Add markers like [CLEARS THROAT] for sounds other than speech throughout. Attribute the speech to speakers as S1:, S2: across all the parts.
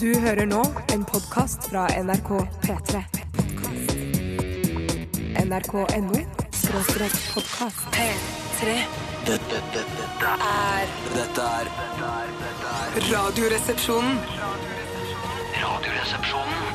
S1: Du hører nå en podkast fra NRK P3. NRK.no skråstrek podkast. P3.
S2: Dette, dette, dette
S1: er
S2: dette er dette er- dette er
S1: Radioresepsjonen.
S2: Radioresepsjonen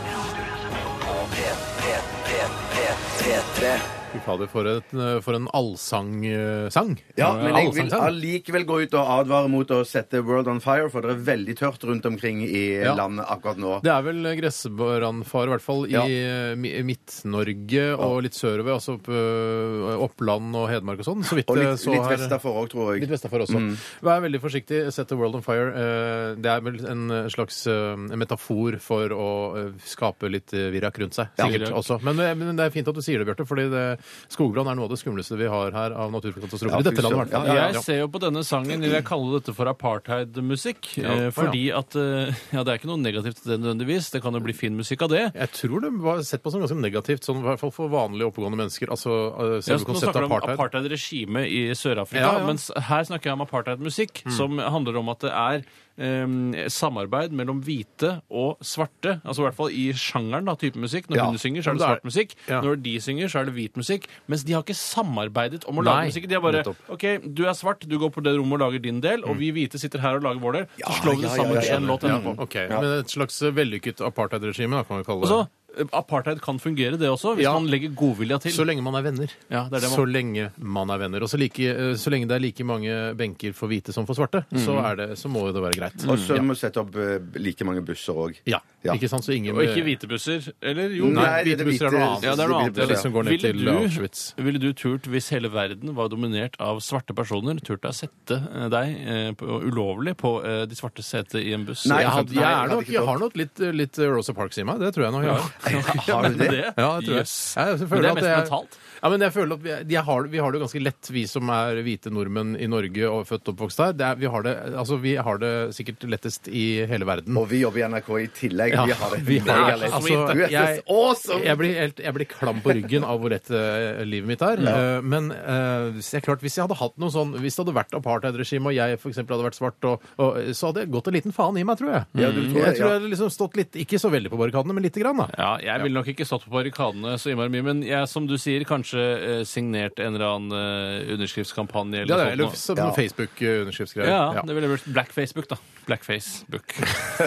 S2: på P, P, P, P, P3.
S3: Fy fader, for, et, for en allsangsang.
S4: Ja, men jeg vil
S3: Allsangsang.
S4: allikevel gå ut og advare mot å sette World on fire, for det er veldig tørt rundt omkring i
S3: Ja.
S4: landet akkurat nå.
S3: Det er vel gressbrannfare, i hvert fall, i
S4: Ja.
S3: eh, Mi- Midt-Norge og litt sørover. Altså opp, eh, Oppland og Hedmark og sånn. Så vidt
S4: Og
S3: jeg
S4: litt,
S3: så
S4: litt Mm.
S3: her-
S4: vestafor òg, tror
S3: Litt
S4: jeg.
S3: vestafor også. Vær veldig forsiktig. Sett the world on fire. Eh, Det er vel en slags eh, en metafor for å eh, skape litt eh, virak rundt seg. Sikkert også. Men, eh, men det er fint at du sier det, Bjarte, fordi det, skogbrann er noe av det skumleste vi har her av naturkatastrofer.
S4: Ja,
S3: I dette landet, i
S4: fy
S3: hvert fall.
S4: søren.
S3: Ja,
S5: Jeg ser jo på denne sangen, vil jeg kalle dette for apartheidmusikk.
S3: Ja.
S5: eh,
S3: Å, ja.
S5: Fordi at eh, [LAUGHS] Ja, det er ikke noe negativt til det nødvendigvis. Det kan jo bli fin musikk av det.
S3: Jeg tror det var sett på som ganske negativt, sånn, i hvert fall for vanlige oppegående mennesker. Altså, eh,
S5: Ja,
S3: selve
S5: så nå
S3: konseptet
S5: snakker du om
S3: apartheid.
S5: apartheid-regimet i Sør-Afrika,
S3: Ja, Mm. ja.
S5: mens her snakker jeg om apartheid-musikk, som handler om at det er eh, samarbeid mellom hvite og svarte. Altså i hvert fall i sjangeren, da, type musikk. Når
S3: Ja.
S5: hun synger, så
S3: Men
S5: er
S3: det
S5: det
S3: er-
S5: svart musikk.
S3: Ja.
S5: Når de synger, så er det hvit musikk. Mens de har ikke samarbeidet om å
S3: Nei,
S5: lage musikk. De har bare
S3: nettopp. Mm.
S5: OK, du er svart, du går på det rommet og lager din del, og vi hvite sitter her og lager vår del. Så slår vi
S4: ja,
S5: det
S4: ja,
S5: sammen
S4: ja,
S5: til en låt
S3: Ja,
S5: etterpå.
S3: ok. Men et slags vellykket apartheid-regime, da, kan vi kalle
S5: Og
S3: det.
S5: så, eh, Apartheid kan fungere, det også, hvis
S3: Ja.
S5: man legger godvilja til.
S3: Så lenge man er venner.
S5: Ja, det er det
S3: Så
S5: man-
S3: lenge man er venner. Og så, like, eh, så lenge det er like mange benker for hvite som for svarte, så, er det, så må jo det være greit.
S4: Og så må vi sette opp eh, like mange busser òg.
S3: Ja.
S4: Ja.
S3: Ikke sant? Så ingen
S5: Og ikke hvite busser. Eller jo,
S3: Nei,
S4: Nei, det
S3: hvite
S4: er
S3: busser er
S4: hvite-
S3: noe annet.
S5: Ja, det er noe annet.
S3: Det er de som går ned
S5: Ville
S3: til
S5: du-
S3: Auschwitz.
S5: Ville du turt, hvis hele verden var dominert av svarte personer, turt å sette eh, deg eh, på, ulovlig på eh, de svarte sete i en buss?
S4: Nei,
S3: Jeg, hadde, jeg,
S4: hadde
S3: er nok,
S4: ikke
S3: jeg
S4: tålt.
S3: har nok litt, litt Rosa Parks i meg. Det tror jeg nok.
S5: Ja.
S3: Ja.
S4: [LAUGHS] Har du det?
S3: Ja, det tror jeg.
S5: Jøss.
S3: Jeg føler
S5: Men det
S3: at
S5: er mest
S3: jeg-
S5: mentalt.
S3: Ja, men jeg føler at vi, jeg har, vi har det jo ganske lett, vi som er hvite nordmenn i Norge og født og oppvokst her. Det er, vi, har det, altså, vi har det sikkert lettest i hele verden.
S4: Og vi jobber i NRK i tillegg.
S3: Ja,
S4: Vi har det
S3: vi har-
S4: megalett.
S3: altså,
S4: Du er
S3: jeg-
S4: så awesome!
S3: Jeg blir, helt, jeg blir klam på ryggen av hvor lett eh, livet mitt er. Eh, men eh, hvis jeg, klart, hvis jeg hadde hatt noe sånn, hvis det hadde vært apartheidregime, og jeg for eksempel hadde vært svart, og, og, så hadde jeg gått en liten faen i meg, tror jeg.
S4: Ja, du tror det,
S3: jeg tror
S4: ja.
S3: jeg hadde liksom stått litt, ikke så veldig på barrikadene, men lite grann, da.
S5: Ja, jeg ville nok ikke stått på barrikadene så innmari mye, men jeg, som du sier, kanskje eh, signert en eller annen eh, underskriftskampanje
S3: Ja,
S5: eller
S3: det er,
S5: noe
S3: eller sånn
S5: sånt.
S4: Ja.
S3: Facebook-underskriftsgreier.
S5: Ja, det ville blitt Black Facebook, da. Black Facebook.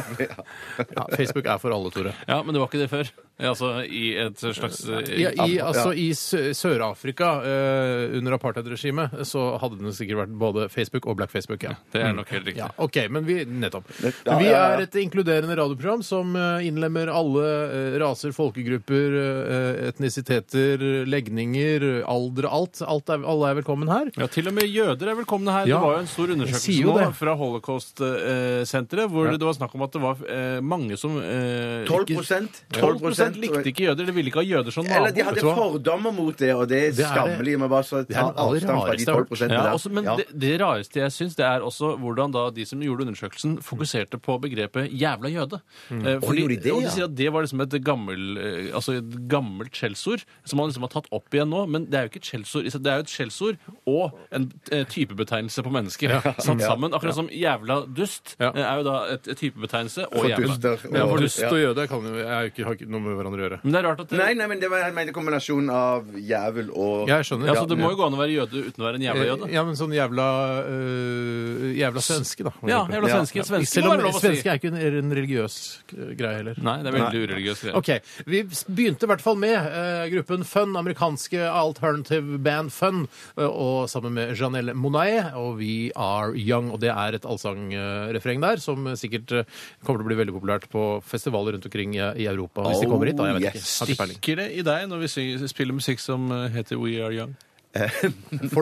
S3: [LAUGHS] Ja, Facebook er for alle, Tore.
S5: Ja, men det var ikke det før. Ja, altså i et slags eh,
S3: Ja, i, altså, I Sø- Sør-Afrika, eh, under apartheidregimet, eh, så hadde det sikkert vært både Facebook og Black Facebook. Ja.
S5: Det er nok helt riktig.
S3: Ja, OK, men vi Nettopp.
S4: ja,
S3: Men vi
S4: ja, ja.
S3: er et inkluderende radioprogram som eh, innlemmer alle eh, raser, folkegrupper, eh, etnisiteter, legninger, alder, alt. alt er, alle er velkommen her.
S5: Ja, Til og med jøder er velkomne her.
S3: Ja.
S5: Det var jo en stor
S3: Jeg
S5: undersøkelse
S3: sier jo
S5: nå
S3: det.
S5: fra Holocaust-senteret, hvor
S3: Ja.
S5: det var snakk om at det var eh, mange som eh,
S4: 12
S5: ikke- 12
S4: 12
S5: likte ikke jøder, eller ville ikke ha jøder som
S4: Eller de
S5: naboer.
S4: hadde
S3: Vet du hva?
S4: fordommer mot det, og det er
S3: Det er det.
S4: skammelig. Men bare så
S3: Det er
S4: ta
S3: det aller
S4: avstand fra de
S3: rareste jeg har hørt.
S4: 12 der.
S5: Ja, også, men
S4: Ja.
S5: Det, det rareste jeg syns, det er også hvordan da de som gjorde undersøkelsen, fokuserte på begrepet 'jævla jøde'. Eh, fordi,
S4: gjorde de det,
S5: og de
S4: ja?
S5: sier at det var liksom et, gammel, eh, altså et gammelt skjellsord som man liksom har tatt opp igjen nå. Men det er jo ikke et skjellsord. i seg- Det er jo et skjellsord og en eh, typebetegnelse på mennesker [LAUGHS] satt sammen. Akkurat som 'jævla dust'
S3: Ja.
S5: eh, er jo da et, et typebetegnelse og
S4: For
S5: jævla.
S4: duster
S3: Ja,
S4: og-
S3: for lyst
S4: ja.
S3: til å gjøre det kan jo jeg ikke, har ikke noe med hverandre å gjøre.
S5: Men det er rart at det,
S4: Nei, nei, men det var jeg mener kombinasjonen av jævel og
S3: Jeg skjønner.
S5: ja, så det må jo gå an å være jøde uten å være en jævla
S3: Eh,
S5: jøde.
S3: Ja, men sånn jævla øh, Jævla svenske, da. for
S5: Ja,
S3: eksempel.
S5: jævla svenske. Svenske
S3: Selv
S5: må
S3: om
S5: være lov å si.
S3: svenske er ikke en, er en religiøs eh, greie heller.
S5: Nei, det er veldig ureligiøst. greier.
S3: OK. Vi s- begynte i hvert fall med eh, gruppen Fun, amerikanske alternative band Fun, eh, og sammen med Janelle Monae og We Are Young. Og det er et allsangrefreng der som eh, sikkert eh, kommer til å bli veldig populært på festivaler rundt omkring i i Europa. Hvis de
S4: Oh,
S3: kommer hit, da. Jeg vet ikke.
S4: yes.
S3: Har ikke peiling.
S5: Stikker det i deg når vi synger, spiller musikk som eh, heter We Are Young?
S3: Får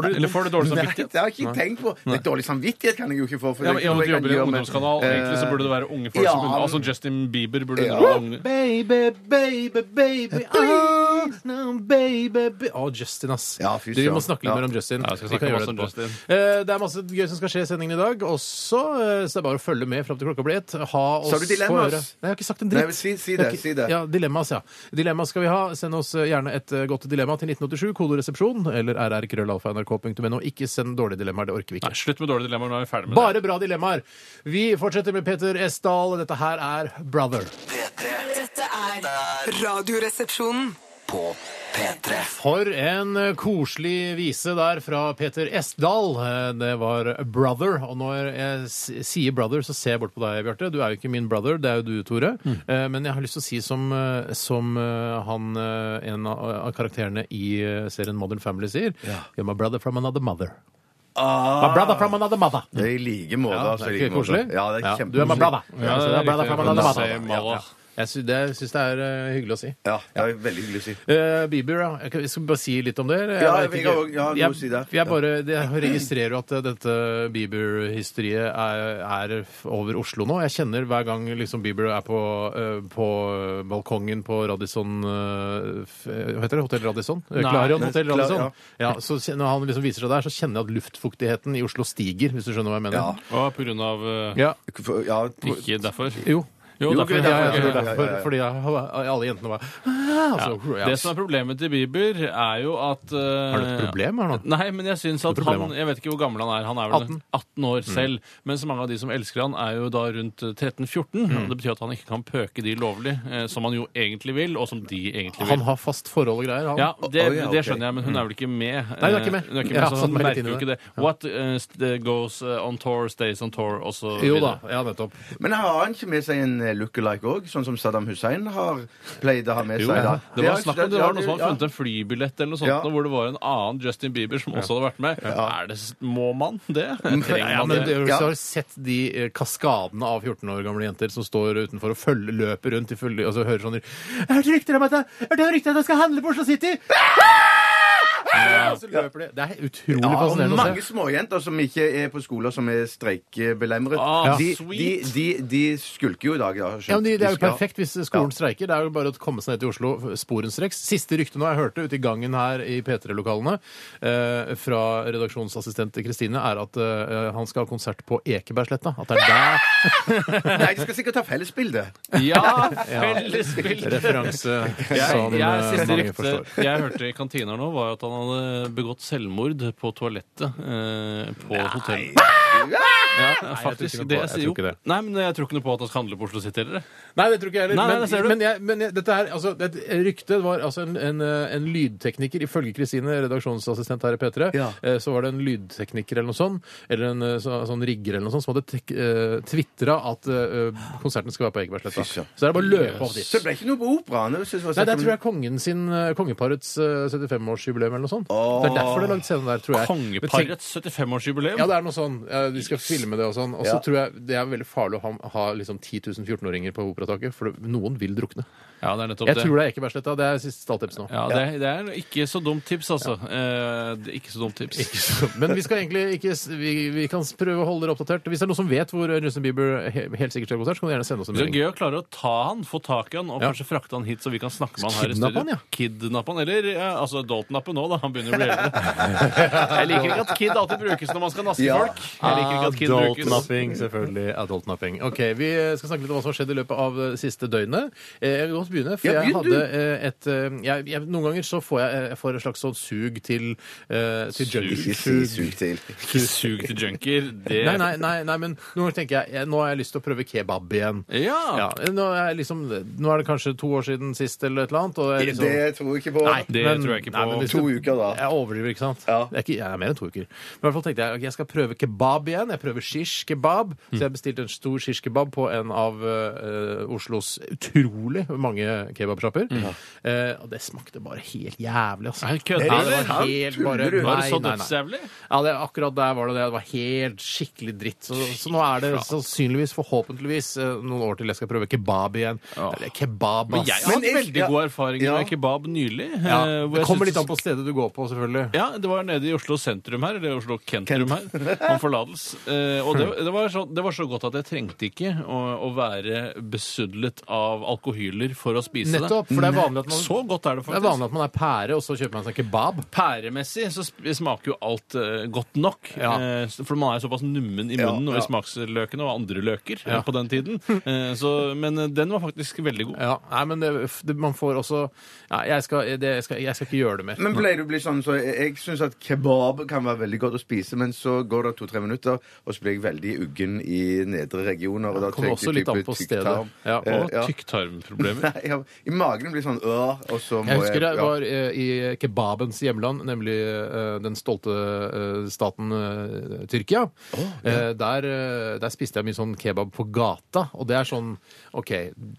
S3: du,
S5: Eller får du dårlig
S4: Nei,
S5: samvittighet?
S4: det har jeg ikke tenkt på. Litt dårlig samvittighet kan jeg jo ikke få. for det
S5: Ja, men
S4: er ikke
S5: jeg
S4: noe jeg
S5: jobber i
S4: kan
S5: en
S4: gjøre, men, eh,
S5: ungdomskanal. Egentlig så burde det være unge folk altså,
S4: ja,
S5: som begynner.
S4: men-
S5: Altså Justin Bieber burde
S4: Ja.
S5: være unge.
S3: Baby, baby, baby, I'm Oh, no, baby, baby. Å, Justin, ass.
S4: Ja, fy
S3: du, vi må
S4: søren.
S3: snakke litt
S4: Ja.
S3: mer om Justin.
S5: Ja, jeg skal
S3: Vi kan
S5: snakke
S3: gjøre
S5: masse om
S3: det etterpå. Eh, det er masse gøy som skal skje i sendingen i dag også, eh, så det er bare å følge med fram til klokka blir ett. Ha oss
S4: Sa du dilemmas?
S3: på øret. Nei, jeg har ikke sagt en
S4: Nei,
S3: dritt.
S4: men si- si
S3: Jeg har
S4: det,
S3: ikke-
S4: si det.
S3: Ja, dilemmas, ja. Dilemmas skal vi ha. Send oss eh, gjerne et eh, godt dilemma til 1987, kodoresepsjon, eller rrkrøllalfa.nrk.no. Ikke send dårlige dilemmaer, det orker vi ikke.
S5: Nei, slutt med dårlige dilemmaer. Nå er vi ferdig med det.
S3: Bare bra dilemmaer. Vi fortsetter med Peter S. Dahl. Dette her er Brother.
S6: Dette er
S1: Radioresepsjonen.
S2: På P3
S3: For en eh, koselig vise der fra Peter S. Dahl. Eh, Det var Brother. Og når jeg s- sier Brother, så ser jeg bort på deg, Bjarte. Du er jo ikke min brother, det er jo du, Tore. Eh, Men jeg har lyst til å si som, eh, som eh, han, eh, en av av karakterene i eh, serien Modern Family sier You're my brother from another mother. My brother from another mother.
S4: Ah, Det er i like måte.
S3: Ja,
S4: altså,
S3: det
S4: i
S3: er
S4: like
S3: ikke
S4: måte.
S3: koselig?
S4: Ja, det er
S3: Ja, Du er my
S4: kjempekoselig.
S3: brother.
S5: Ja,
S3: Ja, så
S5: det
S3: det
S5: er
S3: er brother
S5: riktig.
S3: from another
S5: Say
S3: mother. Ja,
S5: mother.
S3: ja. Jeg sy- det syns det er eh, hyggelig å si.
S4: Ja, det er veldig hyggelig å si.
S3: Eh, Bieber, ja. Jeg kan- Jeg skal bare si litt om det. eller? Jeg
S4: Ja,
S3: vet
S4: jeg
S3: ikke.
S4: har også- jeg har noe
S3: Jeg-
S4: å si der.
S3: Jeg bare jeg registrerer jo at eh, dette Bieber-hysteriet er, er f- over Oslo nå. Jeg kjenner hver gang liksom Bieber er på, eh, på balkongen på Radisson eh, f- Hva heter det? Hotell Radisson? Eh,
S5: Nei.
S3: Clarion Hotell
S4: Klar-
S3: Radisson.
S4: ja.
S3: Ja, så kjen- Når han liksom viser seg der, så kjenner jeg at luftfuktigheten i Oslo stiger, hvis du skjønner hva jeg
S4: Ja.
S3: mener.
S5: Å, på grunn av eh,
S3: Ja.
S4: For- Ja, på-
S5: Ikke derfor.
S3: Jo.
S5: Jo,
S4: Jo,
S5: derfor.
S4: gud,
S3: Ja,
S5: Ja,
S3: jeg
S5: ok.
S3: tror
S4: ja, ja, ja.
S3: derfor. Fordi jeg, alle jentene var ah, altså, ja.
S5: Det som er problemet til Bieber, er jo at eh,
S3: Har du et problem her nå?
S5: Nei, men jeg syns at
S3: er problemet,
S5: han Jeg vet ikke hvor gammel han er. Han er vel 18,
S3: 18.
S5: år
S3: Mm.
S5: selv. Men så mange av de som elsker han, er jo da rundt 13-14.
S3: Mm.
S5: og Det betyr at han ikke kan pøke de lovlig, eh, som han jo egentlig vil, og som de
S3: Han
S5: egentlig vil.
S3: har fast forhold og greier, han.
S5: Ja, det,
S4: Å, ja,
S5: det
S4: ok.
S5: skjønner jeg, men hun er vel ikke med?
S3: Mm.
S5: eh,
S3: Nei, hun er ikke med.
S5: Hun er ikke med
S3: Ja,
S5: så
S3: sånn
S5: han
S3: merker
S5: merker
S3: hun
S5: jo
S3: det.
S5: ikke det. What eh, st- goes eh, on tour, stays on tour, og så
S3: Jo da.
S5: videre.
S3: Ja, nettopp.
S4: Men har han ikke med seg en eh, lookalike òg, sånn som Saddam Hussein har pleide å ha med
S3: Jo,
S4: seg? da?
S5: Det var snakk om det var noen som hadde funnet
S4: det.
S5: en flybillett eller noe sånt,
S4: Ja.
S5: nå, hvor det var en annen Justin Bieber som også hadde vært med. Er det, s- må man det?
S3: Ja,
S5: Trenger
S3: Mm. ja,
S5: man
S3: men
S5: det?
S3: du, Hvis
S4: Ja.
S3: du har sett de eh, kaskadene av 14 år gamle jenter som står utenfor og følger, løper rundt i fulle, altså, hører sånn Jeg hørte rykter om at jeg, jeg, hørte rykter om at jeg skal handle på Oslo City! Ja, og så løper de. Det er utrolig
S4: Ja, og
S3: fascinerende å
S4: mange
S3: se.
S4: småjenter som ikke er på skoler som er streikebelemret.
S5: Ah,
S4: de, de,
S5: sweet.
S4: de, de skulker jo i dag. da, skjønt.
S3: Ja, men det, det er jo
S4: skal-
S3: perfekt hvis skolen streiker. Det er jo bare å komme seg ned til Oslo sporenstreks. Siste rykte nå jeg hørte ute i gangen her i P3-lokalene eh, fra redaksjonsassistent Kristine, er at eh, han skal ha konsert på Ekebergsletta. At det er der
S4: Nei, de skal sikkert ta fellesbilde.
S3: [LAUGHS]
S5: Ja, fellesspill!
S3: referanse som
S5: [LAUGHS] Jeg, jeg,
S3: eh,
S5: siste
S3: mange
S5: rykte
S3: forstår.
S5: jeg hørte i kantina nå, var at han hadde begått selvmord på toalettet eh, på et hotell. Ja, faktisk.
S3: noe på-
S5: det,
S3: jeg tror
S5: jo.
S3: ikke det.
S5: Nei, men jeg tror ikke noe på at han skal handle på Oslo City heller.
S3: Nei, det tror ikke jeg heller.
S5: Nei, nei, det ser du.
S3: men, men, jeg, men jeg, dette her, altså, det ryktet var altså en, en, eh, en lydtekniker, ifølge Kristine, redaksjonsassistent her i P3,
S4: Ja.
S3: eh, så var det en lydtekniker eller noe sånt, eller en eh, så, sånn rigger eller noe sånt, som hadde tek- eh, tvitra at eh, konserten skal være på Ekebergsletta.
S4: Fy søren.
S3: Så det er bare å løpe opp dit.
S4: Så det ble ikke noe på operaen. det synes jeg var sånn
S3: Nei, det
S4: søtt,
S3: tror jeg er kongen sin, eh, kongeparets eh, 75-årsjubileum eller noe sånt. Det er derfor det er lagd scene der, tror jeg. Men tenk-
S5: Kongeparets 75-årsjubileum.
S3: Ja, det er noe sånn. eh, De skal filme det og sånn. Og så
S4: Ja.
S3: tror jeg det er veldig farlig å ha, ha liksom 10 000 14-åringer på operataket, for det- noen vil drukne.
S5: Ja, det er nettopp
S3: Jeg
S5: det.
S3: tror det er Ekebergsletta. Det er siste stalltips nå.
S5: Ja, det, er- det er ikke så dumt tips, altså. Eh, det er ikke så dumt tips.
S3: [LAUGHS] Men vi skal egentlig ikke s- vi, vi kan s- prøve å holde dere oppdatert. Hvis det er noen som vet hvor Justin Bieber he, helt sikkert skal ha konsert, så kan dere gjerne sende oss en
S5: Det er
S3: melding.
S5: gøy å klare å ta han, få tak i han og
S3: Ja.
S5: kanskje frakte han hit, så vi kan snakke med han her i
S3: Kidnappe
S5: studio.
S3: han, ja.
S5: Kidnappe han, eller ja, altså adultnappe nå, da. Han begynner å bli
S3: [LAUGHS]
S5: eldre. Jeg liker ikke at kid alltid brukes når man skal naske
S4: Ja.
S5: folk. Jeg liker ikke at
S3: Ah,
S5: kid brukes.
S3: selvfølgelig. Adult napping. Ok, Vi skal snakke litt om hva som har skjedd i løpet av det siste døgnet. Eh, Jeg vil godt begynne. For
S4: Ja,
S3: jeg
S4: begynn du.
S3: hadde eh, et eh, jeg, jeg, Noen ganger så får jeg, eh, jeg får et slags sånn sug til, eh, til junkie.
S4: Ikke si sug til.
S5: Ikke sug til junkier. Det
S3: Nei, nei, nei, nei, men noen ganger tenker jeg, jeg nå har jeg lyst til å prøve kebab igjen.
S5: Ja.
S3: Ja, nå, er jeg liksom, nå er det kanskje to år siden sist eller et eller annet. Og jeg liksom,
S4: Det tror jeg ikke sånn. på.
S5: Nei, det tror jeg ikke på.
S3: Nei, men hvis
S4: To
S3: du-
S4: uker, da.
S3: Jeg overdriver, ikke sant?
S4: Ja.
S3: Det er ikke, jeg er mer enn to uker. Men i hvert fall tenkte jeg ok, jeg skal prøve kebab igjen. Jeg prøver shish kebab. Så jeg bestilte en stor shish kebab på en av eh, Oslos utrolig mange kebabsjapper.
S5: Mm.
S3: Eh, og det smakte bare helt jævlig, altså.
S5: Nei, kødder
S3: Ja,
S5: du,
S3: det var
S4: eller?
S3: helt
S4: Tuller
S3: bare
S4: du?
S5: Var
S3: Nei,
S5: det sånn så
S3: nei, nei.
S5: dødsjævlig?
S3: Ja, det, akkurat der var det det. Det var helt skikkelig dritt. Så, så nå er det sannsynligvis, forhåpentligvis, eh, noen år til jeg skal prøve kebab igjen. Eller kebab,
S5: Men
S3: ass.
S5: jeg har hatt
S4: Men jeg-
S5: veldig god erfaring
S4: Ja.
S5: med kebab nylig.
S3: Ja,
S5: eh, hvor
S3: det
S5: jeg
S3: kommer
S5: synes-
S3: litt an på stedet du går på, selvfølgelig.
S5: Ja, det var nede i Oslo sentrum her, eller Oslo kentrum her, om forlatelse. Eh, og det, det, var så, det var så godt at jeg trengte ikke å, å være besudlet av alkohyler for å spise
S3: Nettopp, for det er vanlig at
S5: det.
S3: man,
S5: Så godt er det
S3: det er
S5: faktisk.
S3: vanlig at man er pære, og så kjøper man seg kebab.
S5: Pæremessig så sp- smaker jo alt eh, godt nok.
S3: Ja.
S5: Eh, s- for man er jo såpass nummen i
S4: Ja,
S5: munnen
S4: ja.
S5: over smaksløkene og andre løker eh, på den tiden. Eh, så, men eh, den var faktisk veldig god.
S3: Ja, nei, men det, det, man får også ja, jeg, skal, det, jeg, skal, jeg skal ikke gjøre det mer.
S4: Men pleier du å bli sånn, så jeg, jeg syns at kebab kan være veldig godt å spise, men så går det to-tre minutter, og så blir jeg veldig uggen i nedre regioner. Og da
S3: Kommer
S4: tenker
S3: også litt
S4: jeg
S3: an
S4: type
S3: på stedet.
S4: tykktarm.
S3: Ja,
S5: Og
S4: Eh, ja.
S3: [LAUGHS]
S5: tykktarmproblemer.
S4: [LAUGHS] Nei, ja, I magen blir sånn øh, og så må
S3: Jeg husker jeg
S4: ja.
S3: var eh, i kebabens hjemland, nemlig eh, den stolte eh, staten eh, Tyrkia. Eh, der, eh, der spiste jeg mye sånn kebab på gata, og det er sånn OK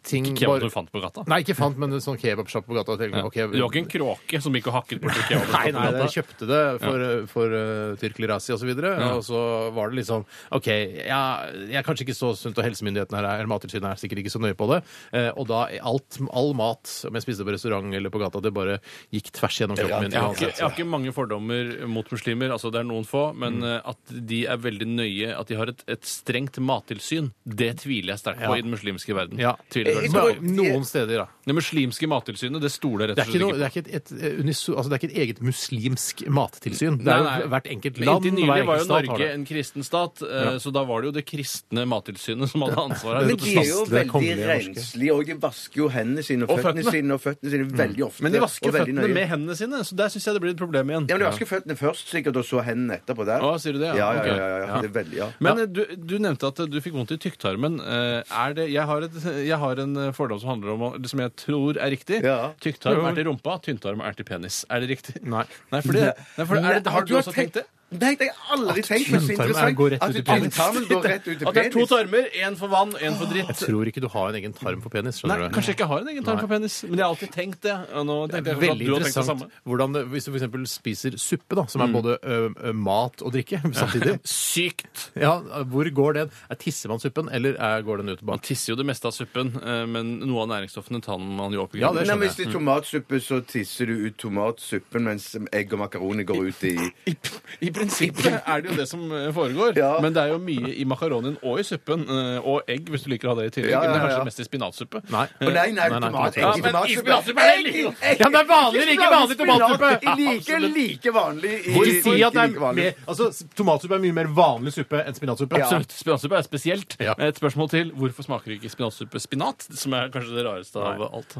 S3: ting
S5: Kebab du fant på gata?
S3: Nei, ikke fant, men en sånn kebabsjappe på gata. og tenkte,
S5: Ja.
S3: ok,
S5: Du var ikke en kråke som gikk og
S3: [LAUGHS]
S5: hakket bort til kebaben?
S3: Nei, nei, jeg kjøpte det for, for eh, Tyrk Lirasi og så videre,
S5: Ja.
S3: og så var det liksom OK, ja, jeg er kanskje ikke så sunt, og helsemyndighetene her er- eller Mattilsynet er sikkert ikke så nøye på det, eh, og da er alt, all mat som jeg spiste på restaurant eller på gata, det bare gikk tvers gjennom kroppen min
S5: Jeg har, ikke, jeg
S3: uansett.
S5: har ikke mange fordommer mot muslimer, altså det er noen få, men eh, at de er veldig nøye, at de har et, et strengt mattilsyn, det tviler jeg sterkt på
S3: Ja.
S5: i den muslimske verden.
S3: Ja. Eh,
S5: Tviler jeg veldig
S3: Så,
S5: sterkt på.
S3: noen steder, da.
S5: Det muslimske mattilsynet, det stoler jeg
S3: Det er
S5: rett og
S3: ikke,
S5: slett
S3: noe, det
S5: ikke på.
S3: er ikke, et, et, eh, uniso, altså det er ikke et eget muslimsk mattilsyn. Det
S5: Nei,
S3: er
S5: nei.
S3: jo hvert enkelt
S5: Men
S3: land.
S5: Inntil
S3: hver
S5: nylig var jo
S3: enkelt stat har
S5: Norge
S3: det.
S5: en kristen stat, eh, så da var det jo det kristne mattilsynet som hadde ansvaret.
S4: Men de er jo
S3: Det er
S4: veldig
S3: kongelige norske.
S4: renslige, og de vasker jo hendene sine og
S5: Og
S4: føttene
S5: føttene.
S4: sine og føttene sine veldig ofte.
S5: Men de vasker
S4: og veldig
S5: føttene
S4: nøye.
S5: med hendene sine, så der syns jeg det blir et problem igjen.
S4: Ja, men De vasker føttene først, sikkert, og så hendene etterpå der.
S5: Å, sier du det?
S4: Ja, ja,
S5: Ok.
S4: ja. ja, ja. Det er veldig, ja.
S5: Men eh, du, du nevnte at eh, du fikk vondt i tykktarmen. Eh, Er det, jeg, har et, jeg har en eh, fordom som handler om å- som jeg tror er riktig.
S4: Ja.
S5: Tykktarm er til rumpa, tynntarm er til penis. Er det riktig?
S3: Nei.
S5: Nei, for det, nei, for det, er det,
S4: Nei,
S5: har du også tenkt det?
S4: Nei, det har jeg aldri tenkt. Men så
S3: tynntarmen
S4: interessant
S3: går rett ut i
S4: at
S3: penis.
S4: tynntarmen går rett ut i
S5: At det er to
S4: penis.
S5: tarmer, én for vann, én for dritt.
S3: Jeg tror ikke du har en egen tarm for penis.
S5: Nei,
S3: skjønner du?
S5: Kanskje jeg ikke har en egen tarm for penis, men jeg har alltid tenkt det. Og nå tenkte jeg at
S3: Veldig
S5: du har tenkt det
S3: interessant
S5: samme.
S3: hvordan det, hvis du for eksempel spiser suppe, da, som er både ø, ø, mat og drikke [LAUGHS] samtidig.
S5: Sykt!
S3: Ja, hvor går den? Er- Tisser man suppen, eller er, går den ut
S5: Man
S3: bak?
S5: tisser jo det meste av suppen, eh, men noe av næringsstoffene tar man jo opp i
S3: Ja, det
S4: Nei,
S3: skjønner
S4: men Hvis det er tomatsuppe, så tisser du ut tomatsuppen, mens egg og makaroni går ut i
S5: I, I prinsippet er det jo det som eh, foregår,
S4: Ja.
S5: men det er jo mye i makaronien og i suppen. eh, Og egg, hvis du liker å ha det i tillegg.
S4: Ja, ja,
S5: Men det er
S4: ja.
S5: kanskje mest i spinatsuppe.
S3: Nei.
S4: Å nei, nei,
S3: Nei, nei,
S4: tomat,
S3: tomat.
S4: egg i
S5: Ja, men i
S4: tomatsuppe.
S5: tomatsuppe er
S4: Egg
S5: det
S4: i-
S5: like godt.
S4: egg-
S3: Ja, men det er vanlig, det er ikke vanlig tomatsuppe.
S4: I Like, like vanlig i
S3: Ikke si at det
S4: like
S3: er
S4: vanlig.
S3: mer, altså, s- Tomatsuppe er mye mer vanlig suppe enn spinatsuppe.
S5: Absolutt. Spinatsuppe er spesielt.
S3: Ja.
S5: Et spørsmål til. Hvorfor smaker ikke spinatsuppe spinat? Som er kanskje det rareste av alt.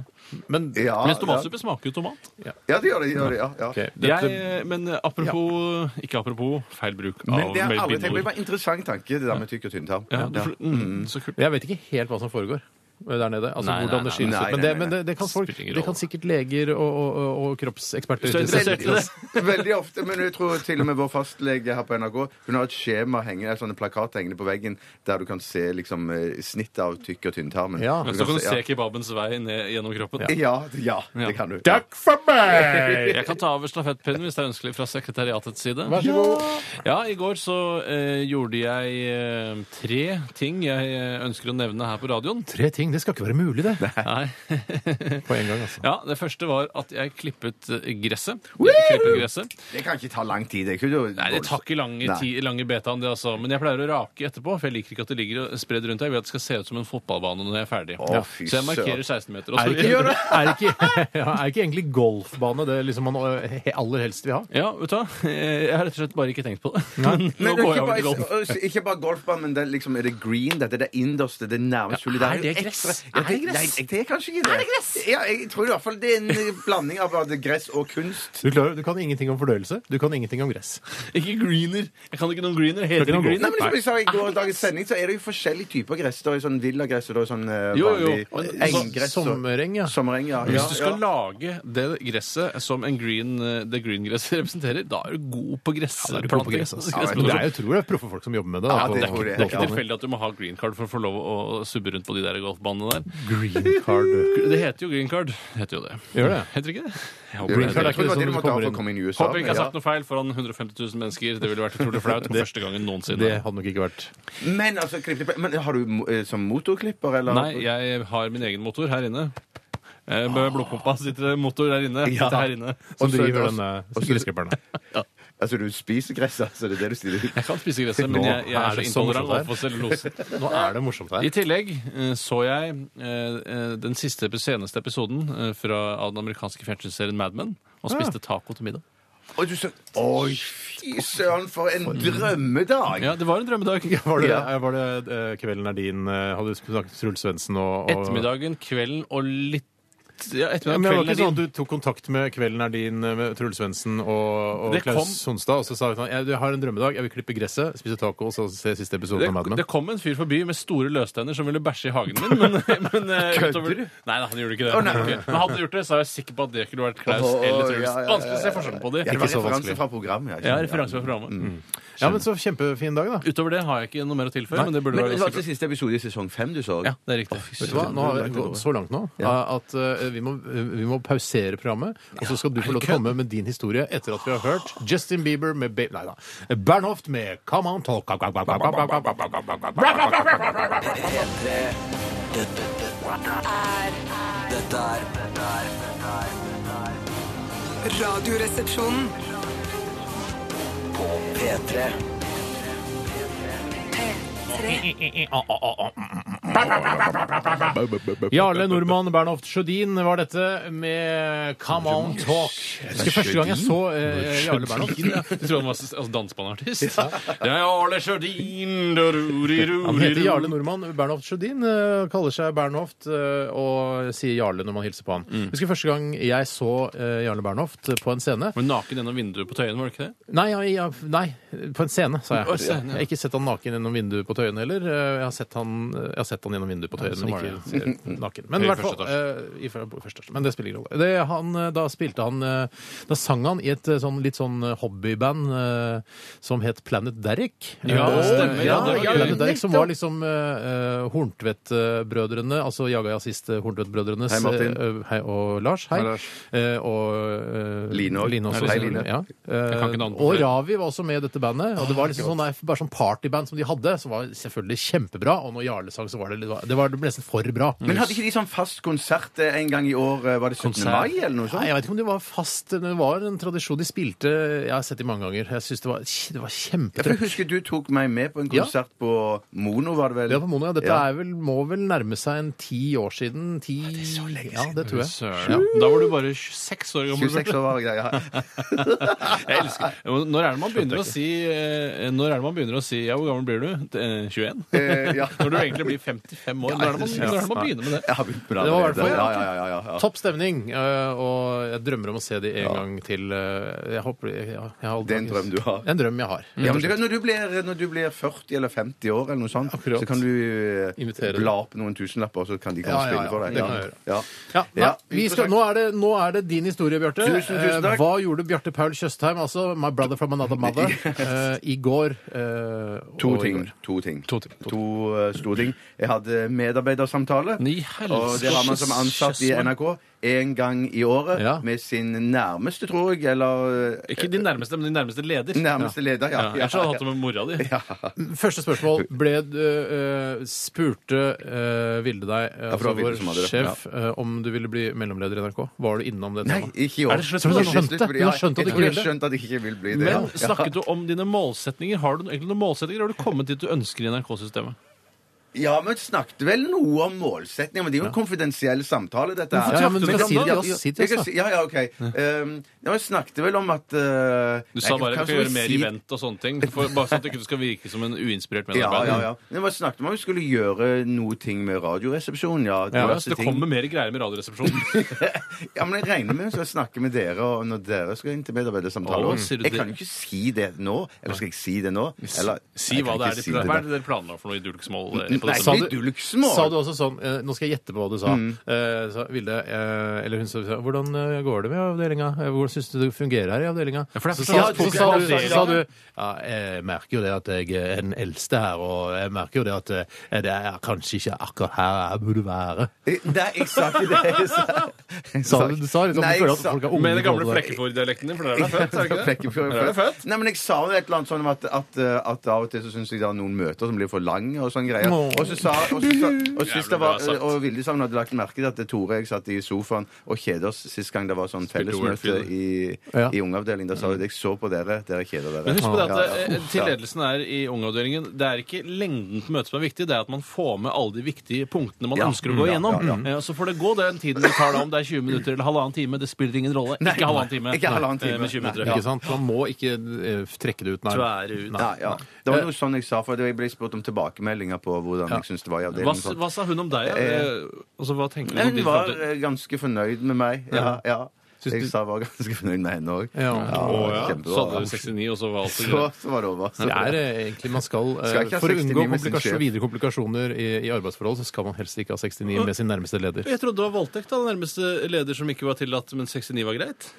S3: Men
S4: Ja,
S5: Mens tomatsuppe smaker jo tomat.
S4: Ja, ja det gjør det. gjør det ja, ja.
S3: ok, dette,
S5: Jeg, men eh, apropos Ikke apropos, feil bruk av
S4: Men det er aldri tenkt på. Det
S5: melbindord.
S4: var en interessant tanke, det der med tykk og tynn tarm.
S5: Ja, du, mm, så kult.
S3: Jeg vet ikke helt hva som foregår der nede. Altså
S5: Nei, nei,
S3: hvordan det
S5: nei,
S3: skilles
S4: nei,
S3: ut. Men,
S4: nei,
S3: det,
S4: nei,
S3: men det, det, kan folk,
S5: Spiller ingen
S3: det kan
S5: rolle.
S3: sikkert leger og, og, og- og kroppseksperter
S5: Så interessert i det.
S4: Veldig ofte, men jeg tror til og med vår fastlege her på NRK Hun har et skjema hengende, en sånn plakat hengende på veggen der du kan se liksom eh, snittet av tykk og tynntarmen.
S3: Ja.
S5: Men Altså, så kan du se kebabens vei ned gjennom kroppen.
S4: ja. Ja, ja, det kan du.
S3: Takk for meg!
S5: Jeg kan ta over stafettpinnen hvis det er ønskelig fra sekretariatets side.
S3: Vær så god.
S5: Ja, i går så eh, gjorde jeg eh, tre ting jeg eh, ønsker å nevne her på radioen.
S3: Tre ting. Det skal ikke være mulig, det.
S5: Nei. [LAUGHS]
S3: På en gang, altså.
S5: Ja, Det første var at jeg klippet eh, gresset. Jeg klippet gresset.
S4: Det kan ikke ta lang tid. Det, er ikke noe-
S5: Nei, Det tar ikke lange,
S4: Nei.
S5: ti, lange betaen, det altså. Men jeg pleier å rake etterpå, for jeg liker ikke at det ligger og spredd rundt her. Jeg vil at det skal se ut som en fotballbane når jeg er ferdig.
S4: Å, fy
S5: Så jeg markerer
S4: søren.
S5: 16
S3: Er
S5: meter. Og
S3: det
S5: så
S3: ikke, [LAUGHS] er det ikke, ja, er det ikke egentlig golfbane det liksom man ø, he- aller helst vil ha?
S5: Ja, vet du hva? [LAUGHS] Jeg har rett og slett bare ikke tenkt på det. Men
S4: Men
S5: [LAUGHS] nå
S4: det er
S5: går jeg
S4: ikke,
S5: over til golf.
S4: bare, s- ikke bare golfbanen, men det er, liksom, er det green? Dette er det innerste, det nærmeste hullet.
S5: er
S4: jo
S5: det gress?
S4: ekstra- Ja,
S5: Er det gress?
S4: Nei, jeg- det er kanskje ikke det. Er det gress? Ja, jeg tror i hvert fall det er en blanding av både gress og kunst.
S3: Du, klarer, du kan ingenting om fordøyelse. Du kan ingenting om gress.
S5: Ikke greener. Jeg kan ikke noen greener.
S3: Ikke
S5: Heter det
S3: noen
S5: greener?
S4: Nei, men som jeg sa i går dagens sending, så er det jo forskjellige typer gress. Det er jo sånn villagress og det er sånn eh,
S5: Jo, jo, jo.
S4: vanlig
S5: Men
S3: Altså,
S5: så-
S4: enggress. og-
S5: eh,
S3: Sommereng, ja.
S4: Sommereng, ja.
S5: Hvis du
S4: ja.
S5: skal lage det gresset som en green, eh, det green-gresset [LAUGHS] representerer, da er du god på
S3: Da er du god på
S5: [LAUGHS] gressplanting.
S3: gress, altså.
S5: Ja,
S3: Ja, men Det er jo tror jeg er proffe folk som jobber med det. da,
S4: Ja,
S3: på
S4: det tror jeg.
S5: det er ikke
S3: golfbaner.
S5: tilfeldig at du må ha green card for å få lov å subbe rundt på de der golfbanene der.
S3: Green card.
S5: Det heter jo green card. Det heter jo det.
S3: Gjør det?
S5: Heter ikke det? Jeg håper,
S3: ikke
S4: Green card er
S5: det heter det.
S4: ikke det
S3: sånn
S4: du
S3: du
S4: måtte ha
S3: kommer
S4: for
S3: inn.
S4: å komme inn i USA.
S5: håper jeg ikke
S4: men
S5: har sagt noe feil foran 150 000 mennesker. Det ville vært utrolig flaut for første gangen
S3: Det
S5: noensinne.
S3: hadde nok ikke vært
S4: ja. Men altså, klipp- men har du mo- eh, som motorklipper, eller?
S5: Nei, jeg har min egen motor her inne. Eh, Med blodpumpa sitter det motor der inne.
S4: Ja.
S5: Sitter her inne.
S3: Som
S4: Også-
S3: driver
S4: også-
S3: denne
S4: også-
S3: gressklipperen.
S4: Altså, du spiser gress, altså. Det er det du stiller ut.
S5: Jeg kan spise gresset, men
S3: Nå
S5: jeg, jeg
S3: er
S5: er så
S3: det så morsomt
S5: intolerant
S3: her.
S5: overfor
S3: [LAUGHS]
S5: cellulosen.
S3: Nå er det morsomt her.
S5: I tillegg eh, så jeg eh, eh, den siste, seneste episoden eh, fra, av den amerikanske fjernsynsserien Mad Men og
S3: Ah.
S5: spiste taco til middag.
S4: Og du så Oi, fy søren, for en drømmedag!
S5: Ja, det var en drømmedag.
S3: Var det,
S4: Ja.
S3: var det eh, Kvelden er din eh, Hadde du snakket med Truls Svendsen og, og
S5: Ettermiddagen, kvelden og litt Ja,
S3: Ja, men det var
S5: ettermiddagen,
S3: ikke sånn at
S5: kvelden.
S3: du tok kontakt med Kvelden er din eh, med Truls Svendsen og, og
S5: Det kom-
S3: Klaus Sonstad, og så sa vi sånn Jeg jeg har en drømmedag, jeg vil klippe gresset, spise taco og så se siste episode av Mad
S5: Det,
S3: Men.
S5: det kom en fyr forbi med store løstenner som ville bæsje i hagen min. Men, [LAUGHS] men
S3: [LAUGHS]
S5: eh,
S4: Kødder
S5: utover,
S4: du?
S5: nei, nei, han gjorde ikke det.
S4: Å, nei.
S5: Han gjorde ikke det. Men hadde han gjort det, så er jeg sikker på at det kunne vært Klaus
S4: Å,
S5: eller
S4: ja,
S5: Truls.
S4: ja, ja, ja.
S5: Vanskelig å se forskjellen på
S4: Ja, det
S3: så Mm.
S4: var
S5: dem.
S4: referanse
S3: vanskelig.
S4: fra programmet. jeg
S5: Ja,
S4: skjønner.
S5: referanse fra programmet.
S3: Ja, men så kjempefin dag, da.
S5: Utover det har jeg ikke noe mer å tilføye, men det burde
S4: Men
S5: være
S4: det var til
S5: ganske bra.
S4: siste episode i sesong fem du så?
S5: Ja, det er riktig.
S3: Vet du hva? Nå har vi gått så langt nå eh, at eh, vi, må, vi må pausere programmet. Og så skal du få lov til å komme med din historie etter at vi har hørt Justin Bieber med ba Nei da. Bernhoft med Come On Talk.
S2: P3 Dette dette- Dette er Dette er
S1: Radioresepsjonen.
S2: På P3
S1: P3.
S3: Jarle Nordmann, Bernhoft Sjødin var dette med Come On Talk. Jeg husker første gang jeg så eh, Jarle Bernhoft.
S5: Ja, Du tror han var altså, dansbandartist? Ja, Jarle Sjødin da, ruri, ruri,
S3: Han heter
S5: ruri.
S3: Jarle Nordmann. Bernhoft Sjødin eh, kaller seg Bernhoft eh, og sier Jarle når man hilser på han. Jeg Husker første gang jeg så eh, Jarle Bernhoft på en scene.
S5: Var naken gjennom vinduet på Tøyen, var det ikke det?
S3: Nei, ja, ja, nei, på en scene, sa jeg.
S5: På en scene, ja.
S3: Jeg har ikke sett han naken gjennom vinduet på Tøyen heller. Eh, Jeg har sett han, jeg har sett han gjennom vinduet på Tøyen,
S5: sånn
S3: men
S5: var
S3: ikke
S5: [LAUGHS]
S3: ser naken. Men
S5: I
S3: i hvert fall,
S5: første
S3: eh, i fø- på første etasje. Men det spiller ingen rolle. Det, han, eh, da spilte han eh, Da sang han i et eh, sånn, litt sånn eh, hobbyband eh, som het Planet Derrick.
S5: Ja,
S3: Eh,
S5: stemmer, ja, det var
S3: ja,
S5: gøy.
S3: Planet Derrick, som var liksom eh, eh, Horntvedt-brødrene, altså Jaga Jazzist-Horntvedt-brødrenes
S4: Hei, Martin.
S3: eh, Hei, og Lars. Hei.
S4: Hei, Lars.
S3: Eh, og eh,
S4: Line også.
S3: Line
S4: Hei, Line.
S3: Ja.
S5: Jeg kan ikke navnet på
S3: og
S5: flere.
S3: Ravi var også med i dette bandet. Og det var liksom sånn, nei, bare sånn partyband som de hadde, som var selvfølgelig kjempebra. Og når Jarle sang, så var det, litt- det var nesten for bra.
S4: Men hadde ikke de sånn fast konsert eh, en gang i år? eh, Var det 17.
S5: Konsert?
S4: mai eller noe
S3: Nei,
S4: sånt?
S3: jeg vet ikke om det var fast, men det var en tradisjon de spilte Jeg har sett de mange ganger. Jeg syns det var, det var
S4: Ja, for
S3: kjempetrøtt.
S4: jeg husker du tok meg med på en
S3: Ja.
S4: konsert på Mono, var det vel?
S3: Ja, på Mono, ja. Dette
S4: Ja.
S3: er vel, må vel nærme seg en ti år siden. Ti... Ja, det er så lenge siden. Ja, det tror jeg.
S5: Søren. Ja. Da var du bare 26 år gammel.
S4: 26 år var det greia.
S5: Jeg elsker Ja, men Når er det man begynner å si eh, Når er det man begynner å si Ja, hvor gammel blir du? T- eh, 21?
S4: Eh, ja.
S5: [LAUGHS] Når du egentlig blir 55 år. Når er det man, når er det man begynner med det?
S4: Jeg har begynt med det
S3: Det var i hvert
S4: allerede.
S3: fall-
S4: Ja, ja, ja, ja, ja.
S3: Topp stemning, eh, og jeg drømmer om å se de en gang til. eh, Jeg håper, ja, jeg har aldri-
S4: Det er en drøm du har.
S3: En drøm jeg har.
S4: Ja, men du, kan- når, du blir, når du blir 40 eller 50 år, eller noe sånt,
S3: Akkurat.
S4: så kan du eh,
S3: Invitere dem.
S4: bla opp noen tusenlapper, så kan de komme
S3: Ja,
S4: og
S3: ja,
S4: spille
S3: ja.
S4: for deg.
S3: Det kan jeg gjøre.
S4: Ja.
S3: Ja, nei,
S4: Ja,
S3: vi skal,
S4: interessant.
S3: nå, er det, nå er det din historie, Bjarte.
S4: Tusen, tusen
S3: Eh,
S4: takk.
S3: Hva gjorde Bjarte Paul Tjøstheim, altså My Brother from Another
S4: [LAUGHS]
S3: Mother, eh, i går? eh,
S4: To
S3: og i
S4: ting.
S3: går?
S4: To ting.
S3: To ting, to
S4: To eh, store ting. Jeg hadde medarbeidersamtale.
S5: Nei, helvete.
S4: Og det har man som ansatt i
S5: sånn.
S4: NRK én gang i året
S3: Ja.
S4: med sin nærmeste, tror jeg, eller eh,
S5: Ikke din nærmeste, men din nærmeste leder.
S4: nærmeste leder.
S5: Ja,
S4: Ja.
S5: jeg har hatt det med mora di.
S3: Første spørsmål. Ble, eh, eh, spurte eh, Vilde deg, eh,
S4: for
S3: altså
S4: det var Vilde
S3: vår
S4: som hadde det.
S3: sjef, eh, om du ville bli mellomleder i NRK? Var du innom det
S4: Nei,
S3: temaet?
S4: ikke i år.
S5: Er det slutt
S4: Så
S5: på det?
S4: det er slutt på det,
S3: Du har
S4: ja.
S3: skjønt at
S4: Jeg
S3: du ikke
S4: tror jeg
S3: vil det?
S4: har skjønt at jeg ikke vil bli det.
S5: Men
S4: ja.
S5: snakket du om dine målsetninger? Har du egentlig noen målsetninger? Har du kommet dit du ønsker i NRK-systemet?
S4: Ja, men snakket vel noe om målsetninger, men det er jo en konfidensiell samtale, dette her.
S3: Ja, ja, men
S4: Snakket
S3: du kan
S4: vel om-
S3: si det til oss, si det til
S4: Jeg
S3: oss,
S4: kan
S5: altså.
S4: si- Ja, ja, ok. Um, ja, men snakket vel om at uh,
S5: Du sa bare at du kan gjøre mer
S4: si,
S5: event og sånne ting. For, bare sånn at du ikke skal virke som en uinspirert
S4: Ja,
S5: medarbeider.
S4: ja, ja. Men vi snakket om at vi skulle gjøre noe ting med radioresepsjonen, ja.
S5: Ja,
S4: diverse
S5: så det
S4: ting.
S5: kommer mer greier med
S4: [LAUGHS]
S5: Radioresepsjonen.
S4: Ja, men jeg regner med å snakke med dere og når dere skal inn til medarbeidersamtale.
S5: Å,
S4: også.
S5: sier du
S4: jeg
S5: det?
S4: kan jo ikke si det nå. Eller skal jeg si det nå? Eller,
S5: Si
S4: jeg
S5: hva
S4: kan
S5: det
S4: ikke
S5: er de
S4: si
S5: planer. Hva er
S4: det
S5: det dere planla for noe i Dulksmål? eh, på
S4: Nei,
S5: dette
S4: Sa
S5: møtet?
S4: du- Mm. dulksmål.
S3: sa du også sånn eh, Nå skal jeg gjette på hva du sa. Eh, sa Vilde, eh, eller hun sa Hvordan eh, går det med avdelinga? Eh, Hvordan syns du det fungerer her i avdelinga?
S5: Ja, for det er
S3: Så,
S5: for-
S3: sa-
S5: Ja,
S3: så, sa du- så
S5: fokus-
S3: sa du Ja, jeg merker jo det at jeg er den eldste her, og jeg merker jo det at eh, det er kanskje ikke akkurat her jeg burde være.
S4: der. Nei, jeg sa ikke det. Jeg sa, jeg
S3: Sa du, du sa liksom
S4: Nei,
S3: du føler at
S4: jeg sa-
S3: folk er unge.
S5: Med den gamle
S3: i forhold til deg.
S5: Flekkefjord-dialekten din, for der er du født? er du ikke det?
S4: Flekkefjord.
S5: Der er du født.
S4: eh, Nei, men jeg sa jo et eller annet sånn om at, at, at av og til så syns jeg det er noen møter som blir for lange og sånn greier.
S3: Åh.
S4: Og så sa og så sa- og sist det
S5: Jævlig bra
S4: var,
S5: sagt.
S4: og Vilde sa hun hadde lagt merke til at Tore og jeg satt i sofaen og kjeda oss sist gang det var sånn
S5: Spilte
S4: fellesmøte
S5: Warfield.
S4: i,
S3: Ja.
S4: i ungeavdelingen. Da sa hun jeg så på dere, dere kjeder dere.
S5: Men husk på det
S4: Ja,
S5: at
S4: ja.
S5: eh, til ledelsen er i ungeavdelingen Det er ikke lengden på møtet som er viktig, det er at man får med alle de viktige punktene man
S4: Ja.
S5: ønsker å
S4: Mm,
S5: gå
S4: ja,
S5: igjennom.
S4: ja,
S5: Eh, Så får det gå den tiden det tar, da, om det er 20 minutter eller halvannen time. Det spiller ingen rolle.
S4: Nei,
S5: ikke halvannen time.
S4: ikke halvannen
S5: Nei,
S4: time.
S5: Men 20 minutter.
S3: Ikke sant? Man må ikke eh, trekke det ut, nei.
S5: Tvære ut.
S4: Ja, ja. Det
S5: Eh.
S4: var noe sånn jeg sa, for jeg ble spurt om tilbakemeldinger på hvordan jeg syntes det var i
S5: Hva,
S4: avdelingen. sånn.
S5: hva sa hun om deg? eh, Altså, hva
S4: Nei,
S5: tenker du om
S4: Hun
S5: din
S4: var
S5: fremtid?
S4: eh, ganske fornøyd med meg. Ja, ja.
S3: Syns
S4: Jeg
S3: du-
S4: sa jeg var ganske fornøyd med henne òg.
S3: Ja. Sånn
S5: Å, ja. Så
S4: kjempebra.
S5: hadde du 69, og så var alt så
S4: [LAUGHS] Så,
S5: greit.
S4: så var det over. Så-
S3: Det er eh, egentlig man skal, eh,
S4: Skal ikke ha
S3: For å
S4: 69
S3: unngå
S4: med sin
S3: komplikasjon-
S4: sjef.
S3: videre komplikasjoner i, i arbeidsforhold, så skal man helst ikke ha 69 med sin nærmeste leder.
S5: Jeg trodde det var voldtekt av den nærmeste leder som ikke var tillatt, men 69 var greit.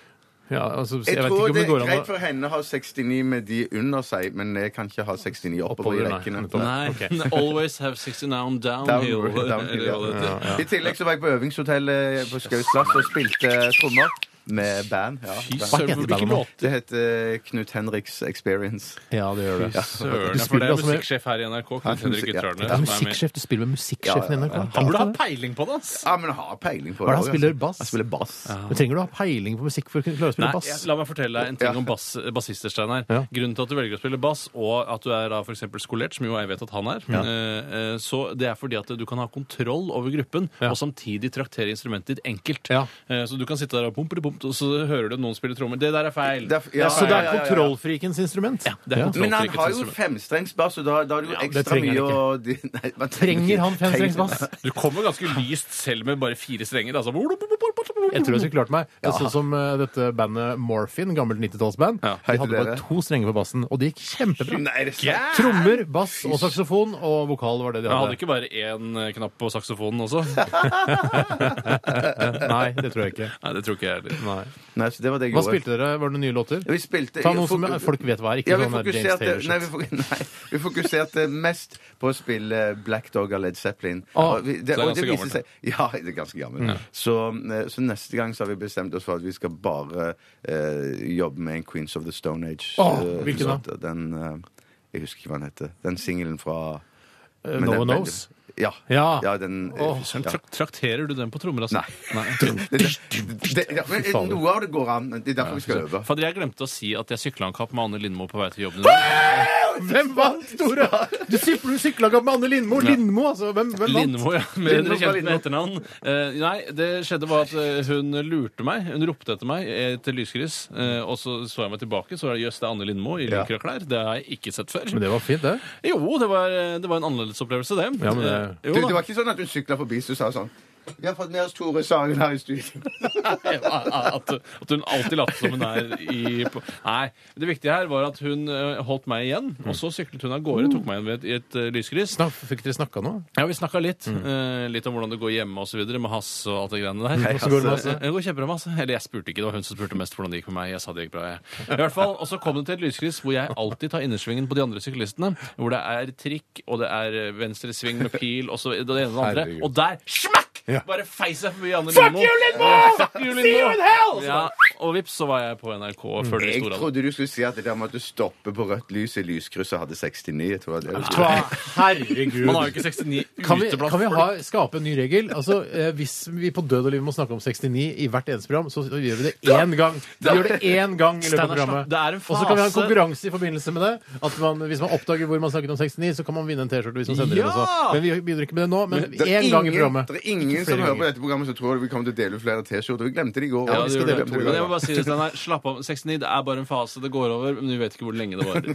S3: Ja, altså, jeg,
S4: Jeg,
S3: vet
S4: tror
S3: ikke om
S4: det
S3: det
S4: er
S3: går an
S4: greit
S3: å
S4: for henne å ha 69 med de under seg, men jeg kan ikke ha 69 oppover i
S3: Oppover, nei.
S4: rekkene.
S3: Nettopp.
S4: Nei.
S5: [LAUGHS] Nei. Always have 69 downhill.
S4: Downhill, downhill,
S5: eller hva det heter.
S4: ja. I tillegg så var jeg på øvingshotellet på Skaus plass og spilte trommer med band. Ja,
S5: Fy
S4: band.
S5: søren,
S3: heter
S5: hvilke
S3: bandet nå?
S5: låter?
S4: Det heter eh, Knut Henriks Experience.
S3: Ja, det gjør det.
S5: Søren,
S3: Du
S5: for det
S3: spiller
S5: er
S3: altså med-
S5: musikksjef her i NRK. Knut
S4: Ja,
S5: Henrik
S4: musikk- ja.
S5: Ytrarne,
S3: Det er
S5: som er med.
S3: musikksjefen. Du spiller med musikksjefen i NRK.
S5: Han burde ha peiling på det, ass!
S4: Ja, Ah, men jeg har peiling på
S3: Hva er det han
S4: også,
S3: spiller?
S4: altså.
S3: Bass?
S4: Han spiller bass.
S3: Men trenger du å ha peiling på musikk for å kunne klare å
S5: Nei,
S3: spille
S5: jeg-
S3: bass?
S5: la meg fortelle deg en ting
S4: Ja.
S5: om bass, bassister, Steinar.
S3: Ja.
S5: Grunnen til at du velger å spille bass, og at du er da for eksempel skolert, som jo jeg vet at han er, eh, eh, så det er fordi at du kan ha kontroll over gruppen,
S3: Ja.
S5: og samtidig traktere instrumentet ditt enkelt.
S3: Ja.
S5: Eh, Så du kan sitte der og pumpe, pumpe, og så hører du noen spille trommer. Det der er feil!
S4: Det er f- ja,
S3: Så det er
S4: ja, ja, ja.
S3: kontrollfrikens instrument?
S5: Ja, det er kontroll-
S4: Men han
S5: Trolltrykket
S4: har
S5: som
S4: jo
S5: instrument.
S4: femstrengsbass, og da, da er det jo
S3: det
S4: ekstra
S3: trenger
S4: mye
S3: han ikke.
S4: å de- Nei, man
S3: Trenger han
S4: ikke- trenger-
S3: femstrengsbass?
S5: Du kommer ganske lyst selv med bare fire strenger. Altså.
S3: Jeg tror jeg skulle klart meg. Det er Sånn som eh, dette bandet Morphin, gammelt 90-tallsband.
S5: Ja,
S4: hei
S3: de
S4: til
S3: hadde bare
S4: dere.
S3: to strenger på bassen, og det gikk kjempebra.
S4: Nei, er det sant?
S3: Trommer, bass og saksofon og vokal var det de
S5: Jeg hadde
S3: hadde.
S5: ikke bare én eh, knapp på saksofonen også.
S3: Nei, det tror jeg ikke.
S5: Nei, det tror ikke jeg heller.
S3: Nei.
S4: Nei, så det var det jeg
S3: Hva
S4: gjorde.
S3: spilte dere? Var det nye låter?
S4: Vi spilte
S3: Ta noe som
S4: fok-
S3: folk vet hva er, ikke
S4: ja, vi
S3: sånn der James
S4: fokuserte- nei, vi,
S3: Taylor-shit.
S4: fok- nei, vi fokuserte mest på å spille eh, Black Dog av Led Zeppelin.
S3: Ah,
S4: Og vi-
S5: så det er
S4: og
S5: ganske
S4: viste
S5: gammelt,
S4: seg- Ja, det er ganske gammelt. Så, eh, så neste gang så har vi bestemt oss for at vi skal bare eh, jobbe med en Queens of the Stone Age.
S3: Åh,
S4: eh,
S3: Ah, hvilken da?
S4: låt. Den eh, Jeg husker ikke hva den heter. Den singelen fra
S3: Eh,
S4: men
S3: No
S4: den-
S3: One Knows?
S4: [LAUGHS] Ja.
S3: Ja.
S4: den eh,
S3: Åh,
S5: Søren,
S4: ja.
S5: trak- Trakterer du den på trommer, altså?
S4: Nei. Det, det, det, ja, men noe av det går an. men Det er derfor vi skal øve.
S5: Fader, jeg glemte å si at jeg sykla en kapp med Anne Lindmo på vei til jobben. i dag.
S3: Hvem vant, Tore? [LAUGHS] Du sykla, du sykla ikke opp med Anne Lindmo. Lindmo, altså. Hvem, hvem vant?
S5: Lindmo, ja. Bedre
S4: Lindmo fra
S5: kjent med etternavn. Eh, nei, det skjedde var at eh, hun lurte meg. Hun ropte etter meg eh, til lyskryss, eh, og så så jeg meg tilbake, så var det jøss, det er Anne Lindmo i
S4: Ja.
S5: lynkra klær. Det har jeg ikke sett før.
S3: Men det var fint, det.
S5: Jo, det var, eh, det var en annerledes opplevelse, det.
S3: Ja, men det-
S5: Eh, jo
S4: Du,
S5: da.
S4: det var ikke sånn at hun sykla forbi så sa hun sånn Vi har fått med oss Tore Sagen her i studio.
S5: at, at hun alltid later som hun er i på- Nei. Det viktige her var at hun eh, holdt meg igjen, og så syklet hun av gårde. Tok meg igjen ved et, i et eh, lyskryss.
S3: Snak, fikk dere snakka nå?
S5: Ja, vi snakka litt.
S3: Mm.
S5: eh, litt om hvordan det går hjemme osv. Med Hasse og alt det greiene der.
S3: Hvordan går det med Hasse?
S5: Eh, Det går kjempebra med Hasse. Eller jeg spurte ikke, det var hun som spurte mest hvordan det gikk med meg. Jeg sa det gikk bra, jeg. I hvert fall, Og så kom det til et lyskryss hvor jeg alltid tar innersvingen på de andre syklistene. Hvor det er trikk, og det er eh, venstre sving med pil, og så det ene og det andre.
S3: Herregud.
S5: Og der smakk!
S3: Ja.
S5: Bare feis jeg forbi Anne
S3: Fuck
S5: Lindmo.
S3: you, Lindmo!
S5: Ja, Fuck you,
S3: See you in hell!
S5: Ja, og vips, så var jeg på NRK før det
S4: Jeg
S5: store.
S4: trodde du skulle si at det der med at du stopper på rødt lys i lyskrysset hadde 69. Jeg tror det var det du skulle.
S3: Tva, herregud.
S5: Man har jo ikke 69
S3: Kan vi,
S5: ute blant
S3: kan vi ha, skape en ny regel? Altså, eh, Hvis vi på død og liv må snakke om 69 i hvert eneste program, så gjør vi det én gang. Vi gjør det én gang i løpet av
S5: Steinar,
S3: programmet.
S5: det er en
S3: Og så kan vi ha en
S5: fase.
S3: konkurranse i forbindelse med det. At man, Hvis man oppdager hvor man snakket om 69, så kan man vinne en T-skjorte hvis man sender
S5: Ja!
S3: inn også. Men vi begynner ikke med det nå. Men
S4: Det er
S3: én gang i
S4: ingen,
S3: programmet.
S4: det er ingen som
S3: Flere
S4: hører på
S3: ganger.
S4: dette programmet som tror vi kommer til å dele ut flere T-skjorter. Vi glemte det i går.
S5: Ja, det
S4: Vi
S5: gjorde
S4: glemte
S5: det.
S4: det i
S5: Men jeg må
S4: går.
S5: bare si det, Steinar. Slapp av. 69 det er bare en fase. Det går over. Men vi vet ikke hvor lenge det varer.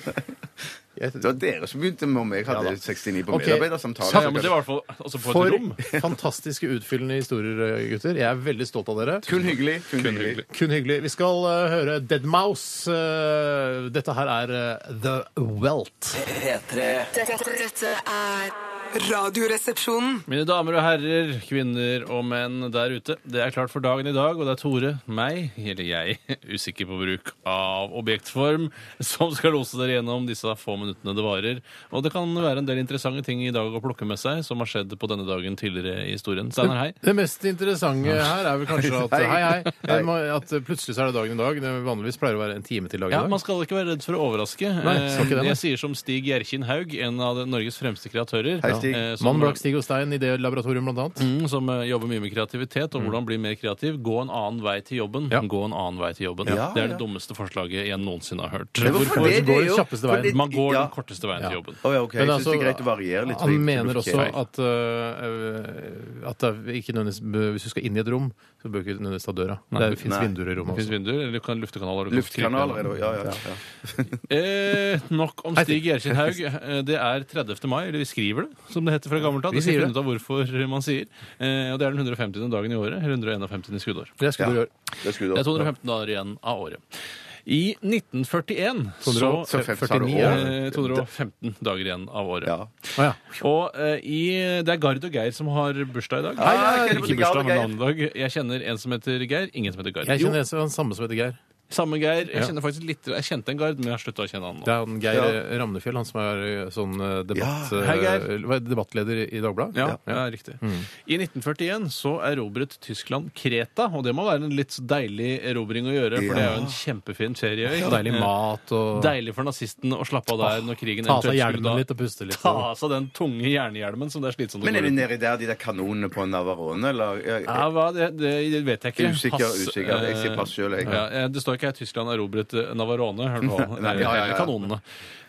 S4: Det var dere som begynte med om jeg hadde 69 på
S3: Ok.
S4: medarbeidersamtalen.
S5: Ja, men det var i hvert fall altså på et
S3: For
S5: rom.
S3: fantastiske utfyllende historier, eh, gutter. Jeg er veldig stolt av dere.
S4: Kun hyggelig. Kun hyggelig.
S3: Kun hyggelig. Vi skal eh, høre Dead Mouse. Eh, dette her er eh, The Welt.
S2: P3
S6: Dette, dette er
S1: Radioresepsjonen.
S5: Mine damer og herrer, kvinner og menn der ute. Det er klart for dagen i dag, og det er Tore, meg, eller jeg, [LAUGHS] usikker på bruk av objektform, som skal lose dere gjennom disse få minuttene det varer. Og det kan være en del interessante ting i dag å plukke med seg, som har skjedd på denne dagen tidligere i historien. Steinar, hei.
S3: Det mest interessante her er vel kanskje
S4: [LAUGHS]
S3: at
S4: Hei.
S3: hei, hei,
S4: Hei.
S3: eh, må- at plutselig så er det dagen i dag. Det vanligvis pleier å være en time til dagen
S5: Ja,
S3: i
S5: Man
S3: dag.
S5: skal ikke være redd for å overraske.
S3: Nei, skal ikke det,
S5: Eh,
S3: nei.
S5: jeg sier som Stig Gjerkin Haug, en av Norges fremste kreatører.
S4: Hei, Stig.
S5: Eh, som-
S3: Mann bak Stig Ostein i det laboratoriet, blant annet.
S5: Mm, som eh, jobber mye med kreativitet og hvordan bli mer kreativ. Gå en annen vei til jobben.
S3: Mm. Ja.
S5: Gå en annen vei til jobben.
S4: Ja,
S5: det er
S4: ja.
S5: det dummeste forslaget jeg noensinne har hørt.
S4: Men
S3: hvorfor
S5: Hvorfor-
S3: det? går den
S4: jo-
S3: kjappeste veien?
S4: fordi-
S5: Man går
S4: ja.
S5: den korteste veien til jobben.
S4: Å ja, ok.
S3: Men
S4: jeg syns det er
S3: altså,
S4: greit å variere litt. så
S3: Han
S4: jeg-
S3: mener også
S4: Ok.
S3: at, øh, at det ikke nødvendigvis bø- Hvis du skal inn i et rom, så bør du ikke nødvendigvis ta døra.
S5: Nei,
S3: Det
S5: det
S3: fins
S4: nei.
S3: vinduer i
S5: Det
S3: rommet
S5: fins
S3: også.
S5: vinduer, eller du kan luftekanaler. du kan
S4: Luftkanaler er
S5: skrive
S4: det ja, ja, ja.
S5: Eh, nok om Stig Gjerkin Haug. Eh, Det er 30. mai, eller vi skriver det, som det heter fra gammelt av.
S3: Vi
S5: Vi skal
S3: sier
S5: finne ut av hvorfor man sier. Eh, og det er den 150. dagen i året. Eller 151. i skuddår.
S3: Det skulle du gjøre.
S4: Det skulle du
S5: Det er
S4: også-
S5: 215 dager igjen av året. I 1941 så
S4: 250, sa du,
S3: 49
S4: år.
S3: er
S5: eh, 215 dager igjen av året.
S4: Ja.
S3: Å ja.
S5: Og eh, i, det er Gard og Geir som har bursdag i dag.
S4: Hei, hei, hei,
S5: ikke
S4: Gard
S5: bursdag,
S4: og
S5: men
S4: Geir.
S5: navnedag. Jeg kjenner en som heter Geir, ingen som heter Gard.
S3: Jeg kjenner en som- han samme som heter Geir.
S5: Samme Geir. Jeg
S3: Ja.
S5: kjenner faktisk litt Jeg kjente en Gard, men jeg har slutta å kjenne han nå.
S3: Det er han Geir
S4: Ja.
S3: eh, Ramnefjell, han som er eh, sånn eh, debatt,
S4: Ja,
S5: hei, Geir.
S3: eh, hva er det, debattleder i Dagbladet.
S5: Ja, ja. riktig.
S3: Mm.
S5: I 1941 så erobret Tyskland Kreta, og det må være en litt deilig erobring å gjøre, for det er jo en kjempefin ferieøy.
S3: Og Deilig mat og
S5: Deilig for nazistene å slappe av der når krigen
S3: ta av seg
S5: eventuelt skulle da-
S3: hjelmen litt og puste litt.
S5: Ta av seg den tunge jernhjelmen som det er slitsomt å
S4: Men er det
S5: gå rundt med.
S4: nedi der de der kanonene på Navarone, eller?
S5: Ja, hva, det, det, det vet jeg ikke.
S4: Usikker, usikker. Jeg sier pass selv, jeg.
S5: Ja, eh, det står ikke her Tyskland erobret eh, Navarone. Hør nå.
S4: [LAUGHS] Nei, ja, ja, ja.
S5: Kanonene.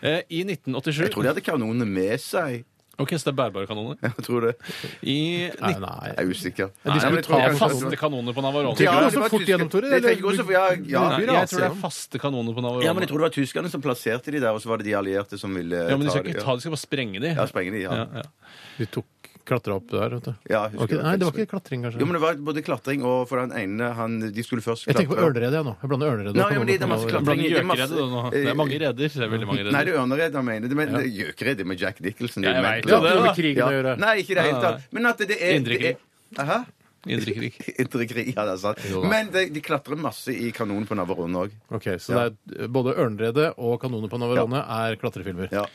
S5: Eh, I 1987
S4: Jeg tror de hadde kanonene med seg.
S5: Ok, så det er bærbare kanoner.
S4: Jeg tror det. [LAUGHS]
S5: I
S3: Nei,
S5: 19...
S3: nei.
S4: Jeg er usikker.
S3: de skulle
S4: Nei, men jeg
S3: ta
S4: tror
S5: Det er
S4: kanskje-
S5: faste kanoner på Navarone.
S3: Ja,
S4: Ja,
S3: det
S4: det
S3: så
S4: var
S3: fort
S4: tyske-
S3: gjennom, Tore.
S4: Det tenker jeg også, for jeg- ja.
S3: Nei,
S5: jeg tror det er
S3: raser.
S5: faste kanoner på Navarone.
S4: Ja, men jeg tror det var tyskerne som plasserte de der, og så var det de allierte som ville
S5: Ja, men de skal
S4: de,
S5: ikke ta de skal bare sprenge de.
S4: Ja, sprenge de, ja.
S5: Ja, ja.
S3: De tok klatra opp der, vet du.
S4: Ja, jeg husker
S3: Ok,
S4: det.
S3: nei, det var ikke klatring, kanskje.
S4: Jo, men det var både klatring og for den ene han, De skulle først
S3: Jeg
S4: klatre
S3: tenker på ørneredet, jeg nå. Jeg blander ørneredet
S4: Nei,
S3: og
S4: men det- det er masse
S3: kanoner.
S4: klatring.
S5: Blant
S4: Det er masse- Eh,
S5: gjøkeredder, da, nå. Det er mange redder. Det er veldig mange
S4: Nei, det
S5: redder.
S4: er ørneredet han mener. Men det gjøker det med Jack Nicholson.
S5: Ja, jeg
S4: det er
S5: vet
S4: jo
S5: jo det,
S4: mentalt.
S5: da.
S3: Med krigen å gjøre.
S4: Nei, ikke i det hele
S5: Nei,
S4: tatt. Men at det er det
S5: Indre krig.
S4: er- Hæ?
S5: Indre krig.
S4: Indre krig, ja, det er sant.
S3: Jo da.
S4: Men de, de klatrer masse i kanonen på Navarone òg.
S3: Ok, Så det er både ørneredet og kanoner på Navarone er klatrefilmer.
S4: Ja.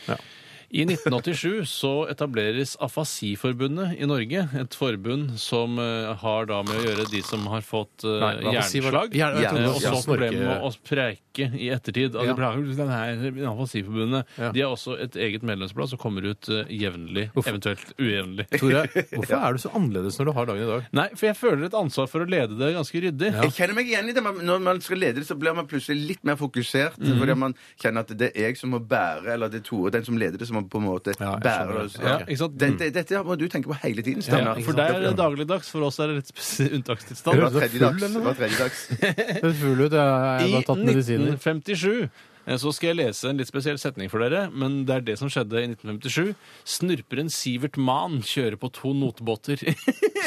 S5: I 1987 så etableres Afasiforbundet i Norge. Et forbund som eh, har da med å gjøre de som har fått eh,
S3: Nei, afasi var-
S5: hjerneslag.
S3: Hjerne-
S4: jeg trodde
S5: Eh,
S4: det
S3: var
S5: Og så problemet med
S3: snorke-
S5: å preike i ettertid. Altså,
S3: Ja.
S5: ja. den her Afasiforbundet
S3: Ja.
S5: De har også et eget medlemsblad som kommer ut eh, jevnlig,
S3: Hvorfor?
S5: eventuelt ujevnlig. [LAUGHS]
S3: Tore, hvorfor er du så annerledes når du har dagen i dag?
S5: Nei, for jeg føler et ansvar for å lede det ganske ryddig.
S4: Jeg kjenner meg igjen i det. men Når man skal lede det, så blir man plutselig litt mer fokusert.
S5: Mhm.
S4: Fordi man kjenner at det er jeg som må bære, eller det er Tore, den som leder det, som må på en måte
S3: Ja, jeg
S4: bære
S3: skjønner
S4: det.
S3: det.
S4: Ja.
S5: Ja, ikke sant?
S4: Den- det- Dette må du tenke på hele tiden,
S5: Ja,
S4: Steinar.
S5: for
S4: det
S5: deg er det dagligdags, for oss er det litt spes- unntakstilstand.
S4: var tredje dags. Det var tredje dags.
S5: [LAUGHS]
S3: Jeg er full ut, jeg jeg
S5: I
S3: har tatt medisiner.
S5: 1957 eh, så skal jeg lese en litt spesiell setning for dere, men det er det som skjedde i 1957. Snurperen Sivert Mann kjører på to [LAUGHS] notbåter.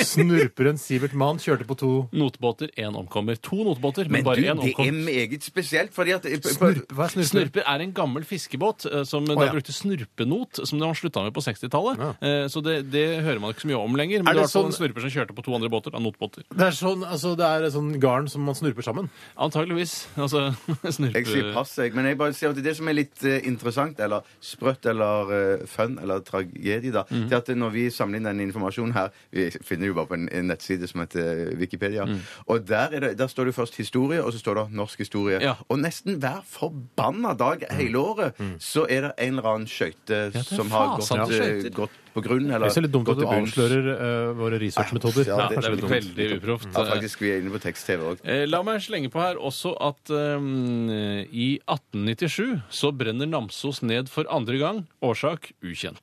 S3: Snurperen Sivert Mann kjørte på to
S5: notbåter, én omkommer. To notbåter,
S4: Men
S5: men,
S4: du,
S5: bare
S4: det
S5: én
S4: er
S5: omkom.
S4: meget spesielt, fordi at
S3: Snurp, Hva er snurper?
S5: Snurper er en gammel fiskebåt eh, som
S3: ja.
S5: da brukte snurpenot, som man slutta med på 60-tallet.
S3: Ja.
S5: Eh, Så det, det hører man ikke så mye om lenger. Men
S3: Er
S5: det var
S3: det
S5: i hvert fall en
S3: sånn-
S5: snurper som kjørte på to andre båter, da, notbåter.
S3: Det er sånn, altså, det er sånn garn som man snurper sammen.
S5: Antageligvis. Altså, [LAUGHS] snurpe...
S4: Jeg sier pass, jeg. Men jeg bare sier at det som er litt eh, interessant, eller sprøtt, eller eh, fun, eller tragedie, da,
S5: Mhm.
S4: til at når vi samler inn den informasjonen her Vi finner det jo bare på en, en nettside som heter eh, Wikipedia.
S5: Mhm.
S4: Og der, er det, der står det først historie, og så står det norsk historie.
S5: Ja. Mhm.
S4: Og nesten hver forbanna dag hele året så er det en eller annen skøyte
S5: er
S4: som har gått,
S5: fasen
S4: eh,
S5: skøyter.
S4: gått på grunn, eller
S3: Det er så litt dumt
S4: gått
S3: at du
S4: til bunns.
S3: avslører eh, våre researchmetoder.
S4: Ja,
S5: Ja, det
S4: kanskje
S5: er
S4: litt
S5: veldig uproft.
S4: Ja, faktisk, vi er inne på tekst-TV òg.
S5: Eh, La meg slenge på her også at ehm, i 1897 så brenner Namsos ned for andre gang. Årsak ukjent.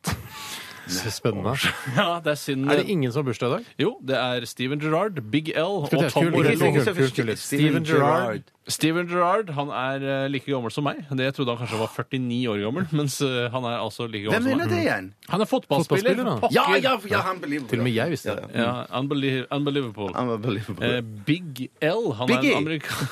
S3: Så spennende.
S5: [LAUGHS] Ja, det er synd.
S3: Er det ingen som har bursdag i dag?
S5: Jo, det er Steven Gerrard, Big L og
S3: Skal vi ta-
S5: Tom
S3: kul, kul,
S5: Morello.
S3: kul, kul, kul. Steven Gerrard.
S5: Steven Gerrard han er eh, like gammel som meg. Det Jeg trodde han kanskje var 49 år gammel, [LAUGHS] mens eh, han er altså like gammel
S4: Hvem er
S5: som meg.
S4: det igjen?
S5: Han er fotballspiller.
S3: Fotballspiller, da.
S5: pokker.
S4: Ja, ja, ja, han blir
S3: Til og med jeg visste det.
S5: ja unbelie- unbelievable.
S4: Han var unbelievable.
S5: Eh, Big L. Han
S4: Biggie.
S5: er en [LAUGHS] amerikaner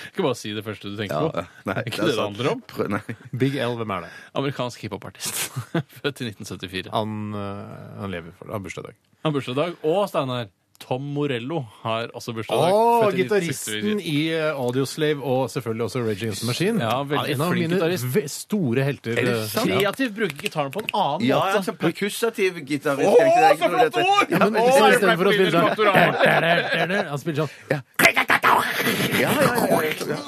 S5: Skal bare si det første du tenker på.
S4: eh, Nei,
S5: er ikke det det
S4: sant.
S5: handler om.
S4: Prø- Nei.
S3: Big L, hvem er det?
S5: Amerikansk hiphopartist. [LAUGHS] Født i 1974.
S3: Han, eh, han lever for det. Han har bursdag i dag.
S5: Han har bursdag. Og Steinar, Tom Morello har også bursdag. i dag.
S3: Å,
S5: Født i
S3: gitaristen
S5: 1964.
S3: i eh, Audioslave og selvfølgelig også Rage Against the Machine.
S5: Ja, veldig
S3: en av
S5: flink
S3: mine
S5: gitarist.
S3: ve- store helter.
S4: Er det
S3: eh,
S4: sant?
S3: Ja.
S5: Kreativ bruker gitaren på en annen
S4: Ja,
S5: måte.
S4: altså perkussativ gitarist.
S5: Å,
S4: er ikke det jeg
S5: så
S4: tror det
S5: flott
S4: heter?
S5: ord!
S4: Ja, men,
S3: Men i stedet for å spille [LAUGHS] sånn Han spiller sånn
S4: ja, ja, ja, ja, ja, ja.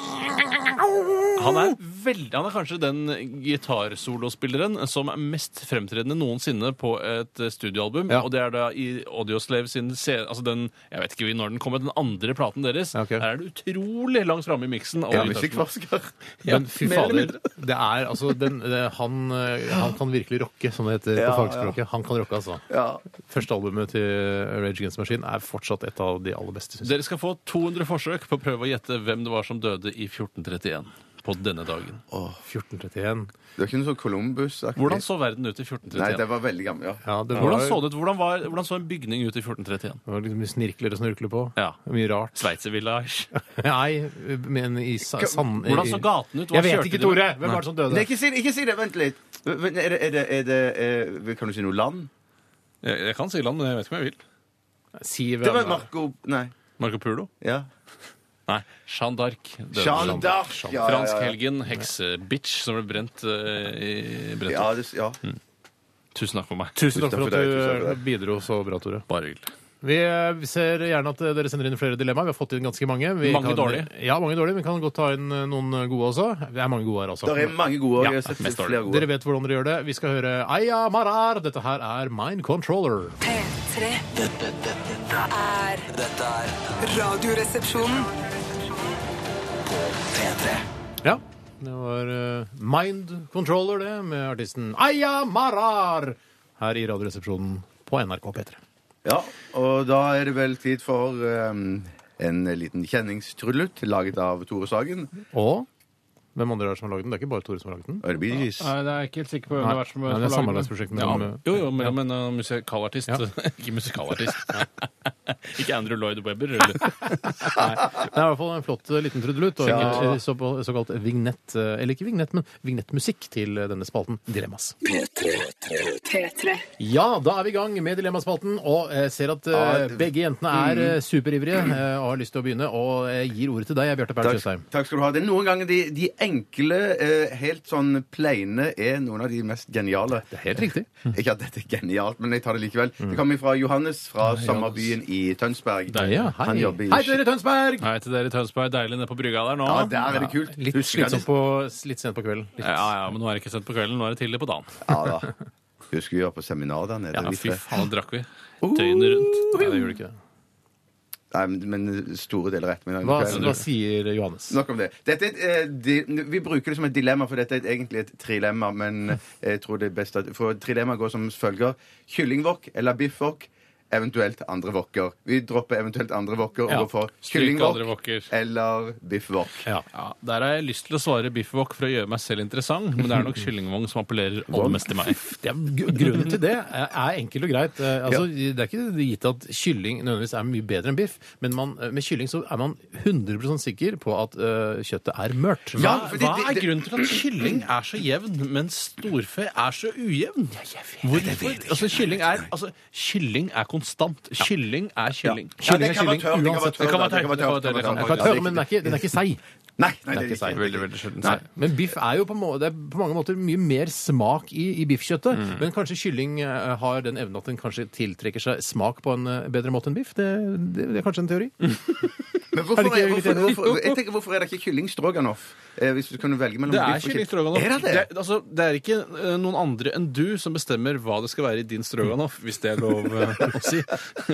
S5: Han er, veldig, han er kanskje den gitarsolospilleren som er mest fremtredende noensinne på et eh, studioalbum.
S3: Ja.
S5: Og det er da i Audioslave sin se- altså den, Jeg vet ikke når den kommer, den andre platen deres.
S3: Ja, ok.
S5: Der er det utrolig langt framme i miksen. av
S4: Ja,
S5: gitarspillere.
S4: musikkforsker.
S3: Men fy
S5: mer eller
S3: fader, det er altså den, det, han, eh, han kan virkelig rocke, som det heter på
S4: Ja,
S3: fagspråket. Han kan rocke, altså.
S4: Ja.
S3: Første albumet til Rage Against the Machine er fortsatt et av de aller beste. synes jeg.
S5: Dere skal få 200 forsøk på å prøve å gjette hvem det var som døde i 1431. På denne dagen.
S3: 1431.
S4: Det var ikke noe sånn Columbus-aktig.
S5: Hvordan så verden ut i 1431?
S4: Nei, det var veldig gammel, ja.
S3: Ja, det var,
S5: Hvordan så, det ut? Hvordan, var, hvordan så en bygning ut i 1431?
S3: det var litt mye snirkler og snurkler på.
S5: Ja.
S3: Mye rart. [LAUGHS]
S5: Sveitservillage.
S3: Nei, men i sa- sand...
S5: Hvordan så gaten ut? Hva
S3: Jeg
S5: kjørte
S3: vet ikke,
S5: de med?
S3: Tore. Hvem var det som døde?
S4: Nei, ikke si det! ikke si det, Vent litt. Men Er det, er det, er det eh, Kan du si noe land?
S5: Jeg, jeg kan si land, men jeg vet ikke om jeg vil.
S3: Si hvem
S4: Det var Marco Nei.
S5: Marco Pulo?
S4: Ja.
S5: Nei. Jeanne d'Arc. døde.
S4: Jeanne d'Arc. Ja, ja, ja, ja.
S5: Fransk helgen, heksebitch som ble brent eh, i brent
S4: Ja,
S5: opp.
S4: det, ja.
S5: Mm. Tusen takk for meg.
S3: Tusen takk for
S4: Tusen takk for
S3: at
S4: deg, tusen takk for
S3: du bidro så bra, Tore.
S5: Bare hyggelig.
S3: Vi eh, ser gjerne at dere sender inn flere dilemmaer. Vi har fått inn ganske mange. Vi
S5: Mange
S3: kan,
S5: dårlige.
S3: Ja, mange dårlige. Vi kan godt ta inn eh, noen gode også. Det er mange gode her, altså.
S4: Det er mange gode.
S5: Ja,
S4: jeg har
S5: mest
S4: sett flere
S3: Dere
S4: gode.
S3: vet hvordan dere gjør det. Vi skal høre Aya Marar. Dette her er Mind Controller.
S6: P3
S2: Dette, dette, dette,
S6: er
S2: dette er
S6: Radioresepsjonen.
S2: P3.
S3: Ja. Det var eh, Mind Controller, det, med artisten Aya Marar her i Radioresepsjonen på NRK P3.
S4: Ja, og da er det vel tid for ehm, en liten kjenningstrullet laget av Tore Sagen.
S3: Og hvem andre er det som har lagd den? Det er ikke bare Tore som har lagd den.
S4: Og det blir Bee Gees.
S7: Nei, det er jeg ikke helt sikker på hvem det har vært som
S3: Nei, det er
S7: som laget
S3: samarbeidsprosjekt mellom eh,
S5: Jo, jo, men, men uh, musikalartist
S3: Ja.
S5: [LAUGHS] Ikke
S3: [LAUGHS]
S5: musikalartist. ikke Andrew Lloyd Webber. Eller?
S3: Det er i hvert fall en flott eh, liten trudelutt og en
S4: Ja.
S3: eh, så, såkalt vignett, eh, eller ikke vignett, men vignettmusikk til eh, denne spalten Dilemmas.
S6: P3.
S3: Ja, da er vi i gang med Dilemmaspalten, og eh, ser at eh,
S4: Ja, det- Mm.
S3: begge jentene er eh, superivrige eh, og har lyst til å begynne, og eh, gir ordet til deg, Bjarte Perl
S4: Takk,
S3: Tjøstheim.
S4: takk skal du ha. Det er noen ganger de, de enkle, eh, helt sånn pleine, er noen av de mest geniale.
S3: Det er helt riktig.
S4: [LAUGHS] Ikke at dette er genialt, men jeg tar det likevel. Det kommer fra Johannes fra sommerbyen i Tønsberg.
S5: Deilig.
S3: Ja, hei.
S4: Han jobber i-
S3: hei til dere, Tønsberg!
S5: Hei til dere i Tønsberg. Deilig nede på brygga der nå.
S4: Ja, der er det kult.
S3: Litt
S4: Husker
S3: slitsomt
S4: jeg-
S3: på, litt sent på kvelden. Litt.
S5: ja, ja, men nå er det ikke sent på kvelden. Nå er det tidlig på dagen.
S4: Ja, da. Husker vi var på seminar der nede.
S5: Ja,
S4: vi
S5: fy
S4: tre.
S5: faen, nå drakk vi.
S4: Uh,
S5: Døgnet rundt.
S3: Nei, det gjorde ikke det.
S4: Nei, men- men store deler av ettermiddagen.
S3: Hva,
S4: kvelden.
S3: hva sier Johannes?
S4: Nok om det. Dette er et, eh, di, vi bruker det som et dilemma, for dette er et, egentlig et trilemma. Men eh, jeg tror det er best at For trilemma går som følger. Kyllingwok eller biffwok, eventuelt andre wokker. Vi dropper eventuelt andre wokker og går for
S5: stryk andre
S4: kyllingwok
S5: wokker.
S4: eller biffwok.
S3: Ja.
S5: Ja, Der har jeg lyst til å svare biffwok for å gjøre meg selv interessant, men
S4: [LAUGHS]
S5: det er nok kyllingvogn som appellerer aller mest til meg.
S3: Det er, gr- grunnen til det er er enkelt og greit. Eh, Altså, Det er ikke gitt at kylling nødvendigvis er mye bedre enn biff, men man, eh, med kylling så er man 100 sikker på at eh, kjøttet er mørt.
S5: Hva,
S4: fordi
S5: hva
S4: det-
S5: er
S4: det-
S5: grunnen til at kylling er så jevn, mens storfe er så ujevn? Hvorfor? Altså, kylling er, altså, kylling er konstant. Kylling er kylling.
S4: Ja,
S3: Kylling er
S4: det kan være
S3: kylling
S4: tørr, det kan være
S3: uansett.
S4: tørr,
S5: Det kan
S4: det kan
S5: være tørr,
S4: være tørr,
S5: det kan være tørr,
S4: det
S3: Den
S4: kan
S3: kan
S4: være
S3: være tørr,
S4: tørr.
S3: men den er ikke, den er ikke seig.
S4: Nei, nei, det
S3: Det er
S4: er
S3: ikke
S4: ikke
S3: seig.
S5: Veldig, veldig sjelden.
S4: Nei.
S3: Men biff er jo på, må det er på mange måter mye mer smak i, i biffkjøttet.
S5: Mm.
S3: Men kanskje kylling eh, har den evnen at den kanskje tiltrekker seg smak på en eh, bedre måte enn biff? Det, det, det er kanskje en teori?
S4: Men hvorfor,
S3: Er
S4: er
S3: det ikke egentlig
S4: hvorfor,
S3: det?
S4: hvorfor, jeg tenker, hvorfor er det ikke kylling stroganoff? Eh, hvis du kunne velge mellom
S5: Det er
S4: biff og
S5: kylling stroganoff.
S4: Er det det?
S5: er- altså, det er ikke eh, noen andre enn du som bestemmer hva det skal være i din stroganoff, [LAUGHS] hvis det er lov eh, [LAUGHS] å si.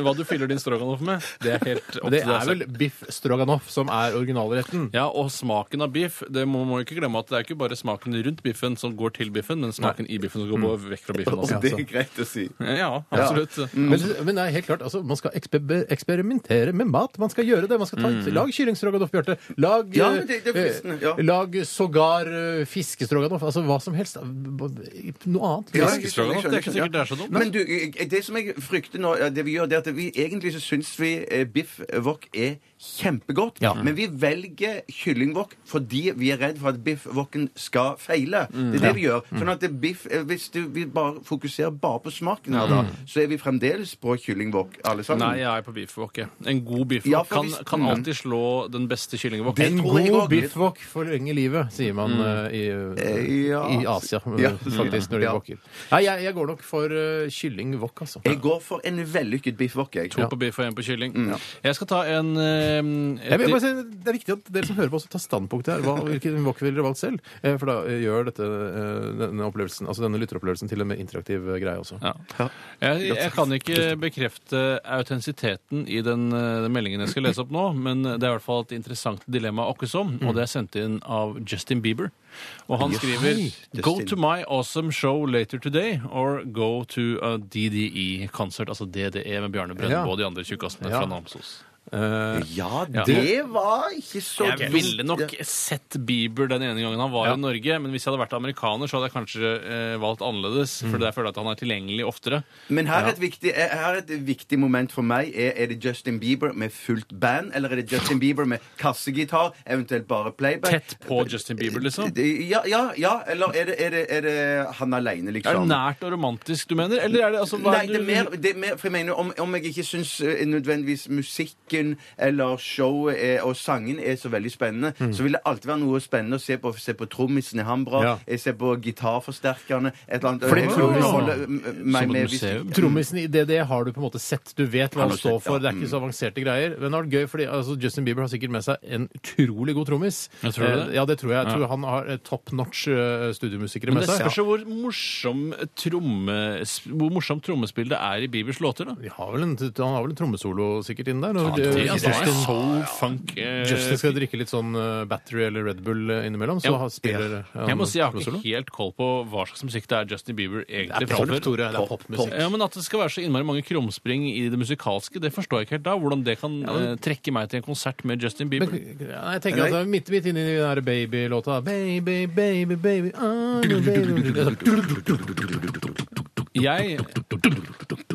S5: Hva du fyller din stroganoff med, det er helt opp til
S3: Men [LAUGHS] det
S5: deg
S3: er
S5: selv.
S3: vel biff stroganoff som er originalretten.
S5: Ja, og smaken av biff. Det må må jo ikke glemme at det er ikke bare smaken rundt biffen som går til biffen, men smaken i biffen som går på, vekk fra biffen.
S4: Og
S5: Også.
S4: det er greit å si.
S5: Mm. [LAUGHS] Ja, Mm. absolutt.
S4: Mm.
S3: Men, men det er helt klart, altså, man skal eksper eksperimentere med mat. Man skal gjøre det. Man skal ta, Lag kyllingstroganoff, Bjarte. Lag,
S4: Mm. Ja,
S3: eh,
S4: men det- det er fristende, ja.
S3: eh, lag sågar eh, fiskestroganoff. Altså hva som helst. Noe annet.
S4: Ja, jeg skjønner, jeg skjønner,
S5: Fiskestroganoff, det er ikke sikkert det er så dumt.
S4: Men du, jeg- det som jeg frykter nå, ja, det vi gjør, det er at vi egentlig så syns vi eh, biff wok er kjempegodt,
S3: Ja.
S4: men vi velger kyllingwok fordi vi er redd for at biff woken skal feile.
S5: Mm.
S4: Det er det vi gjør. Sånn at det biff, eh, hvis du, vi bare fokuserer bare på smaken her, da, så er vi fremdeles på kyllingwok, alle sammen.
S5: Mm. Nei, jeg er på biffwok. jeg. En god
S4: Ja,
S5: biffwok
S4: for
S5: kan,
S4: hvis-
S5: kan
S4: Mm.
S5: alltid slå den beste kyllingwok.
S4: Det
S3: En
S4: tror jeg
S3: god
S4: også.
S3: biffwok forlenger livet, sier man eh, i,
S4: Eh, ja.
S3: i Asia, eh,
S4: Ja.
S3: faktisk, når de
S4: Ja.
S3: wokker. Nei, jeg, jeg går nok for uh, kyllingwok, altså.
S4: Jeg Mm. går for en vellykket biff wok, jeg.
S5: To på biff og en på kylling. Jeg skal ta en eh, eh,
S3: Jeg vil bare
S5: etter,
S3: si, det er viktig at dere som hører på, også tar standpunkt her. Hva, hvilken wok ville dere valgt selv? Eh, For da eh, gjør dette, eh, denne opplevelsen, altså denne lytteropplevelsen til en mer interaktiv eh, greie også.
S5: ja. jeg, jeg kan ikke bekrefte autentisiteten i den, eh, den meldingen jeg skal lese opp nå, men det er i hvert fall et interessant dilemma åkkesom, og det er sendt inn av Justin Bieber. Og han skriver Go
S4: Justin.
S5: to my awesome show later today, or go to a DDE-konsert, altså DDE med Bjarne Brøndbo og de andre tjukkasene
S3: Ja.
S5: fra Namsos.
S3: Eh,
S4: Ja,
S5: Ja.
S4: det var ikke så
S5: Jeg
S4: dumt.
S5: ville nok
S4: Ja.
S5: sett Bieber den ene gangen han var i Norge, men hvis jeg hadde vært amerikaner, så hadde jeg kanskje eh, valgt annerledes, for der føler jeg at han er tilgjengelig oftere.
S4: Men her er, et viktig, eh, her er et viktig moment for meg. Er, er det Justin Bieber med fullt band, eller er det Justin Bieber med kassegitar, eventuelt bare playback?
S5: Tett på Justin Bieber, liksom?
S4: Det- Ja, ja, ja. eller er det, er det, er det han aleine, liksom?
S5: Er det nært og romantisk du mener, eller er det altså hva
S4: Nei, det er,
S5: du-
S4: mer, det er mer For jeg mener, om, om jeg ikke syns eh, nødvendigvis musikken eller showet er, og sangen er så veldig spennende,
S5: Mm.
S4: så vil det alltid være noe spennende å se på. Se på trommisen i Hambra,
S3: Ja.
S4: jeg ser på gitarforsterkerne et eller annet
S3: Fordi
S4: Jeg
S3: trommisen-
S4: vil holde, eh, meg
S5: Som et
S4: med hvis-
S5: museum.
S3: Trommisen i DD har du på en måte sett. Du vet hva
S4: Har
S3: han
S4: du
S3: står
S4: sett,
S3: for.
S4: ja.
S3: Det er
S5: Mm.
S3: ikke så avanserte greier. Men det har vært gøy, fordi altså, Justin Bieber har sikkert med seg en utrolig god trommis.
S5: Jeg tror det.
S3: Eh, Ja, det tror jeg. Jeg
S5: Ja.
S3: tror han har eh, top notch eh, studiomusikere
S5: Men
S3: med
S5: det
S3: seg.
S5: spørs jo hvor morsom tromme, hvor morsomt trommespill det er i Biebers låter, da.
S3: De har vel en, han har vel en trommesolo sikkert inn der. Og,
S5: altså, Det
S3: eh,
S5: er
S3: Justin,
S5: soul, funk eh,
S3: Justin skal drikke litt sånn eh, Battery eller Red Bull eh, innimellom, så
S5: Ja.
S3: han spiller eh,
S5: Jeg må
S3: han
S5: si jeg har
S3: trommesolo.
S5: ikke helt koll på hva slags musikk det er Justin Bieber
S3: Det
S5: egentlig
S3: er pop,
S5: framfører.
S3: Tore. Det er popmusikk.
S5: Ja, men At det skal være så innmari mange krumspring i det musikalske, det forstår jeg ikke helt da. Hvordan det kan eh, trekke meg til en konsert med Justin Bieber.
S3: Men, ja, jeg tenker at det er midt, midt inni den der babylåta Baby, baby, baby, I'm a baby. Det er sånn-
S5: Jeg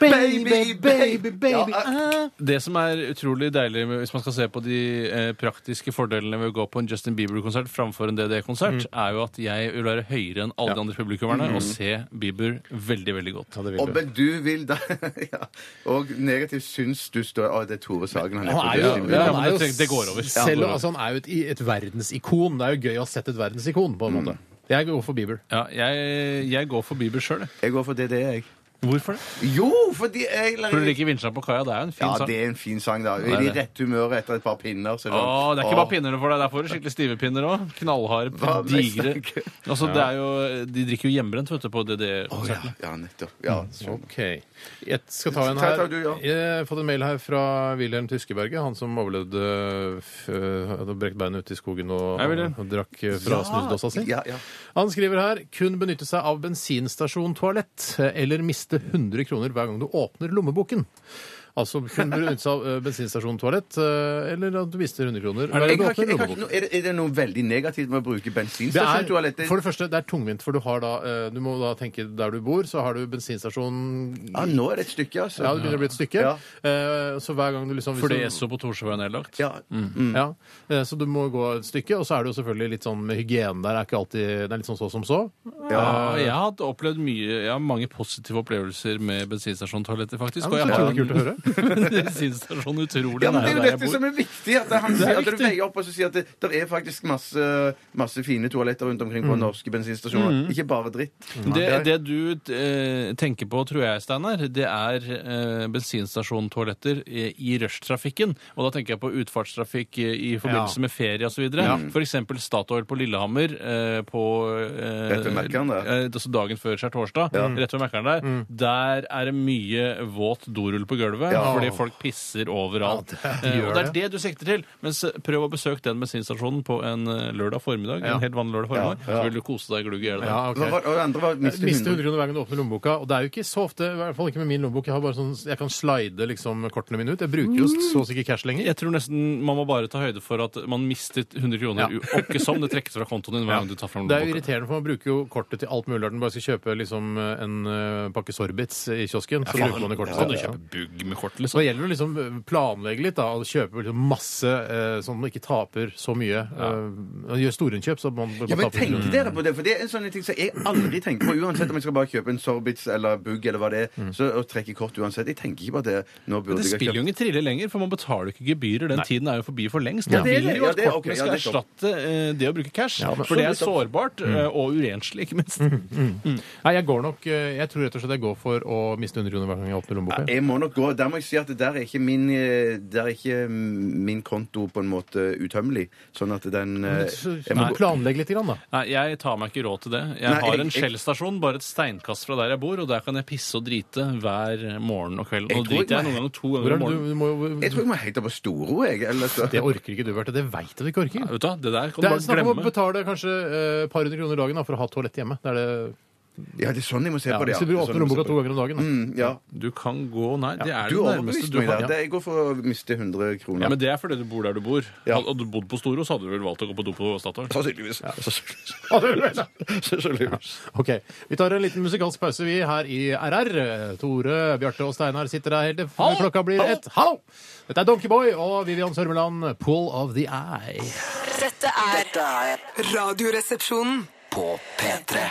S3: Baby, baby, baby ah. I'm-
S5: Det som er utrolig deilig med- hvis man skal se på de eh, praktiske fordelene ved å gå på en Justin Bieber-konsert framfor en
S4: Mm.
S5: DDE-konsert, er jo at jeg vil være høyere enn alle de andre publikummerne og se Bieber veldig, veldig godt.
S4: Og, men du vil da [LAUGHS] ja. Og negativt syns du står Å, det er Tore Sagen. Han er, på
S5: jo-
S4: Justin Bieber.
S5: ja,
S3: han
S5: men
S3: er
S5: det trenger- det går over. Ja, det
S3: Selv,
S5: går
S3: altså, han er jo et, et verdensikon. Det er jo gøy å ha sett et verdensikon, på en måte. Jeg går for Bieber.
S5: Ja, jeg, jeg går for Bieber sjøl.
S4: Jeg går for DDE, jeg.
S5: Hvorfor det?
S4: Jo, fordi jeg
S5: For du liker 'Vinsja på kaia'. Det er jo en fin
S4: Ja,
S5: sang.
S4: det er en fin sang, da. I
S5: det er det.
S4: rett humør etter et par pinner. så
S5: Å, det er ikke
S4: Å.
S5: bare pinnene for deg. Der får du skikkelig stive pinner òg. Knallharde,
S4: Hva mest [LAUGHS]
S5: digre
S4: tenker-
S5: altså, det er jo, De drikker jo hjemmebrent vet du, på
S4: Å, ja.
S5: DDE-konsertene.
S4: ja, nettopp. Ja,
S5: Mm.
S4: skjønner.
S3: Ok. Jeg skal ta en
S4: Ta-
S3: her.
S4: ta du, ja.
S3: Jeg har fått en mail her fra Wilhelm Tyskeberget, han som overlevde f- hadde brekt beinet ute i skogen og,
S5: Hei, Wilhelm.
S3: og drakk eh, fra snusdåsa si.
S4: Ja, ja.
S3: Han skriver her kun benytte seg av bensinstasjontoalett eller miste 100 kroner hver gang du åpner lommeboken. Altså kun benytte seg av eh, bensinstasjontoalett eh, eller at du mister 100 kroner hver
S4: Jeg
S3: gang du åpner
S4: har ikke, jeg har ikke
S3: lommeboken.
S4: noe, er, det, er det noe veldig negativt med å bruke
S3: Det er,
S4: bensinstasjonstoalett?
S3: for det første, det er tungvint, for du, har da, eh, du må da tenke der du bor, så har du bensinstasjonen
S4: Ja, nå er det et stykke, altså.
S3: Ja, det begynner å bli et stykke.
S4: Ja.
S3: Eh, Så hver gang du liksom hvis
S5: Fordi
S3: du-
S5: Esso på Torsjøveien er nedlagt.
S4: Ja.
S3: ja. Eh, Så du må gå et stykke. Og så er det jo selvfølgelig litt sånn med hygiene der. Er ikke alltid, det er litt sånn så som så.
S5: Ja, Eh, jeg har hatt opplevd mye Jeg har mange positive opplevelser med bensinstasjontoaletter, faktisk. og jeg har
S3: utrolig kult å høre.
S5: en [LAUGHS] bensinstasjon utrolig
S4: Ja, men Det er jo
S5: nær der jeg
S4: dette
S5: bor.
S4: som er viktig. At han sier at du veier opp og så sier at det, der er faktisk masse, masse fine toaletter rundt omkring på norske bensinstasjoner. Ikke bare dritt.
S5: Det, det du eh, tenker på, tror jeg, Steinar, det er eh, bensinstasjontoaletter i, i rushtrafikken. Og da tenker jeg på utfartstrafikk eh, i, i forbindelse
S3: Ja.
S5: med ferie osv. Ja. F.eks. Statoil på Lillehammer eh, på eh,
S4: Rett ved Mækkern, det.
S5: eh, altså dagen før skjærtorsdag. Rett ved Mækkern der. Der er det mye våt dorull på gulvet
S4: Ja.
S5: fordi folk pisser overalt.
S3: Ja, det
S5: Eh,
S3: gjør
S5: og det er
S3: det.
S5: det du sikter til. Mens eh, prøv å besøke den bensinstasjonen på en eh, lørdag formiddag.
S3: Ja.
S5: En helt vanlig lørdag formiddag.
S4: Ja, ja.
S5: Så vil du kose deg glugg i hjel. der.
S3: Ja,
S4: Hva
S3: ok.
S4: var- Og det andre var miste
S3: Mister 100
S4: 100.
S3: kroner hver gang du åpner lommeboka. Og det er jo ikke så ofte, i hvert fall ikke med min lommebok. Jeg, har bare sånn, jeg kan slide liksom kortene mine ut. Jeg bruker jo så sikkert cash lenger.
S5: Mm. Jeg tror nesten man må bare ta høyde for at man mistet 100
S3: Ja.
S5: kroner. u- Åkke som det trekkes fra kontoen din hver gang du tar fram
S3: Det er jo
S5: lommeboka.
S3: irriterende, for man bruker jo kortet til alt mulig eh, når man bare skal kjøpe liksom, en eh, pakke sorbits i kiosken. Så bruker man det kortet.
S5: Kan du
S3: sitt.
S5: kjøpe bugg med kort,
S3: Så
S5: liksom.
S3: det gjelder å liksom planlegge litt da, og kjøpe liksom masse eh, sånn at man ikke taper så mye. Eh, gjør storinnkjøp, så man man
S4: Ja, men
S3: taper ikke.
S4: tenk dere på det, for det er en sånn ting som jeg aldri tenker på. Uansett om jeg skal bare kjøpe en Sorbitz eller Bugg eller hva det er, så og trekke kort uansett. Jeg tenker ikke på det. Nå
S5: Men
S4: burde
S5: det
S4: jeg ha
S5: spiller jo
S4: kjøpt
S5: ingen trille lenger, for man betaler jo ikke gebyrer. Den tiden er jo forbi for lengst.
S4: Ja,
S5: Man
S4: det er
S5: vil
S4: det.
S5: jo
S4: Ja,
S5: at
S4: det er- ok,
S5: kortene
S4: ja,
S5: skal
S4: det er sant.
S5: erstatte eh, det å bruke cash,
S3: Ja, men-
S5: for det er sårbart eh, og urenslig, ikke minst.
S3: Nei, jeg går nok eh, Jeg tror rett og slett jeg går for å miste 100 kroner hver gang jeg åpner lommeboka.
S4: jeg må nok gå. Der må jeg si at det der er ikke min, eh, der er ikke min konto på en måte utømmelig. Sånn at den eh,
S3: Så- så-
S4: jeg må
S3: Nei.
S4: gå-
S3: Planlegg litt, grann, da.
S5: Nei, jeg tar meg ikke råd til det. Jeg
S4: Nei, jeg-
S5: har en
S4: jeg-
S5: Shell-stasjon bare et steinkast fra der jeg bor, og der kan jeg pisse og drite hver morgen og kveld.
S4: Jeg
S5: Nå
S4: tror ikke-
S5: driter jeg noen ganger to
S3: Hvor
S5: ganger
S3: er det,
S5: om
S3: du,
S5: morgenen.
S3: du må, jo-
S4: Jeg tror jeg må helt opp på Storo, jeg. Eller så.
S3: det orker ikke du, Bjarte. Det veit jeg du ikke orker.
S5: Vet du, hva, det der kan
S3: Det
S5: du
S3: er
S5: bare
S3: snakk om å
S5: glemme.
S3: betale kanskje eh, et par hundre kroner dagen da, for å ha toalett hjemme. Det er det,
S4: Ja, det er sånn jeg må se
S3: ja,
S4: på det.
S3: hvis du
S4: Det
S3: åpner
S4: er sånn jeg må se
S3: lommeboka
S4: på
S3: to ganger om dagen. Da.
S4: det. Mm, Ja.
S5: Du kan gå Nei, det er
S4: Du
S5: det nærmeste
S4: overbeviste
S5: du
S4: meg
S5: kan.
S4: der. Det- Jeg går for å miste 100 kroner.
S5: Ja, men Det er fordi du bor der du bor.
S4: Ja.
S5: Hadde du bodd på Storo, så hadde du vel valgt å gå på do på Statoil.
S4: Sannsynligvis. Sannsynligvis.
S3: Ok, Vi tar en liten musikalsk pause, vi, her i RR. Tore, Bjarte og Steinar sitter der helt til
S5: Hallo!
S3: klokka blir
S5: Hallo!
S3: ett. Hallo! Dette er Donkeyboy og Vivian Sørmeland, 'Pull of the Eye'.
S6: Dette er
S2: er
S6: Radioresepsjonen.
S2: på P3.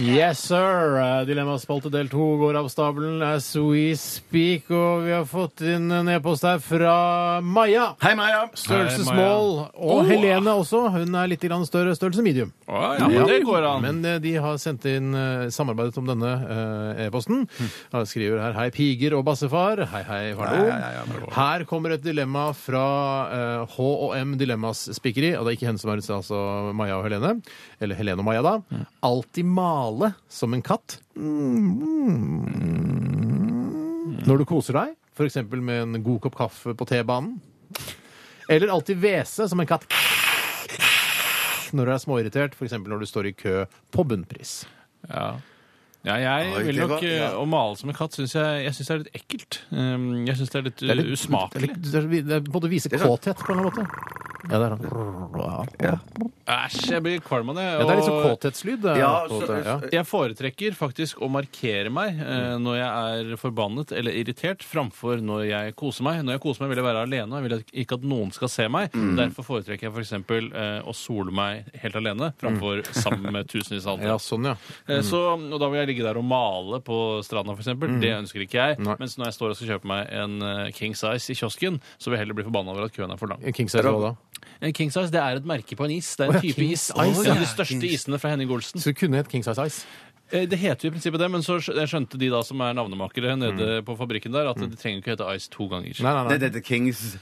S3: Yes, sir! Eh, Dilemmaspalte del to går av stabelen as we speak, og vi har fått inn en e-post her fra Maja.
S4: Hei, Maja.
S3: Størrelse
S5: Hei, Maja.
S3: small. Og
S5: Oh!
S3: Helene også. Hun er litt grann større. Størrelse medium.
S5: Å, ja, men det går an.
S3: Men eh, de har sendt inn eh, samarbeidet om denne eh, e-posten. Han skriver her Hei, piger og bassefar. Hei, hei, hallo.
S5: Hei, hei, hei, hallo.
S3: Her kommer et dilemma fra eh, H&M Dilemmas Spikkeri. Og det er ikke henne som er ute, altså Maja og Helene. Eller Helene og Maja, da. Alltid male som en katt.
S5: Mm.
S3: Når du koser deg, f.eks. med en god kopp kaffe på T-banen. Eller alltid hvese som en katt når du er småirritert, f.eks. når du står i kø på bunnpris.
S5: Ja. Ja, jeg
S4: Oi,
S5: vil
S4: det
S5: nok
S4: var- ja.
S5: eh, Å male som en katt syns jeg, jeg synes det er litt ekkelt. Um, Jeg syns det er litt,
S3: Det er litt-
S5: uh, usmakelig.
S3: Det er, litt- det er på en måte å vise
S4: er sånn- sant.
S3: kåthet på en eller annen måte. Ja, det er han.
S5: Æsj, jeg blir kvalm av det.
S3: Ja, det er litt sånn
S5: og-
S3: kåthetslyd. det er
S4: Ja,
S3: på en
S4: så-
S3: måte, ja.
S5: Eh, Jeg foretrekker faktisk å markere meg eh,
S3: Mm.
S5: når jeg er forbannet eller irritert, framfor når jeg koser meg. Når jeg koser meg, vil jeg være alene, og jeg vil at- ikke at noen skal se meg.
S3: Mm.
S5: Derfor foretrekker jeg f.eks. For eh, å sole meg helt alene, framfor [LAUGHS] sammen med tusenvis av andre.
S3: Mm. ja, sånn, ja.
S5: Eh, Så, og da vil jeg ligge der og male på stranda, f.eks. eksempel Det ønsker ikke jeg.
S3: Mm. Nei.
S5: Mens når jeg står og skal kjøpe meg en eh, King Size i kiosken, så vil jeg heller bli forbanna over at køen er for lang.
S3: King size hva da?
S5: En King Size det er et merke på en is. Det
S3: Å
S5: er
S3: ja,
S5: en type
S3: King
S5: is.
S3: Size,
S5: En
S3: ja.
S5: av de største
S3: King-
S5: isene fra Henning Olsen.
S3: Så det kunne hett King size ice.
S5: Eh, Det heter jo i prinsippet det, men så skj- jeg skjønte de da som er navnemakere nede på fabrikken der, at det trenger ikke hete Ice to ganger.
S3: Nei, nei,
S4: Det
S3: nei.
S4: heter Kings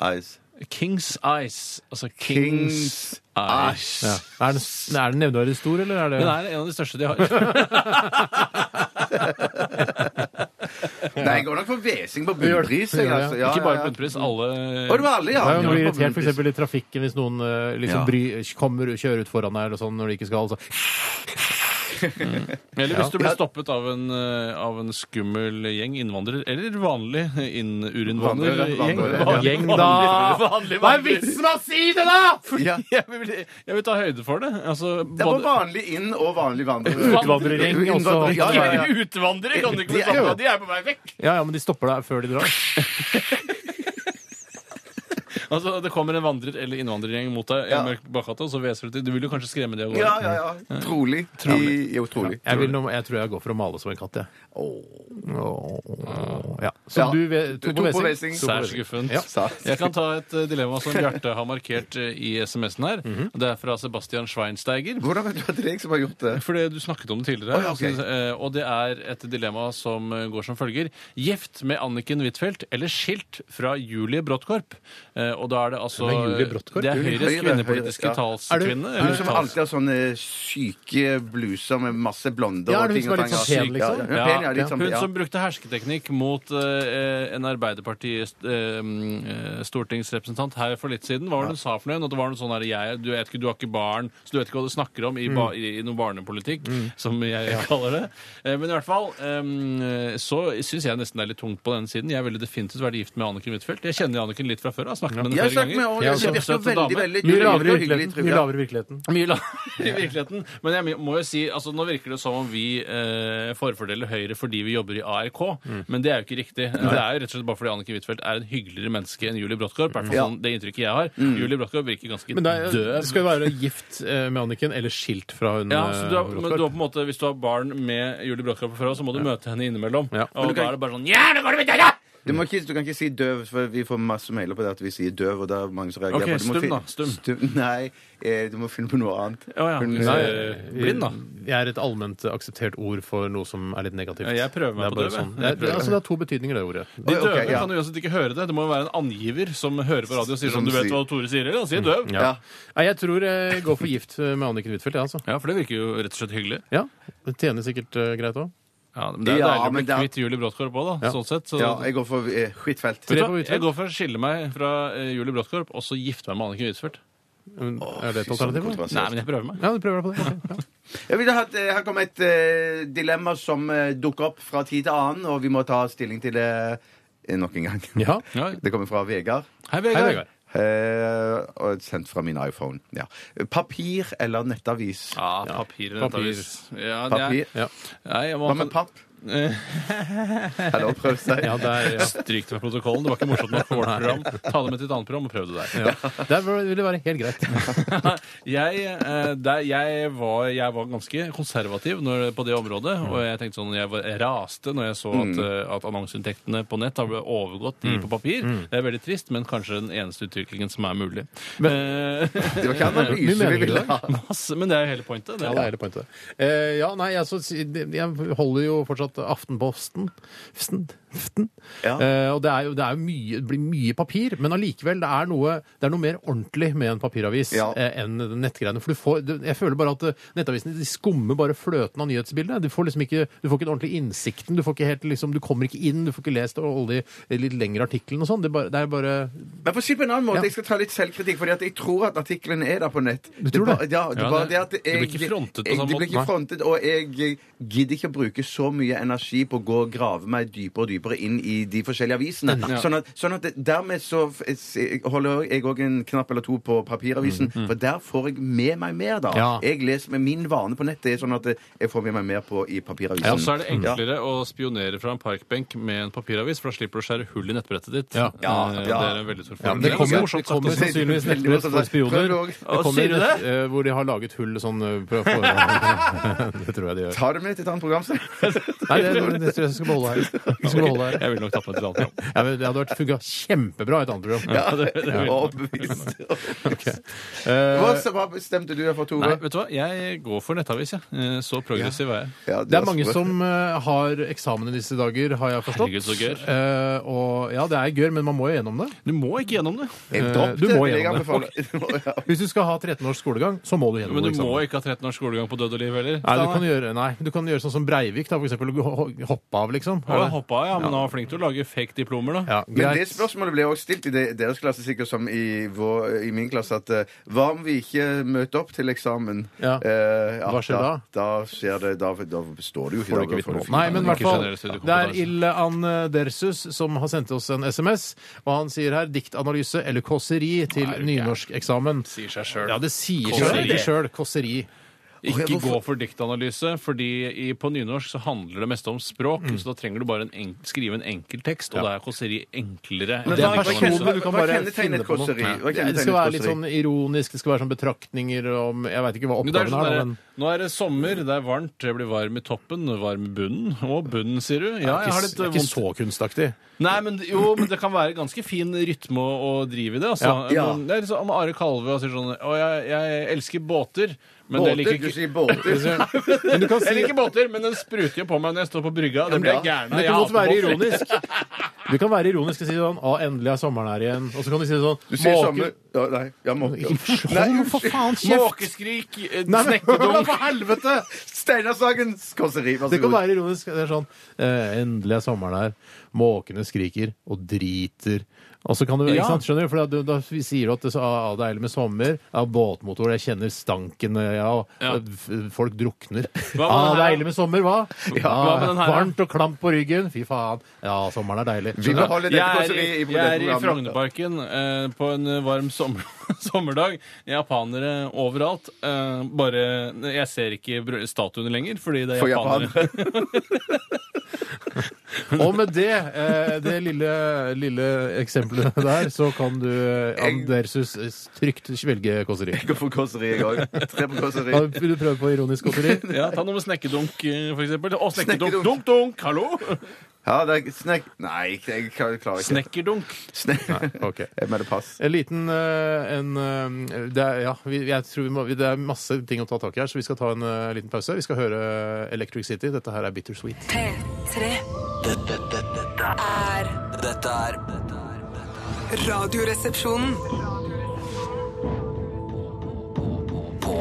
S4: Eyes.
S5: Kings Ice. Altså Kings,
S4: Kings
S5: Ice.
S3: Ja. Er den, er den nevneverdig stor, eller er det
S5: Den er en av de største de har.
S4: Nei, jeg går nok for hvesing på bunnpris. Jeg,
S3: Ja, ja.
S4: altså. ja,
S5: ikke bare
S4: ja, ja.
S5: bunnpris, alle
S4: Å, det var alle, ja.
S3: Det er jo
S4: Jeg
S3: noe
S4: går for
S3: irritert for
S4: bunnpris.
S3: eksempel i trafikken hvis noen eh, liksom
S4: Ja.
S3: bry, kommer og kjører ut foran deg eller sånn når de ikke skal. Så.
S5: Eller hvis du blir stoppet av en, eh, av en skummel gjeng innvandrere, eller vanlig
S4: Vandrere,
S5: innurinnvandrergjeng.
S4: vandrere,
S5: Vanlig-
S3: Gjeng, da!
S5: Vanlig,
S3: Hva er
S5: vanlig.
S3: vitsen med å si det, da?!
S4: Ja.
S5: Jeg vil, jeg vil ta høyde for det. Altså,
S4: Det var
S5: både-
S4: vanlig inn- og vanlig vandrer.
S3: Utvandrergjeng også.
S4: Utvandrer- Ja, ja, ja.
S5: [LAUGHS] Utvandrere kan du ikke
S4: De
S5: bli
S4: er
S5: sammen
S4: jo-
S5: med, de er på vei vekk.
S3: Ja, ja, men de stopper deg før de drar.
S5: Altså, Det kommer en vandrer- eller innvandrergjeng mot deg i
S4: Ja.
S5: en mørk bakgate, og så hveser du til Du vil jo kanskje skremme det av gårde.
S4: Ja, ja, ja. Trolig. I, jo, trolig.
S3: Jeg, vil, nå- jeg tror jeg går for å male som en katt, jeg. Åh. Ja. Så
S4: Ja.
S3: du ve-
S4: To på Wesing.
S3: To på
S5: Sær
S3: Wesing.
S5: skuffent.
S3: Ja.
S5: Jeg kan ta et eh, dilemma som Bjarte har markert eh, i SMS-en her.
S4: Mhm.
S5: Det er fra Sebastian Schweinsteiger.
S4: Hvordan vet du at det er jeg som har gjort det?
S5: Fordi du snakket om det
S4: Å,
S5: tidligere.
S4: ja, ok.
S5: altså, eh, og det er et dilemma som eh, går som følger. Gift med Anniken Huitfeldt eller skilt fra Julie Bråttkorp? Eh, og da er det altså
S3: Hvem er Julie Brodtkorb?
S5: Det er
S4: Julie-
S5: Høyres
S4: Høyre,
S5: kvinnepolitiske
S4: Høyre, ja.
S5: talskvinne.
S4: Hun
S5: eller
S4: som
S5: tals-
S4: alltid har sånne syke bluser med masse blonder
S3: Ja, er
S4: og
S3: det hun
S4: ting
S3: som
S4: og
S3: er litt
S4: tang.
S3: sånn pen, liksom?
S4: Ja, ja, pen, ja, litt sånn,
S5: Hun
S4: ja.
S5: som brukte hersketeknikk mot eh, en eh, Arbeiderparti-stortingsrepresentant her for litt siden. Hva var det hun sa for noe? At det var noe sånn her, jeg, du, vet ikke, du har ikke barn, så du vet ikke hva du snakker om i, ba,
S4: Mm.
S5: i, i noen barnepolitikk, som jeg kaller det. Eh, men i hvert fall eh, så syns jeg nesten det er litt tungt på den siden. Jeg ville definitivt vært gift med Anniken Huitfeldt. Jeg kjenner Anniken litt fra før, har snakket henne
S4: Jeg har
S5: flere
S4: snakket med
S5: ganger.
S3: Ja,
S4: henne. Det virker
S5: kjempesøt
S4: veldig,
S5: dame.
S4: veldig
S3: Mye lavere i
S4: hyggelig,
S3: virkeligheten.
S4: trivelig.
S3: Mye lavere i virkeligheten.
S5: Mye lavere [LAUGHS] i virkeligheten. Men jeg må jo si, altså nå virker det som om vi eh, forfordeler Høyre fordi vi jobber i ARK,
S3: Mm.
S5: men det er jo ikke riktig. Det er jo rett og slett bare fordi Annike Huitfeldt er en hyggeligere menneske enn Julie Brodtkorb. hvertfall
S4: Ja.
S5: sånn det inntrykket jeg har. Julie Brodtkorb virker ganske
S3: Mm. Men det er,
S5: døv.
S3: du skal jo være gift eh, med Anniken, eller skilt fra hun
S5: Ja, så du har,
S3: eh,
S5: men du har på en måte, Hvis du har barn med Julie Brodtkorb fra, så må du møte henne innimellom.
S3: Ja. Men
S5: Og
S3: du
S5: da er det bare sånn Ja, nå går det med deg, da!
S4: Du, må ikke, du kan ikke si døv, for vi får masse mailer på det at vi sier døv. og det er mange som reagerer
S5: Ok,
S4: på det. Du må
S5: stum
S4: fin-
S5: da, stum.
S4: [LAUGHS] Nei, eh, du må finne på noe annet.
S5: Å ja.
S4: Hun-
S5: Nei,
S3: Eh,
S5: blind, da.
S3: Jeg er et allment akseptert ord for noe som er litt negativt.
S5: Ja, jeg prøver
S3: Det
S5: meg
S3: er
S5: på
S3: bare
S5: det, jeg.
S3: sånn. Det, er- det, altså, det har to betydninger, det ordet.
S5: De
S4: Ok,
S5: døve
S4: ja.
S5: kan uansett ikke høre det. Det må jo være en angiver som hører på radio og sier
S4: Som
S5: sånn Du vet
S4: sier-
S5: hva Tore sier, eller? Han sier døv.
S3: Ja. Nei, jeg tror jeg går for gift med Anniken Huitfeldt, jeg, altså.
S5: Ja, for det virker jo rett og slett hyggelig.
S3: Ja, Det tjener sikkert eh, greit òg.
S5: Ja, men Det er
S4: Ja,
S5: deilig å
S4: men
S5: bli
S4: det er-
S5: kvitt Julie Bråttkorp òg, da.
S3: Ja.
S5: Sånn sett. Så,
S4: Ja, jeg går for eh, skittfelt.
S5: Vet du
S3: Tre
S5: hva?
S3: på
S5: jeg
S3: Huitfeldt.
S5: går for å skille meg fra eh, Julie Bråttkorp og så gifte meg med Anniken Huitfeldt.
S3: Er det et alternativ? da?
S5: Nei, men jeg prøver meg.
S3: Ja, du prøver deg på det. Ok, ja.
S4: Jeg vil ha, et, eh, her kommer et eh, dilemma som eh, dukker opp fra tid til annen, og vi må ta stilling til det eh, nok en gang. [LAUGHS]
S3: Ja.
S5: Ja.
S4: Det kommer fra Vegard.
S3: Hei,
S5: Hei, Vegard.
S3: Vegard.
S4: eh, og sendt fra min iPhone. Ja. Papir eller nettavis?
S5: Ja, papir.
S3: Ja,
S5: papir. Ja, det er-
S4: Papir.
S3: Ja.
S5: Nei, jeg må
S4: Hva med papp? [LAUGHS] Eller prøv seg.
S3: Ja, det er, ja.
S5: Stryk det fra protokollen. Det var ikke morsomt nok for vårt program. Ta det med til et annet program og prøv det der.
S3: Ja. Det er- ville være helt greit.
S5: Jeg, eh, der, jeg, var, jeg var ganske konservativ når, på det området.
S3: Mm.
S5: Og jeg tenkte sånn, jeg var, jeg raste når jeg så at, eh, at annonseinntektene på nett har overgått
S3: Mm.
S5: de på papir. Det er veldig trist, men kanskje den eneste utviklingen som er mulig. Eh, [LAUGHS]
S4: Det var ikke
S3: Mye
S4: analyse
S3: meninger
S4: vi
S3: i
S4: ville
S3: dag.
S4: ha.
S5: masse, men det er jo hele pointet. Det.
S3: Ja, det er det pointet. Eh, ja, nei, altså, si- det- jeg holder jo fortsatt Aftenposten. Fsten, fsten.
S4: Ja.
S3: Eh, og det, er jo, det, er jo mye, det blir mye papir, men allikevel, det er noe, det er noe mer ordentlig med en papiravis
S4: Ja.
S3: eh, enn den nettgreiene. For du får, du, jeg føler bare at eh, nettavisene de skummer bare fløten av nyhetsbildet. Du får liksom ikke, du får ikke den ordentlige innsikten, du, får ikke helt, liksom, du kommer ikke inn, du får ikke lest alle de litt lengre artiklene og sånn. Det, er bare- det er bare
S4: Men for å si det på en annen måte,
S3: Ja.
S4: jeg skal ta litt selvkritikk, fordi at jeg tror at artikkelen er der på nett. Du
S3: tror det?
S4: Ja, det,
S5: Ja,
S4: er bare
S5: det-
S4: det at jeg,
S5: det blir ikke frontet på
S4: jeg,
S5: samme
S4: det blir
S5: måte,
S4: ikke frontet, og jeg gidder ikke å bruke så mye energi på å gå og grave meg dypere og dypere inn i de forskjellige avisene. Sånn at, sånn at det- dermed så f- s- holder jeg òg en knapp eller to på
S5: Mm,
S4: papiravisen, for der får jeg med meg mer, da.
S3: Ja.
S4: Jeg leser med min vane på nettet, er sånn at jeg får med meg mer på i papiravisen.
S5: Ja, og så er det
S3: Mm.
S4: Ja.
S5: enklere å spionere fra en parkbenk med en papiravis, for da slipper du å skjære hull i nettbrettet ditt.
S3: Ja.
S4: Ja,
S5: Eh,
S4: ja.
S5: Det er en veldig stor
S3: Ja, men
S5: fordel.
S3: det kommer,
S5: Ganske
S3: det
S5: morsomt sagt
S3: kommer
S5: også.
S3: sannsynligvis
S4: Veldig
S3: nettbrett
S4: morsomt
S3: for
S4: sagt. Prøv
S3: spioner.
S4: det også.
S5: Å,
S3: kommer
S5: sier du
S3: nett, eh, hvor de har laget hull sånn eh, på forhånd. [LAUGHS] Det tror jeg de gjør.
S4: Tar det med til et annet program, så.
S3: Nei, det, det tror jeg jeg skal beholde her. Vi skal beholde her.
S5: Jeg vil nok tappe et eller annet.
S3: [LAUGHS]
S5: program.
S3: Ja, men det hadde vært funka kjempebra i et annet program. [LAUGHS]
S4: Ja,
S5: det- det vil-
S4: Overbevist. [LAUGHS]
S3: Eh,
S4: Hva, hva bestemte du deg for, Tore?
S5: Nei, vet du hva? Jeg går for nettavis, jeg. Eh, Så progressiv er jeg.
S4: Ja,
S3: Det er
S4: var
S3: mange
S4: sprø.
S3: som eh, har eksamen i disse dager, har jeg forstått.
S5: Herregud, så gøy.
S3: Eh, og ja, det er gørr, men man må jo gjennom det.
S5: Du må ikke gjennom det.
S4: Jeg
S3: Eh,
S4: dropp
S3: du
S4: det,
S3: må
S4: vil jeg
S3: gjennom det.
S4: anbefale. [LAUGHS] Ja.
S3: Hvis du skal ha 13 års skolegang, så må du gjennom
S5: Men du
S3: eksamen.
S5: må ikke ha 13 års skolegang på død og liv heller.
S3: Nei, du kan gjøre, nei, du kan gjøre sånn som Breivik, da, for eksempel. og ho- Hoppe av, liksom.
S5: Å, jeg hoppet av, ja, men han var flink til å lage fake diplomer, da.
S3: Ja,
S4: Men det
S3: greit.
S4: spørsmålet ble også stilt i de- deres klasse, sikkert som i, vår, i min klasse, at eh, hva om vi ikke møter opp til eksamen?
S3: Ja.
S4: Eh, ja,
S3: Hva skjer da?
S4: Da skjer det, da, da står du jo ikke
S5: Får du ikke
S4: da
S5: vitnemål.
S4: får du fint.
S3: Nei, men i hvert
S5: Ikke
S3: fall
S5: generell
S3: Det er
S5: studiekompetanse.
S3: Illan Dersus som har sendt oss en SMS, og han sier her diktanalyse eller kåseri til
S5: Nei, det er jo ikke
S3: nynorskeksamen.
S5: Sier seg selv.
S3: Ja, det sier
S5: Kåseri.
S3: seg det sjøl. Kåseri.
S5: Ikke gå for diktanalyse, fordi i, på nynorsk så handler det meste om språk,
S3: Mm.
S5: så da trenger du bare en enk, skrive en enkel tekst, og da er kåseri enklere. enn
S3: Det er
S4: hva- hva
S5: diktanalyse.
S3: personlig, men du kan
S4: hva
S3: bare
S4: kjennetegner
S3: finne
S4: et
S3: på noe.
S4: kåseri? Hva
S3: Det
S4: kjennetegner
S3: skal være
S4: et
S3: litt
S4: kåseri?
S3: sånn ironisk, det skal være sånn betraktninger om Jeg veit ikke hva
S5: Men det er
S3: oppgaven
S5: sånn
S3: er,
S5: der,
S3: da, men
S5: nå er det sommer, det er varmt, jeg blir varm i toppen, varm i bunnen. Og bunnen, sier du? Ja, jeg har litt eh,
S3: det er ikke
S5: vondt.
S3: så kunstaktig.
S5: Nei, men jo, men det kan være ganske fin rytme å, å drive i det, altså.
S4: Ja.
S5: Men Det er litt sånn om Are Kalve og sier sånn Å, jeg, jeg elsker båter, men
S4: Båter,
S5: jeg liker
S3: [LAUGHS]
S4: du
S5: ikke
S4: sier båter.
S3: Men du kan
S5: jeg
S3: si
S5: liker båter, men den spruter jo på meg når jeg står på brygga. Det blir jeg
S4: Ja,
S5: gæren
S3: Men
S5: av.
S3: det
S5: Jeg
S3: kan godt
S5: hater
S3: være
S5: båter.
S3: ironisk. Du kan være ironisk og si sånn Å, endelig er sommeren her igjen. Og så kan du si sånn
S4: Du sier
S3: «Måke-
S4: sommer... Ja, nei, ja, måke. [LAUGHS] Nei,
S3: Hold nå for faen kjeft!
S5: Måkeskrik, eh,
S3: Nei, men- [LAUGHS]
S5: snekkedunk
S3: For helvete!
S4: [LAUGHS] Steinar Sagens kåseri, vær så
S3: Det kan
S4: god.
S3: være ironisk. Det er sånn eh, Endelig er sommeren her. Måkene skriker og driter. Og så kan du, ikke
S5: Ja.
S3: sant, skjønner du? For da, da sier du at det, ah, det er deilig med sommer, ja, båtmotor, jeg kjenner stanken, eh, ja, og
S5: Ja.
S3: f- folk drukner.
S5: med
S3: ah,
S5: den her,
S3: deilig med sommer, hva? Ja,
S5: hva med den her, da?
S3: varmt og klamt på ryggen, fy faen. Ja, sommeren er deilig.
S4: Vi
S3: Skjønner du?
S4: beholder dette
S5: Jeg er,
S4: kåseriet
S5: i-
S4: i
S5: jeg er i
S4: programmet.
S5: Frognerparken eh, på en eh, varm sommer, [LAUGHS] sommerdag. Japanere overalt. Eh, bare Jeg ser ikke br- statuene lenger, fordi det er
S4: For
S5: japanere.
S3: Og med det, eh, det lille, lille eksempelet der, så kan du eh, Andersus eh, trygt svelge kåseri.
S4: [LAUGHS] Jeg går for kåseri, jeg òg. Tre på kåseri.
S3: Kan du prøve på ironisk kåseri?
S5: [LAUGHS] Ja, ta noe med snekkedunk, eh, for eksempel. Å, snekkedunk!
S4: Snekkedunk.
S5: Dunk, dunk! Hallo!
S4: Ja, det er snek... Nei, jeg klarer ikke.
S5: Snekkerdunk.
S4: Snek...
S3: Ok.
S4: Jeg mener pass.
S3: En liten eh, en, eh, det, er, ja, vi, jeg tror vi må, vi- det er masse ting å ta tak i her, så vi skal ta en eh, liten pause. Vi skal høre Electric City. Dette her er Bittersweet.
S6: P3
S2: Dette, dette, dette
S6: er
S2: er- dette er dette er-
S6: Radioresepsjonen.
S2: På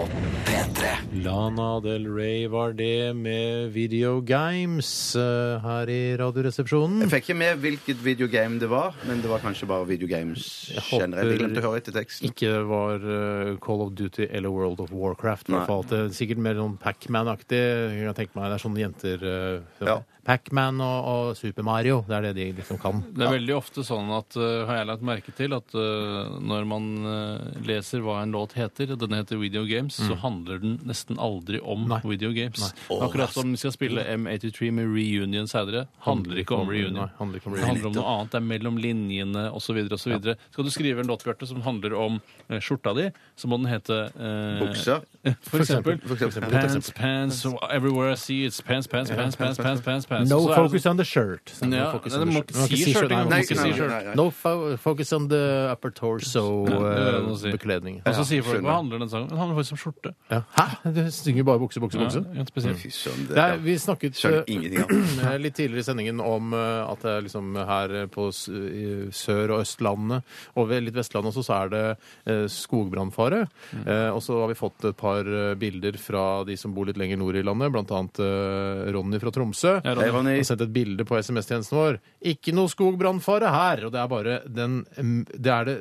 S2: P3
S3: Lana Del Rey var det med Video Games eh, her i Radioresepsjonen.
S4: Jeg fikk ikke med hvilket videogame det var, men det var kanskje bare videogames
S3: håper-
S4: generelt. Jeg glemte å høre etter teksten.
S3: Ikke var eh, Call of Duty eller World of Warcraft. i
S4: Nei.
S3: hvert fall. Det er sikkert mer sånn Pac-Man-aktig. Jeg kan tenke meg Det er sånne jenter eh,
S4: Ja.
S3: Pac-Man og, og Super Mario. Det er det de liksom kan.
S5: Det er veldig ofte sånn at eh, har jeg lagt merke til at eh, når man eh, leser hva en låt heter, den heter Video Games, så handler den nesten aldri om
S3: Nei.
S5: Video Games. Akkurat som vi skal spille M83 med Reunion senere, handler ikke om Reunion.
S3: Nei, handler ikke om
S5: Det
S3: reunion.
S5: handler om noe annet. Det er mellom linjene osv. osv. videre Skal du skrive en låt Bjarte, som handler om eh, skjorta di, så må den hete eh,
S4: Buksa.
S5: [LAUGHS] For eksempel.
S4: For eksempel.
S5: Pants, pants, everywhere I see it's pants, pants, pants, pants, pants, pants, pants.
S3: No
S5: Og Altså, så er det
S3: focus on the shirt.
S5: Ja,
S3: No focus on
S5: nei,
S3: the
S5: du må
S3: shirt. Du må ikke
S5: ikke si
S3: si
S5: shirt
S3: shirt,
S5: engang,
S3: nei,
S5: du
S3: du må ikke si
S4: Nei, nei, nei,
S3: shirt.
S4: nei, nei.
S3: No fo focus on the upper torso
S5: Ja, det er det
S3: eh,
S5: å si.
S3: bekledning.
S5: Og så sier folk
S4: skjønner.
S5: hva handler den sangen? Den handler faktisk om skjorte.
S3: Ja. Hæ? Du synger bare bukse, bukse, bukse?
S5: Ja, helt spesielt.
S4: Fy søren, det
S3: Nei, vi snakket
S4: skjønner
S3: eh,
S4: ingenting av.
S3: [CLEARS THROAT] eh, litt tidligere i sendingen om eh, at det er liksom her eh, på s- i Sør- og Østlandet og ved litt Vestlandet også, så er det eh, skogbrannfare.
S5: Mm.
S3: Eh, Og så har vi fått et par eh, bilder fra de som bor litt lenger nord i landet, blant annet eh, Ronny fra Tromsø.
S5: Ja,
S4: Hei, Ronny.
S3: har sendt et bilde på SMS-tjenesten vår. Ikke noe skogbrannfare her! Og det er bare den, mm, det, er det,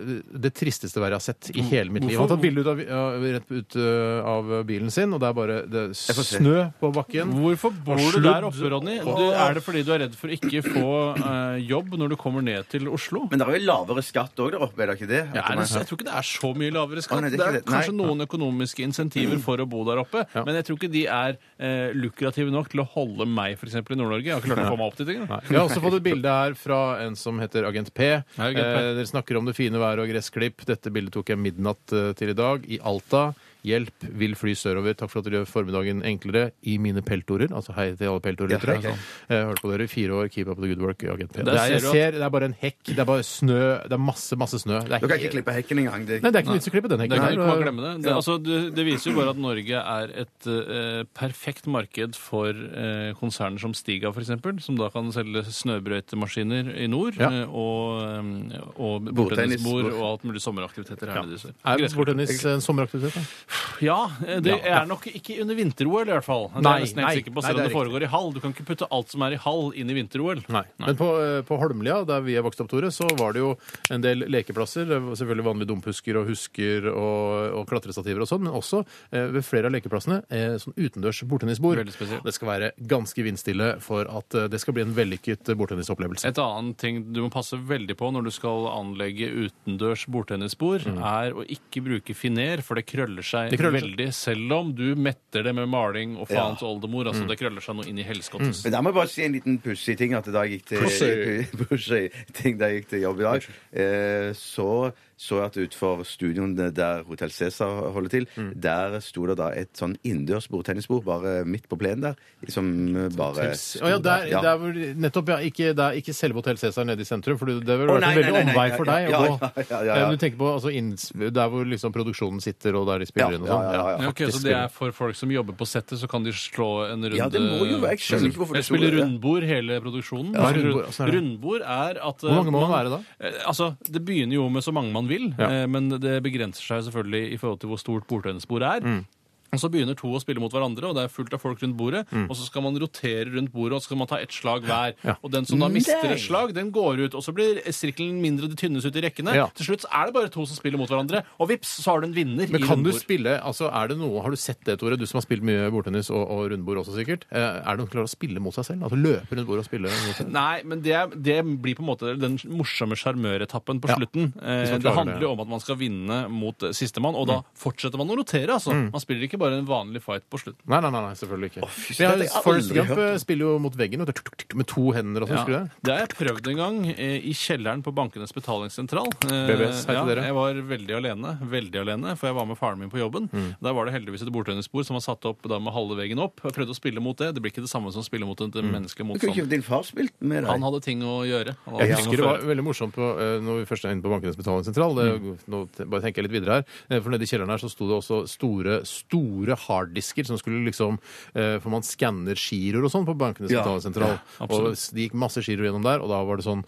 S3: det tristeste været jeg har sett i hele mitt liv. Han har tatt bilde ut av, ja, rett ut uh, av bilen sin, og det er bare det er
S4: får se.
S3: snø på bakken.
S5: Hvorfor bor
S3: Og
S5: du der
S3: sludd.
S5: oppe, Ronny? Du, er det fordi du er redd for å ikke få eh, jobb når du kommer ned til Oslo?
S4: Men det er jo lavere skatt òg der oppe, er det ikke det?
S5: Ja, er det, så- jeg tror ikke det er så mye lavere skatt.
S4: Å, nei,
S5: det,
S4: det
S5: er
S4: er ikke det. Nei. Mm.
S5: kanskje noen økonomiske insentiver for å bo der oppe, men jeg tror ikke de er eh, lukrative nok til å holde meg for eksempel, i Nord-Norge. Jeg har ikke klart å få meg opp dit engang.
S3: Vi har også fått et bilde her fra en som heter Agent P.
S5: Agent P.
S3: Eh, dere snakker om det fine været og gressklipp. Dette bildet tok jeg midnatt eh, til i dag i Alta. Hjelp, vil fly sørover. Takk for at dere gjør formiddagen enklere i mine peltorer. Altså hei til alle peltorlyttere.
S4: Ja, hei,
S3: Eh, Jeg altså. hørte på dere i fire år. Keep up the good work, Agent P.
S5: Der
S3: Det er, jeg
S5: ser du at-
S3: ser, det er bare en hekk. Det er bare snø. Det er masse, masse snø. Det er
S4: Du kan ikke klippe hekken engang. Det...
S3: Nei, det er ikke noe vits å klippe den
S5: Det
S3: hekken.
S5: kan
S3: her.
S5: du ikke bare glemme det. Det, altså, det, det viser jo bare at Norge er et eh, perfekt marked for eh, konserner som Stiga f.eks., som da kan selge snøbrøytemaskiner i nord,
S3: Ja.
S5: eh, og, eh, og
S4: Bordtennis.
S5: bordtennisbord og alt mulig sommeraktiviteter her nede i sør.
S3: Er
S5: Gressklipp.
S3: bordtennis en sommeraktivitet? da?
S5: Ja, eh, det
S3: Ja.
S5: er nok ikke under vinter-OL i hvert fall. Det er
S3: Nei,
S5: jeg nesten helt
S3: nei,
S5: sikker
S3: nei,
S5: på, selv om
S3: det er
S5: det foregår i hall. Du kan ikke putte alt som er i hall, inn i vinter-OL.
S3: Nei. Men på, eh, på Holmlia, der vi er vokst opp, Tore, så var det jo en del lekeplasser. Det var Selvfølgelig vanlige dumpusker og husker og, og klatrestativer og sånn, men også eh, ved flere av lekeplassene eh, sånn utendørs bordtennisbord.
S5: Veldig spesielt.
S3: Det skal være ganske vindstille for at eh, det skal bli en vellykket eh, bordtennisopplevelse.
S5: Et annet ting du må passe veldig på når du skal anlegge utendørs bordtennisbord, er å ikke bruke finer, for det krøller seg
S3: Mm. Det krøller seg.
S5: veldig. Selv om du metter det med maling og faens oldemor.
S3: Mm.
S5: Altså, det krøller seg noe inn i helskottet.
S4: Men der må jeg bare si en liten pussig ting. At da jeg gikk til, [LAUGHS] pussig ting da jeg gikk til jobb i dag, eh, så så jeg at utenfor studioene der Hotell Cæsar holder til,
S3: Mm.
S4: der sto det da et sånn innendørs bordtennisbord bare midt på plenen der, som eh, bare
S3: Å ja, der,
S4: Ja.
S3: der hvor, nettopp, ja. Ikke, det er ikke selve Hotell Cæsar nede i sentrum, for det ville
S4: Å,
S3: vært en
S4: nei,
S3: veldig
S4: nei, nei,
S3: omvei
S4: nei,
S3: for
S4: ja,
S3: deg å
S4: ja,
S3: gå.
S4: ja, ja, ja, ja.
S3: Eh, Du tenker på altså, inns- der hvor liksom produksjonen sitter, og der de spiller
S4: Ja,
S3: inn og
S4: ja,
S3: sånn?
S4: ja, ja.
S5: Ja, ok, så
S3: faktisk
S5: det er for folk som jobber på settet, så kan de slå en runde
S4: Ja, det må jo være. Jeg skjønner ikke hvorfor
S5: Eller
S4: det sto
S5: spille
S4: det.
S5: rundbord hele produksjonen.
S3: Ja,
S5: Altså,
S3: rundbord, altså, er det.
S5: rundbord er at eh,
S3: Hvor mange må det være da?
S5: Altså, Det begynner jo med så mange man vil,
S3: Ja. Mm.
S5: eh, men det begrenser seg selvfølgelig i forhold til hvor stort bordtennisbord er. Og Så begynner to å spille mot hverandre, og det er fullt av folk rundt bordet. Og så skal man rotere rundt bordet, og så skal man ta ett slag hver.
S3: Mm. Ja.
S5: Og den som da mister
S4: Mm, Nei.
S5: et slag, den går ut. Og så blir sirkelen mindre, det tynnes ut i rekkene.
S3: Ja.
S5: Til slutt er det bare to som spiller mot hverandre, og vips, så har du en vinner.
S3: Men
S5: i
S3: kan du
S5: rundbord.
S3: spille altså er det noe, Har du sett det, Tore, du som har spilt mye bordtennis og, og rundbord også, sikkert? Eh, Er det noen som klarer å spille mot seg selv? Altså løpe rundt bordet og spille mot seg selv?
S5: Nei, men det, er- det blir på en måte den morsomme sjarmøretappen på
S3: Ja.
S5: slutten. Eh,
S3: man klarer
S5: Det handler
S3: det, Mm.
S5: jo
S3: ja.
S5: om at man skal vinne mot eh, sistemann, og da fortsetter man å rotere. altså.
S3: Mm.
S5: Man spiller ikke bare en vanlig fight på slutten.
S3: Nei, nei, nei, nei selvfølgelig ikke.
S4: fy
S3: Men
S4: søren, jeg
S3: jeg,
S4: har
S3: Forrest
S4: aldri
S3: Gump
S4: hørt
S3: eh, spiller jo mot veggen vet du, tuk, tuk, tuk, med to hender og sånn.
S5: Ja.
S3: husker du det?
S5: Det har jeg prøvd en gang eh, i kjelleren på Bankenes betalingssentral. Eh,
S3: BBS, hei til
S5: ja,
S3: dere.
S5: Jeg var veldig alene, veldig alene, for jeg var med faren min på jobben.
S3: Mm.
S5: Der var det heldigvis et bordtennisbord som var satt opp da med halve veggen opp. Jeg prøvde å spille mot det. Det blir ikke det samme som å spille mot en
S3: Mm.
S5: menneskelig
S4: Du kunne ikke
S3: sånn.
S5: motstander.
S4: din far spilt med deg?
S5: Han hadde ting å gjøre. Han hadde
S3: Jeg
S5: ting å
S3: husker det var
S5: føre.
S3: veldig morsomt på, eh, når vi først er inne på Bankenes betalingssentral. det- Nå te- bare tenker jeg litt videre her. eh, For nede i kjelleren her så sto det også store store harddisker som skulle liksom eh, For man skanner giroer og sånn på Bankenes
S4: Ja.
S3: betalingssentral.
S5: Ja, absolutt.
S3: og s- det gikk masse giroer gjennom der, og da var det sånn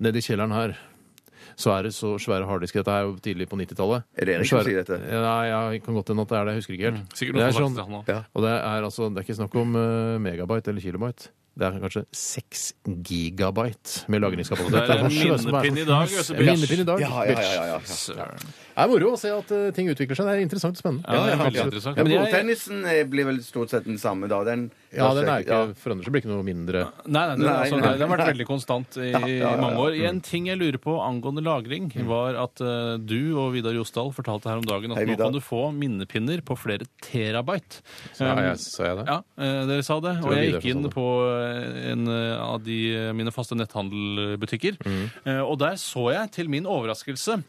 S3: Nede i kjelleren her så er det så svære harddisker. Dette er jo tidlig på 90-tallet.
S4: Er det Erik som
S3: Svære-
S4: sier dette?
S3: Ja, ja, det kan godt hende at det er det. Jeg husker ikke helt.
S5: Sikkert
S3: det
S5: noen
S3: er
S5: som har
S3: sånn,
S5: sagt det, han også.
S4: Ja.
S3: og det er altså, det er ikke snakk om eh, megabyte eller kilobyte. Det er kanskje 6 gigabyte med lagringskapasitet.
S5: Det er en
S3: masse- masse-
S5: minnepinn i dag, vet du,
S3: En
S5: bitch.
S3: sånn Minnepinn i dag.
S4: Ja, ja, ja, ja, ja.
S3: bitch.
S5: Søren.
S3: Det er moro å se at eh, ting utvikler seg. Det er interessant og spennende.
S5: Ja, det er
S3: Absolutt.
S5: veldig interessant.
S4: Men
S5: Men jeg-
S4: Bordtennisen eh, blir vel stort sett den samme, da. Den,
S3: Ja, den er ikke, forandrer seg blir ikke noe mindre.
S5: Nei, nei, det,
S4: Nei,
S5: altså,
S4: nei.
S5: det har vært veldig
S4: [LAUGHS]
S5: konstant i, i mange år. En ting jeg lurer på angående lagring, var at eh, du og Vidar Josdal fortalte her om dagen at
S4: Hei,
S5: nå
S4: Vidar.
S5: kan du få minnepinner på flere terabyte.
S3: Ja,
S5: Um,
S3: jeg, sa jeg det?
S5: ja, eh, dere sa det.
S3: jeg
S5: Og jeg
S3: Vidar
S5: gikk inn
S3: sa det.
S5: på eh, en eh, av de, eh, mine faste netthandelbutikker,
S3: Mm.
S5: eh, og der så jeg til min overraskelse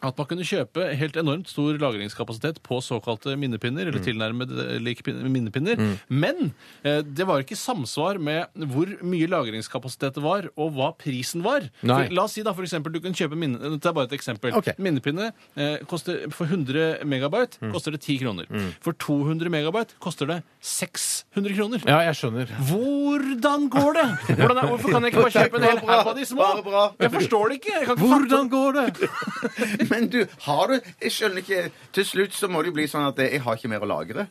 S5: at man kunne kjøpe helt enormt stor lagringskapasitet på såkalte minnepinner,
S3: Mm.
S5: eller tilnærmet eh, lik pin- minnepinner. Men eh, det var ikke samsvar med hvor mye lagringskapasitet det var, og hva prisen var.
S3: Nei.
S5: For, la oss si da for eksempel du kan kjøpe minne... Dette er bare et eksempel.
S3: Ok. Mm.
S5: Minnepinne eh, koster for 100 megabyte koster det 10 kroner. For 200 megabyte koster det 600 kroner.
S3: Ja, jeg skjønner.
S5: Hvordan går det? [LAUGHS] Hvordan er, hvorfor kan jeg ikke bare kjøpe en hel
S4: Bare bra,
S5: haug av de små?
S4: bare bra.
S5: Jeg forstår det ikke. Jeg kan ikke
S3: Hvordan går det?
S4: [LAUGHS] Men du, har du Jeg skjønner ikke Til slutt så må det jo bli sånn at eh, jeg har ikke mer å lagre.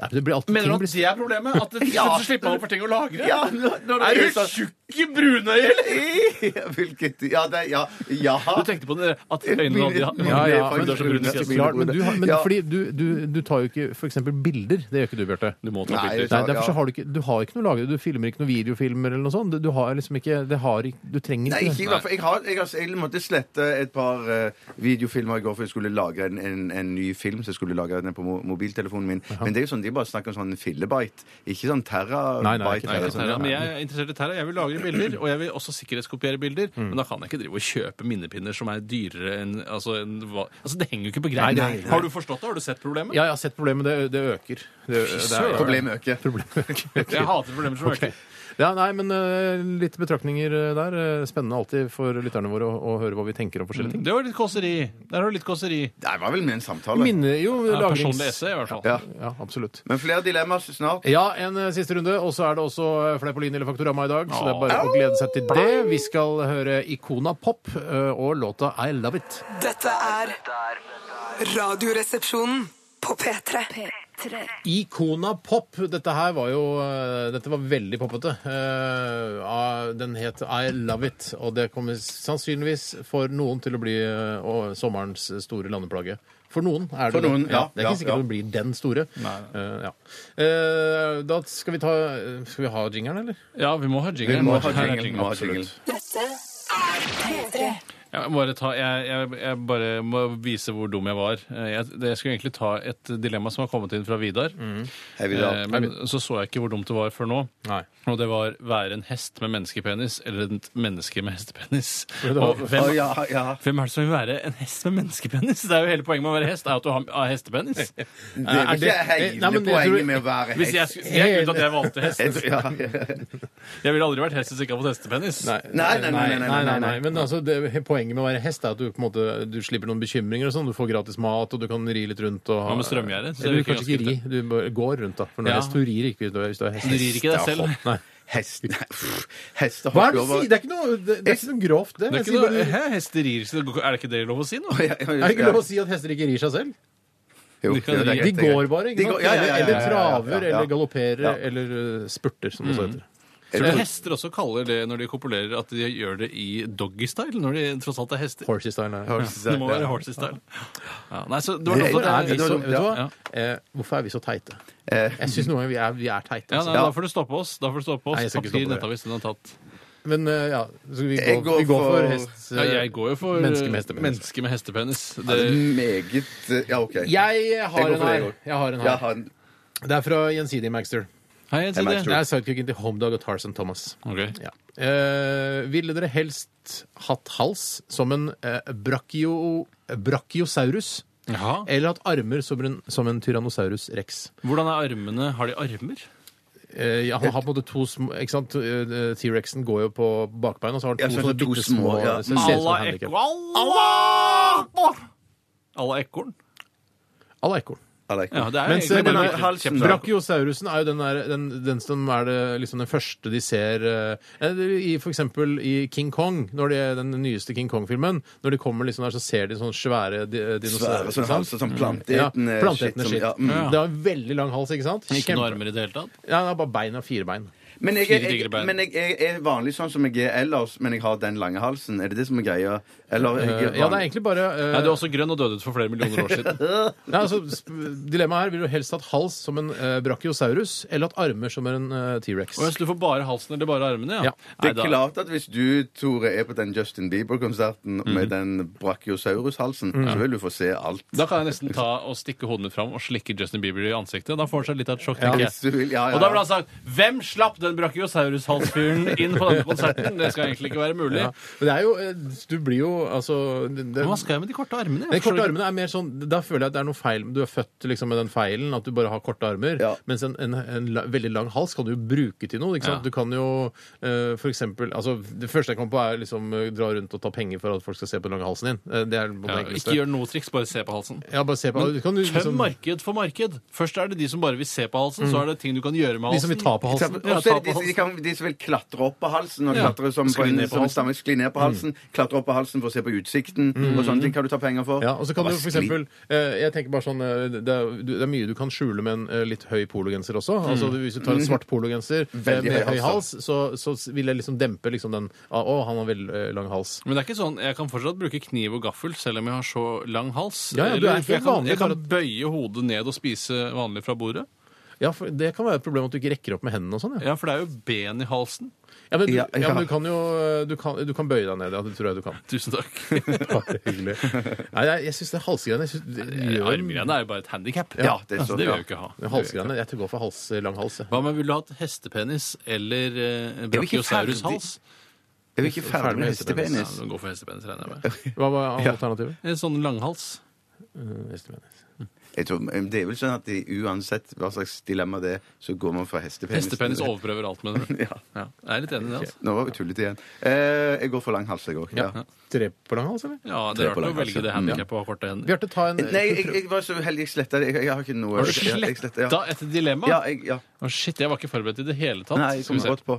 S3: Ja, men det blir alltid
S5: Mener
S3: ting
S5: du at
S3: blir
S5: det er problemet? At det,
S4: Ja.
S5: så slipper man opp for ting å lagre?
S4: Ja, når, når
S5: Er
S4: du
S5: du tjukk i brunøye, eller?
S4: [LAUGHS] Hvilket Ja, det, ja, ja.
S5: Du tenkte på det, at øynene hadde
S4: Mine-
S3: ja, ja,
S4: Det er
S3: men,
S4: faktisk brune
S3: så
S4: sider.
S3: klart, men, du, har- men
S4: Ja.
S3: fordi du, du, du tar jo ikke f.eks. bilder. Det gjør ikke du, Bjarte.
S5: Du må ta
S4: Nei,
S5: bilder.
S4: det-
S3: Nei, derfor
S4: Ja.
S3: så har du ikke, du har ikke noe lagret. Du filmer ikke noen videofilmer eller noe sånt. Du, du har liksom ikke, det har ikke Du trenger
S4: Nei,
S3: ikke
S4: ikke i hvert fall. Jeg, har, jeg, har- jeg måtte slette et par eh, videofilmer i går, for jeg skulle lage en, en, en ny film. Så jeg skulle lage den på mo mobiltelefonen min. Men det er jo sånn, de bare snakker om sånn fillebyte. Ikke sånn terabyte.
S3: Nei, nei, ikke
S5: Nei,
S4: eller
S5: ikke
S4: sånn.
S5: Terra, men jeg er interessert i Terra. Jeg vil lagre bilder, og jeg vil også sikkerhetskopiere bilder. Men da kan jeg ikke drive og kjøpe minnepinner som er dyrere enn altså, enn hva- altså, det henger jo ikke på greip.
S3: Nei, nei, nei.
S5: Har du forstått det? Har du sett problemet?
S3: Ja, jeg har sett problemet. Det, det øker. Det, det
S5: søren.
S4: Problemet øker.
S3: [LAUGHS] Problemet øker.
S5: Jeg hater problemer som
S3: Ok.
S5: øker.
S3: Ja, nei, men eh, litt betraktninger eh, der. Eh, Spennende alltid for lytterne våre å, å høre hva vi tenker om forskjellige ting.
S5: Det var litt kåseri. Der har du litt kåseri.
S4: Det var vel med en
S3: Det
S4: samtale.
S3: minner jo
S5: Ja,
S3: lagrings-
S5: personlig essay, i hvert fall.
S4: E, Ja.
S3: Ja, absolutt.
S4: Men flere dilemmaer snart.
S3: Ja, en eh, siste runde, og så er det også eh, Fleipolini eller Faktorama i dag. Så det er bare å glede seg til det. Vi skal høre Ikona Pop eh, og låta I Love It.
S6: Dette er Radioresepsjonen på P3.
S3: Ikona Pop. Dette her var jo eh, Dette var veldig poppete. Eh, ah, Den het I Love It, og det kommer sannsynligvis for noen til å bli eh, å- sommerens store landeplage. For noen er det
S4: For
S3: det.
S4: noen, ja,
S3: Det er
S4: ja,
S3: ikke sikkert
S4: ja.
S3: det blir den store. Eh, ja. Eh, Da skal vi ta eh, Skal vi ha jingeren, eller?
S5: Ja, vi må ha jingle.
S4: Vi må
S5: Her
S4: ha
S5: er
S4: jingle. vi må ha jingle.
S5: Ja, Jeg, må bare ta, jeg, jeg, jeg bare må vise hvor dum jeg var. Eh, Jeg, det- jeg skulle egentlig ta et dilemma som har kommet inn fra Vidar.
S4: Mm. Hei,
S5: Eh,
S4: Vidar.
S5: Men så så jeg ikke hvor dumt det var før nå.
S3: Nei.
S5: Og det var være en hest med menneskepenis eller et menneske med hestepenis.
S3: det var-
S5: Og hvem,
S4: Å, ja, ja.
S3: Eh,
S5: hvem er det som vil være en hest med menneskepenis? Det er jo Hele poenget med å være hest er jo at du har har
S4: [LAUGHS]
S5: hestepenis.
S4: Det er vel
S3: det- eh,
S4: ikke
S3: Nei,
S4: hele
S3: men jeg tror-
S4: poenget med å være
S5: Hvis jeg,
S4: hest.
S5: skulle- det er grunnen til at jeg valgte hest.
S4: Jeg tror- ja. [LAUGHS]
S5: Jeg ville aldri vært hest hvis jeg ikke hadde fått hestepenis.
S4: Nei, nei, nei, nei, nei, nei, nei.
S3: Men altså, det, poenget med å være hest er at du på en måte, du slipper noen bekymringer. og sånn, Du får gratis mat, og du kan ri litt rundt. og...
S5: Hva med strømgjerde? Så det
S3: Eller du
S5: virker
S3: kanskje ikke ri,
S5: ganske
S3: du bare går rundt. da, for når
S5: Ja.
S3: hest, Du rir ikke hvis du er hvis du er hest.
S5: Du rir ikke deg selv.
S3: Nei.
S4: Hest Nei, pff, Hester
S3: Hva er
S4: hopper
S3: det du
S4: over
S3: sier? Det er ikke noe, det, det er ikke noe grovt, det.
S5: Det er
S3: Jeg
S5: ikke
S3: sier
S5: noe,
S3: bare- [LAUGHS]
S5: hæ, hester rir, så det går- er det ikke det lov å si
S4: Ja,
S5: nå?
S4: ja, ja.
S3: Er det ikke lov å si at hester ikke rir seg selv?
S4: Jo,
S5: De kan
S4: jo, det er
S5: ri.
S4: greit,
S3: De
S4: det
S3: går
S4: er greit.
S3: bare,
S4: De
S3: ikke sant?
S4: går- ja, ja, ja, ja, ja,
S3: Eller
S4: ja, ja,
S3: traver,
S4: ja.
S3: eller galopperer,
S4: Ja.
S3: eller eh, spurter, som det også heter.
S5: Tror du hester også kaller det når de kopulerer, at de gjør det i doggystyle? Når de tross alt er hester?
S3: Horsey style. er-
S4: Horses,
S5: Det må
S4: ja.
S5: være horsey style. Ja, nei, så
S4: Det-
S5: det var noe
S3: Hvorfor
S5: sånt
S3: er
S5: der.
S3: vi så, vet du hva?
S5: Ja.
S3: Eh, hvorfor er vi så teite?
S4: Eh,
S3: Jeg syns noen ganger vi er, vi er teite.
S5: Ja,
S3: Altså.
S5: nei, Da får du stoppe oss. Da får du stoppe
S3: Nei,
S5: oss.
S3: jeg skal ikke
S5: Papir,
S3: stoppe dere.
S5: nettavis, den har tatt.
S3: Men eh, ja, så vi
S4: Jeg
S3: går,
S4: går
S3: vi går for,
S4: for-
S3: hest... eh.
S5: Ja, jeg går jo for
S3: Menneske med hestepenis.
S5: menneske med hestepenis.
S4: ja, det er
S5: Det,
S4: meget eh, Ja, OK.
S3: Jeg har
S4: går
S3: en
S4: for det, jeg
S3: her.
S4: går.
S3: Jeg har en
S4: Jeg
S3: her.
S4: har en
S3: Det er fra Gjensidige Magster.
S5: hei, jeg sier
S4: Hei,
S3: Det
S5: det.
S3: er sidekicken til Homedog og Tarzan Thomas.
S5: Ok.
S3: Ja. Eh, ville dere helst hatt hals som en eh, brachio, brachiosaurus?
S5: Jaha.
S3: Eller hatt armer som en, som en tyrannosaurus rex?
S5: Hvordan er armene? Har de armer?
S3: Eh, ja, han har på en måte to små Ikke sant? Eh, T-rexen går jo på bakbein, og så har
S4: Ja,
S3: han to
S4: så
S3: sånne
S4: to
S3: bitte
S4: små,
S3: små eh,
S4: ja.
S3: som ser ut som et handicap.
S5: Allah! Allah ekorn?
S3: Alla ekorn.
S4: Alla ekorn.
S5: Ja, det er
S3: Mens,
S5: egentlig
S3: eh,
S5: bare
S3: men
S5: virkelig
S4: halsen-
S5: kjempe-
S3: Brachiosaurusen er jo den, der, den, den som er det, liksom den første de ser eh, i For eksempel i King Kong, når de, den nyeste King Kong-filmen. Når de kommer liksom der, så ser de sånne svære di- eh, dinosaurer. ikke
S4: Svære sånn
S3: sant? Mm.
S4: hals og sånn
S3: Ja,
S4: planteetende
S3: planteetende
S4: som-
S3: skitt.
S4: ja, mm.
S5: Ja.
S3: Det har en veldig lang hals, ikke sant?
S5: Ikke noe
S3: Kjempe-
S5: armer i det hele tatt?
S3: Ja, det er bare bein og fire bein.
S4: Men jeg,
S5: Fire
S4: jeg,
S5: digre bein.
S4: men jeg, jeg er vanlig sånn som jeg er ellers, men jeg har den lange halsen. Er det det som er greia? Eller
S3: Eh,
S4: jeg er
S3: ja, det er
S4: vanlig-
S3: egentlig bare eh,
S5: Nei, du er også grønn og døde ut for flere millioner år
S3: [LAUGHS]
S5: siden.
S3: Nei, altså, sp- dilemmaet her vil du helst hatt hals som en eh, brachiosaurus, eller hatt armer som en eh, T-rex.
S5: Og jeg, så du får bare halsen eller bare armene?
S3: Ja.
S5: Ja.
S4: Det
S5: Nei,
S4: er
S5: da-
S4: klart at hvis du, Tore, er på den Justin Bieber-konserten med den brachiosaurus-halsen,
S3: Mm.
S4: så vil du få se alt.
S5: Mm. Da kan jeg nesten ta og stikke hodet mitt fram og slikke Justin Bieber i ansiktet. Da får han seg litt av et sjokk. tenker jeg.
S4: Hvis du vil. Ja, ja, ja.
S5: Og da ble han sagt 'Hvem slapp den brachiosaurus-halsfyren inn på denne konserten?' Det skal egentlig ikke være mulig.
S3: Ja. Men det er jo eh, Du blir jo altså det, det,
S5: Hva skal jeg med de korte
S3: de
S5: armene? Jeg
S3: korte
S5: forstår ikke.
S3: armene er mer sånn Da føler jeg at det er noe feil. Du er født liksom med den feilen at du bare har korte armer.
S4: Ja.
S3: Mens en, en, en la, veldig lang hals kan du jo bruke til noe. Ikke sant?
S5: Ja.
S3: Du kan jo eh, for eksempel altså, Det første jeg kommer på, er liksom eh, dra rundt og ta penger for at folk skal se på den lange halsen din. Eh, Det er på det
S5: Ja,
S3: enkleste.
S5: ikke gjør noe triks, bare se på halsen.
S3: ja, bare se på du kan jo
S5: Tøm
S3: liksom,
S5: marked for marked. Først er det de som bare vil se på halsen, så er det ting du kan gjøre med
S3: De som vil ta
S5: halsen.
S3: på
S4: Og så
S3: halsen.
S5: Ja,
S4: er
S5: ta
S4: det
S5: på
S4: de, som- de, kan, de som vil klatre opp på halsen og klatre som på
S5: Skli
S4: en
S5: ned på
S4: som en
S5: halsen.
S4: stamme, skli ned på halsen, klatre opp på halsen for å se på utsikten og sånne ting kan du ta penger for.
S3: Ja, og så kan
S4: Bare
S3: du for
S4: skli-
S3: eksempel, eh, jeg tenker bare sånn, eh, det er, du- det er mye du kan skjule med en eh, litt høy pologenser også. Altså, Hvis du tar en svart pologenser eh,
S4: Veldig
S3: med
S4: høy
S3: høy
S4: hals,
S3: hals, så, så s- vil jeg liksom dempe liksom den ah, Å, han har veldig eh, lang hals.
S5: Men det er ikke sånn, jeg kan fortsatt bruke kniv og gaffel selv om jeg har så lang hals.
S3: Ja, ja, du
S5: Eller,
S3: er
S5: for jeg,
S3: helt
S5: kan,
S3: vanlig,
S5: jeg kan
S3: bare-
S5: bøye hodet ned og spise vanlig fra bordet.
S3: Ja, for Det kan være et problem at du ikke rekker opp med hendene og sånn. Ja.
S5: Ja, for det er jo ben i halsen.
S3: Ja, men, du,
S4: Ja,
S3: ja,
S4: ja.
S3: men du kan jo eh, du kan, du kan bøye deg ned. Ja, det tror jeg du kan.
S5: Tusen
S4: [LAUGHS]
S5: takk.
S3: Bare hyggelig. [LAUGHS] Nei, jeg, jeg syns det halsgreiene jeg synes, det gjør-
S5: Armgreiene er jo bare et handikap.
S4: Ja, det er så-
S5: det vil
S4: ja.
S5: jeg jo ikke ha.
S3: det Halsgreiene, Jeg tror jeg går for hals, eh, lang hals. jeg.
S5: Hva med ville du hatt hestepenis eller eh,
S4: vi ikke
S5: brachiosaurus-hals?
S4: Er vi ikke ferdig med
S5: Ja,
S4: hestepenis?
S5: du går for hestepenis, regner jeg med.
S3: Hva var alternativet?
S5: [LAUGHS] En sånn langhals.
S3: Eh, hestepenis.
S4: Jeg tror, det er vel sånn at de, uansett hva slags dilemma det er, så går man fra hestepenis
S5: Hestepenis overprøver alt, mener du?
S4: [LAUGHS] Ja.
S5: Ja. Jeg er litt enig i det. altså.
S4: Nå var vi tullete igjen. Eh, jeg går for lang hals, jeg òg. Ja.
S3: Tre på lang hals, eller?
S5: Ja, Det
S4: Tre
S5: er
S4: på
S5: rart å
S4: langhals,
S5: velge det
S4: ja.
S5: handikapet og ha korte hender.
S3: Bjarte, ta en
S4: Nei, jeg, jeg var så uheldig. Jeg sletta det. Jeg, jeg har ikke noe
S5: Har du
S4: jeg- jeg slettet,
S5: sletta
S4: ja.
S5: et dilemma?
S4: Ja, jeg, ja.
S5: Å, shit, jeg var ikke forberedt i det hele tatt.
S4: Nei, jeg
S5: Skal vi
S4: kom
S5: se.
S4: godt på.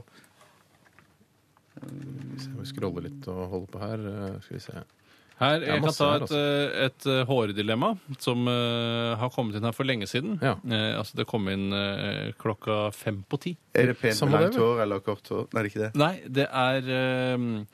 S3: Vi scroller litt og holder på her. eh, Skal vi se.
S5: Her,
S3: er
S5: jeg kan
S3: masse
S5: ta
S3: her,
S5: et, eh, et eh, hårdilemma som eh, har kommet inn her for lenge siden.
S3: Ja.
S5: Eh, altså Det kom inn eh, klokka fem på ti.
S4: Er det pent
S3: Samme
S4: med langt
S3: det, vel?
S4: hår eller kort hår? Nei, det er ikke det.
S5: Nei, det er eh,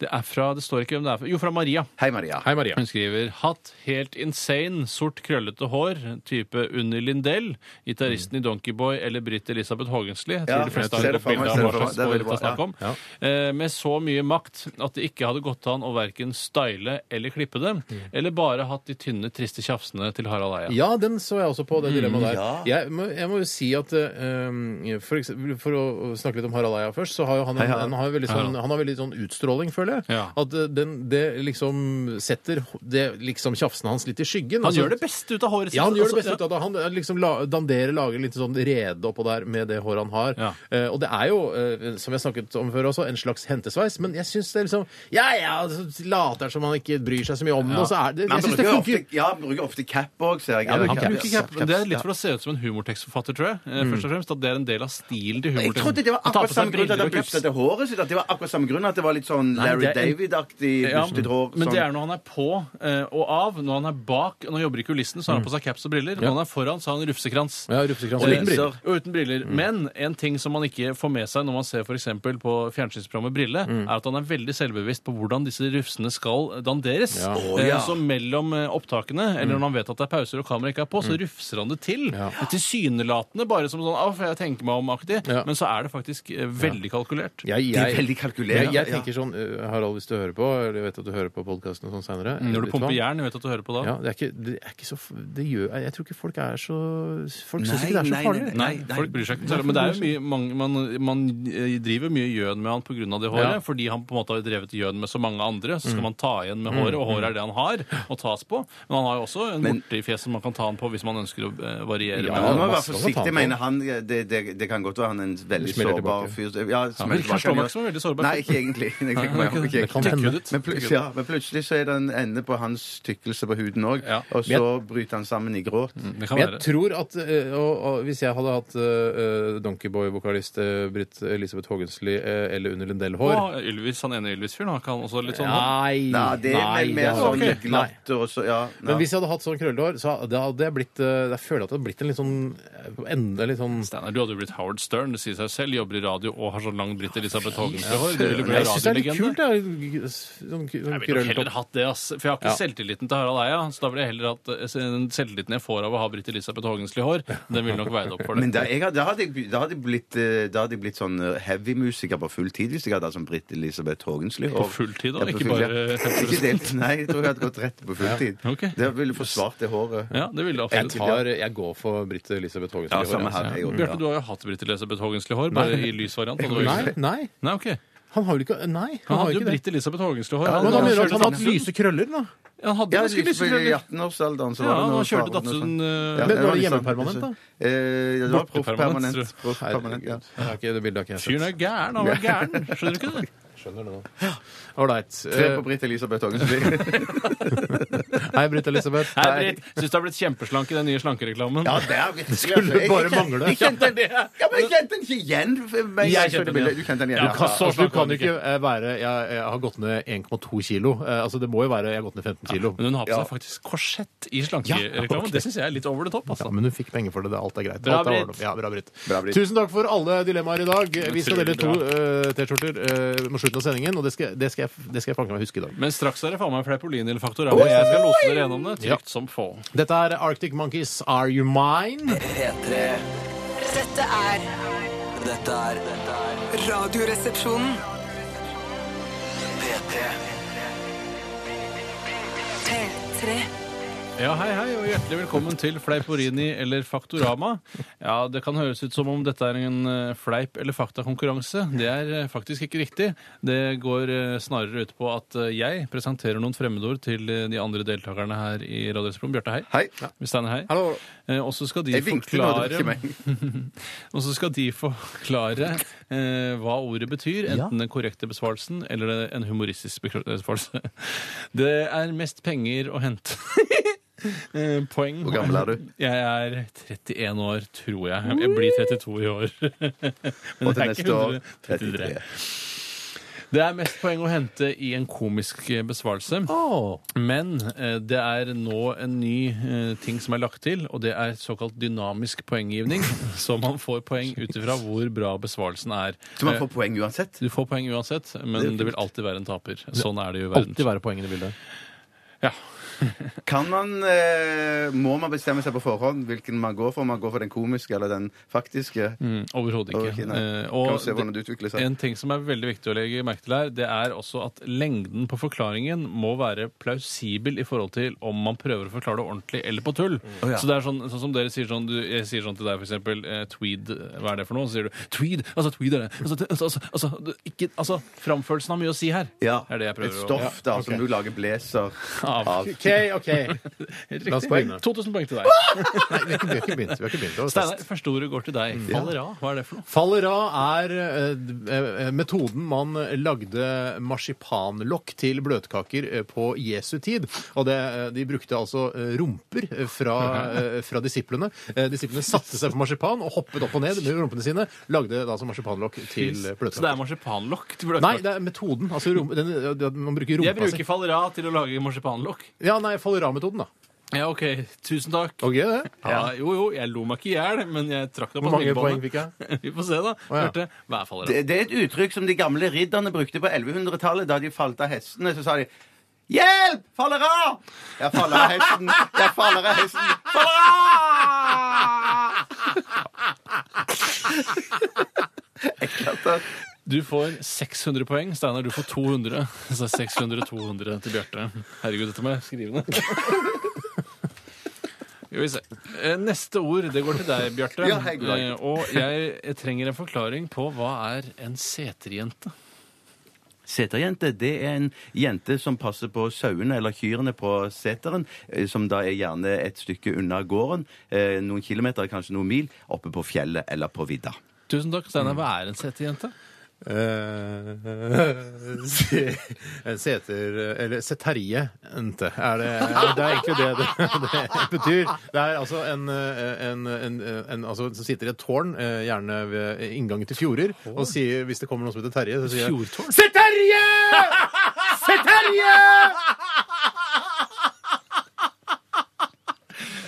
S5: Det er fra Det står ikke hvem det er fra. Jo, fra Maria.
S4: Hei, Maria.
S3: Hei, Maria.
S5: Hun skriver hatt helt insane, sort krøllete hår, type Unni Lindell, gitaristen i Donkeyboy eller Britt Elisabeth Haagensli. Jeg tror
S4: Ja,
S5: de fleste
S4: jeg ser
S5: har
S4: det
S5: et
S4: for meg,
S5: bilde av
S4: ser
S5: hva
S4: det for meg.
S5: slags
S4: Det er
S5: hår
S4: veldig
S5: det er
S4: bra,
S5: snakk om. Eh, Med så mye makt at det ikke hadde gått an å verken style eller klippe det,
S4: Mm.
S5: eller bare hatt de tynne, triste tjafsene til Harald Eia.
S3: Ja, den så jeg også på, det dilemmaet der.
S4: ja.
S3: Jeg, må, jeg må jo si at eh, for, eksempel, for å snakke litt om Harald Eia først, så har jo han, en,
S4: Harald.
S3: han, har veldig sånn, han har veldig sånn utstråling, føler jeg.
S5: Ja.
S3: At eh, den, det liksom setter det, liksom tjafsen hans litt i skyggen. altså.
S4: altså-
S5: Han gjør det beste ut av håret sitt.
S3: Ja, han gjør det
S5: altså,
S3: beste ut av det. Han eh, liksom la, danderer, lager litt sånn rede oppå der med det håret han har.
S5: Ja.
S3: Eh, og det er jo, eh, som jeg snakket om før også, en slags hentesveis, men jeg syns det er liksom Ja, ja, så later som han ikke bryr seg så mye om det, og så er det Jeg
S4: Men han
S3: syns det
S4: bruker
S3: funker.
S4: ofte, ja, han bruker ofte cap òg, ser jeg.
S3: Ja,
S5: Han
S3: Caps,
S5: bruker caps, men Det er litt
S4: Ja. Mm.
S5: for å se ut som en humortekstforfatter, tror jeg. eh, Først og fremst At det er en del av stilen til
S4: Jeg trodde det
S5: humortekstforfatteren.
S4: var akkurat samme grunn til at han bustet håret sitt. At det var akkurat samme grunn at det var litt sånn
S5: Nei,
S4: Larry
S5: det er en-
S4: David-aktig
S5: Ja,
S4: bustet hår.
S5: men
S4: sånn.
S5: det er når han er på eh, og av. Når han er bak når han jobber i kulissene, så har han på seg caps og briller. Når han er foran, så har han rufsekrans.
S3: Mm. Ja, rufsekrans og
S5: Og
S3: liten
S5: lenser.
S3: briller. Mm.
S5: Og uten briller. Men en ting som man ikke får med seg når man ser for eksempel på fjernsynsprogrammet Brille,
S3: Mm.
S5: er at han er veldig selvbevisst på hvordan disse rufsene skal danderes.
S3: Ja. Mm.
S5: Eh, Så mellom eh, opptakene, eller når han vet at det er pauser og kameraet ikke er på, så rufser han det til. Tilsynelatende bare som sånn «Å, for jeg tenker meg om-aktig,
S3: Ja.
S5: men så er det faktisk eh, veldig kalkulert.
S3: Jeg,
S4: Det er veldig kalkulert,
S3: Jeg, jeg
S4: ja.
S3: tenker sånn, eh, Harald, hvis du hører på, eller jeg vet at du hører på podkasten og sånn seinere
S5: Mm, Når du pumper jern, jeg vet at du hører på da.
S3: Ja, det er ikke, det er ikke så f- det gjør, Jeg tror ikke folk er så Folk syns ikke
S4: Nei,
S3: det er så
S4: nei,
S3: farlig.
S4: nei,
S5: Nei, folk bryr seg ikke. særlig, Men det er jo mye, mange, man, man eh, driver mye gjøn med han pga. det håret.
S3: Ja.
S5: Fordi han på en måte har drevet gjøn med så mange andre. Så skal man ta igjen med håret, og håret er det han har å tas på. Men han har jo også en
S4: Men-
S5: borte i fjeset man kan ta han på hvis man ønsker å eh, variere.
S3: Ja,
S5: med
S4: Man
S5: han.
S4: må være
S3: masse å ta på.
S4: forsiktig, mener han. Det, det, det kan godt være han er en veldig
S3: Smeller
S4: sårbar fyr. Ja, smeller
S5: virker
S4: tilbake.
S5: slå meg ikke som en veldig sårbar
S4: Nei,
S5: fyr.
S4: ikke egentlig. Jeg tenker meg om, ikke
S3: Det kan
S4: egentlig.
S3: hende.
S5: Tykkhuddet.
S4: Men, plut- ja, men plutselig så er det en ende på hans tykkelse på huden òg,
S5: Ja. Mm.
S4: og så bryter han sammen i gråt.
S5: Det kan
S3: Men
S5: være.
S3: jeg tror at eh, og, og Hvis jeg hadde hatt eh, Donkeyboy-vokalist eh, Britt Elisabeth Haagensli eh, eller Unni Lindell Hår
S5: Og Ylvis, han ene Ylvis-fyren, han kan også litt sånn
S3: Nei,
S4: Nei, det er vel mer
S3: det
S4: sånn
S3: hadde-
S4: litt glatt og så Ja.
S3: Men
S4: ja.
S3: hvis jeg hadde hatt sånn krøllete hår, så hadde- da hadde jeg blitt eh, Jeg føler at det hadde blitt en litt sånn eh, Enda litt sånn
S5: Steinar, du hadde jo blitt Howard Stern, det sier seg selv. Jobber i radio og har så lang Britt Elisabeth Haagensen-hår. Du ville bli
S3: Jeg syns det er litt
S5: radiolegende.
S3: kult, jeg. Sånn, k- sånn
S5: Jeg ville nok heller
S3: krøllete
S5: hatt det, ass. For jeg har ikke
S3: Ja.
S5: selvtilliten til Harald Eia. Så da ville jeg heller hatt eh, den selvtilliten jeg får av å ha Britt Elisabeth Haagensli hår. Den ville nok veid opp for det.
S4: Men da, jeg, hadde- da, hadde jeg, da, hadde jeg blitt, eh, da hadde jeg blitt sånn eh, heavy-musiker på full tid hvis jeg hadde hatt sånn Britt Elisabeth Haagensli.
S5: På
S4: Og-
S5: full tid, da?
S4: Ja, på
S5: Ikke
S4: full-
S5: bare [LAUGHS]
S4: ja.
S5: 50%?
S4: Ikke delt, nei. Jeg tror jeg hadde gått rett på full tid.
S5: ok.
S4: Det ville forsvart det håret.
S5: Ja, det ville jeg
S3: Jeg,
S5: absolutt.
S3: tar, jeg går for Britt Elisabeth Haagensen.
S4: Ja,
S3: i
S4: samme
S3: håret, altså.
S4: her. Jeg,
S5: Bjarte,
S4: òg,
S5: du har jo hatt Britt Elisabeth Haagensli hår, bare i lysvariant. hadde du
S3: Nei,
S5: ikke det?
S3: altså. nei,
S5: Nei, ok.
S3: han har jo ikke Nei, han,
S5: Han
S3: har
S5: hadde
S3: jo
S5: jo
S3: ikke det.
S5: Britt Elisabeth Haagensli hår.
S4: Ja,
S3: Men han mener at han har hatt
S5: Kjørte
S3: lyse krøller, da.
S5: Datsun- Han hadde
S4: ja.
S5: jo
S4: ja
S5: lyse
S4: liksom, I
S5: krøller.
S4: 18-årsalderen så
S5: Ja,
S4: var det
S5: han
S4: noe
S5: kjørte
S4: farger og sånn.
S5: Datsun
S4: Ja,
S5: eh,
S3: Men
S4: det
S3: var det
S4: litt
S3: hjemmepermanent,
S4: sånn-
S3: da?
S4: Eh, ja, det var proff
S5: Bortepermanent,
S4: permanent.
S5: tror jeg.
S4: Proff permanent, ja.
S5: Eh.
S3: Det, er ikke, det bildet har ikke jeg sett.
S5: Fyren er gæren.
S3: [LAUGHS]
S5: Han var gæren. Skjønner du ikke det?
S3: Skjønner det nå. Ålreit.
S4: Tre på Britt Elisabeth
S5: [LAUGHS]
S4: Haagensli.
S3: Eh, Hei, Britt Elisabeth.
S5: Nei, Britt. Syns du har blitt kjempeslank i den nye slankereklamen?
S4: Ja, det er virkelig altså.
S3: Skulle
S4: Jeg- jeg
S3: bare
S4: kjen-
S3: mangle.
S4: Jeg kjente den, ja, men jeg kjente den ikke igjen. men
S5: Jeg
S4: så det
S5: kjente den
S4: bildet.
S5: igjen.
S4: Du kjente den igjen.
S5: Ja,
S4: ja.
S5: hva
S3: Altså, du kan jo ikke eh, være Jeg, jeg har gått ned 1,2 kilo. Eh, Altså, det må jo være jeg har gått ned 15 kilo.
S5: Men hun har på
S4: Ja.
S5: seg faktisk korsett i
S3: Ja,
S5: slankereklamen.
S3: ok.
S5: Det syns jeg er litt over the top.
S3: Ja,
S5: Altså.
S3: men hun fikk penger for det. det- Alt er greit.
S5: Bra,
S3: Alt er
S5: Britt.
S3: ordentlig. Ja, bra, Britt.
S4: Bra, Britt.
S3: Tusen takk for alle dilemmaer i dag. Vi skal dele to
S5: Utrolig
S3: eh, T-skjorter eh, mot slutten av sendingen, og det skal, det skal jeg, det skal jeg fange meg huske i dag.
S5: Men straks er det faen meg Fleipolini-faktor. Og jeg skal lose dere gjennom det
S3: Ja.
S5: trygt som få.
S3: Dette er Arctic Monkeys Are You Mine.
S2: P3
S6: Dette er
S2: Dette er dette er
S6: Radioresepsjonen.
S2: P3
S6: P3.
S5: Ja, hei, hei, og hjertelig velkommen til Fleiporini eller Faktorama. Ja, det kan høres ut som om dette er en eh, fleip- eller faktakonkurranse. Det er eh, faktisk ikke riktig. Det går eh, snarere ut på at eh, jeg presenterer noen fremmedord til eh, de andre deltakerne her i Radioresepsjonen. Bjarte, hei.
S4: Hei.
S5: Steiner, hei.
S3: Hallo.
S5: Eh, Og så skal de
S4: Jeg vinket nå, det var ikke
S5: forklare
S4: meg.
S5: [LAUGHS] Og så skal de forklare eh, hva ordet betyr, enten den korrekte besvarelsen eller en humoristisk bekr- besvarelse. [LAUGHS] Det er mest penger å hente. [LAUGHS] Eh, Poeng.
S4: Hvor gammel er du?
S5: Jeg er 31 år, tror jeg. Jeg blir 32 i år. [LAUGHS] Men
S4: Og
S5: det
S4: til
S5: er
S4: neste
S5: ikke
S4: år
S5: 100, 33. Det er mest poeng å hente i en komisk eh, besvarelse. Men eh, det er nå en ny eh, ting som er lagt til, og det er såkalt dynamisk poenggivning. Så man får poeng ut ifra hvor bra besvarelsen er.
S4: Så man får poeng uansett?
S5: Du får poeng uansett, men det vil alltid være en taper. Sånn er det jo i
S3: Alltid
S5: verden.
S3: være poengene i bildet.
S5: Ja.
S4: Kan man, eh, Må man bestemme seg på forhånd hvilken man går for? Om man går for den komiske eller den faktiske?
S5: Mm, Overhodet ikke.
S4: Ok, nei.
S5: Eh,
S4: kan vi
S5: og
S4: se hvordan
S5: det-
S4: det utvikler
S3: Sånn.
S4: seg?
S5: en ting som er veldig viktig å legge merke til her, det er også at lengden på forklaringen må være plausibel i forhold til om man prøver å forklare det ordentlig eller på tull. Så det er sånn, sånn som dere sier sånn, du, jeg sier sånn til deg for eksempel, eh, tweed, hva er det for noe? Så sier du, tweed, altså tweed er det. Altså, det- altså, altså, altså, det- ikke, altså framførelsen har mye å si her.
S4: Ja.
S5: Er det jeg prøver
S4: Et
S5: å- [LAUGHS]
S4: stoff da, som du lager blazer.
S5: av.
S3: OK, OK. La oss
S5: Riktig.
S3: begynne.
S5: 2000 poeng til deg.
S3: Nei, vi har ikke vi har ikke begynt. Vi har ikke begynt. Det var
S5: Steinar,
S3: fest.
S5: første ordet går til
S3: Mm.
S5: deg. Faller av. Hva er det for noe?
S3: Faller av er eh, d- eh, metoden man lagde marsipanlokk til bløtkaker eh, på Jesu tid. Og det, eh, de brukte altså eh, rumper eh,
S5: [LAUGHS]
S3: fra, eh, fra disiplene. Eh, Disiplene satte seg på marsipan og hoppet opp og ned med rumpene sine. Lagde da altså marsipanlokk til eh,
S5: Så det er
S3: bløtkaker.
S5: marsipanlokk? til
S3: Nei,
S5: bløtkake.
S3: det er metoden. Altså, rum, den, den- man bruker rumpa
S5: Jeg bruker faller av til å lage marsipanlokk.
S3: si. Ja, nei, faller av-metoden, da.
S5: Ja, OK. Tusen takk.
S3: Ok, det.
S5: Ja, jo, jo, jeg lo meg ikke i hjel, men jeg trakk deg på
S3: Hvor mange poeng
S5: sminkebåndet.
S3: fikk jeg?
S5: [LAUGHS] Vi får se, da.
S3: ja.
S5: Hørte, hva er faller av?
S4: Det, det er et uttrykk som de gamle ridderne brukte på 1100-tallet, da de falt av hestene. Så sa de Hjelp! Faller av! Jeg faller av hesten. Jeg faller av hesten. Faller av! Jeg klarte at-
S5: Du får 600 poeng. Steinar, du får 200. [LAUGHS] Så 600-200 til Bjarte. Herregud, dette må jeg skrive ned. Skal vi se. Eh, Neste ord, det går til deg, Bjarte.
S4: Ja, hei, god dag.
S5: Eh, Og jeg trenger en forklaring på hva er en seterjente?
S4: Seterjente det er en jente som passer på sauene eller kyrne på seteren, eh, som da er gjerne et stykke unna gården, eh, noen kilometer, kanskje noen mil, oppe på fjellet eller på vidda.
S5: Tusen takk. Steinar, hva er en seterjente?
S3: Eh, [LAUGHS] se- Seter Eller seterje ente. Er det, det er egentlig det [LAUGHS] det, det betyr. Det er altså en, en, en, en altså, som sitter i et tårn, eh, gjerne ved inngangen til fjorder, og sier, hvis det kommer noen som heter Terje, så sier jeg
S5: Fjordtårn?
S3: Se Terje! Se Terje!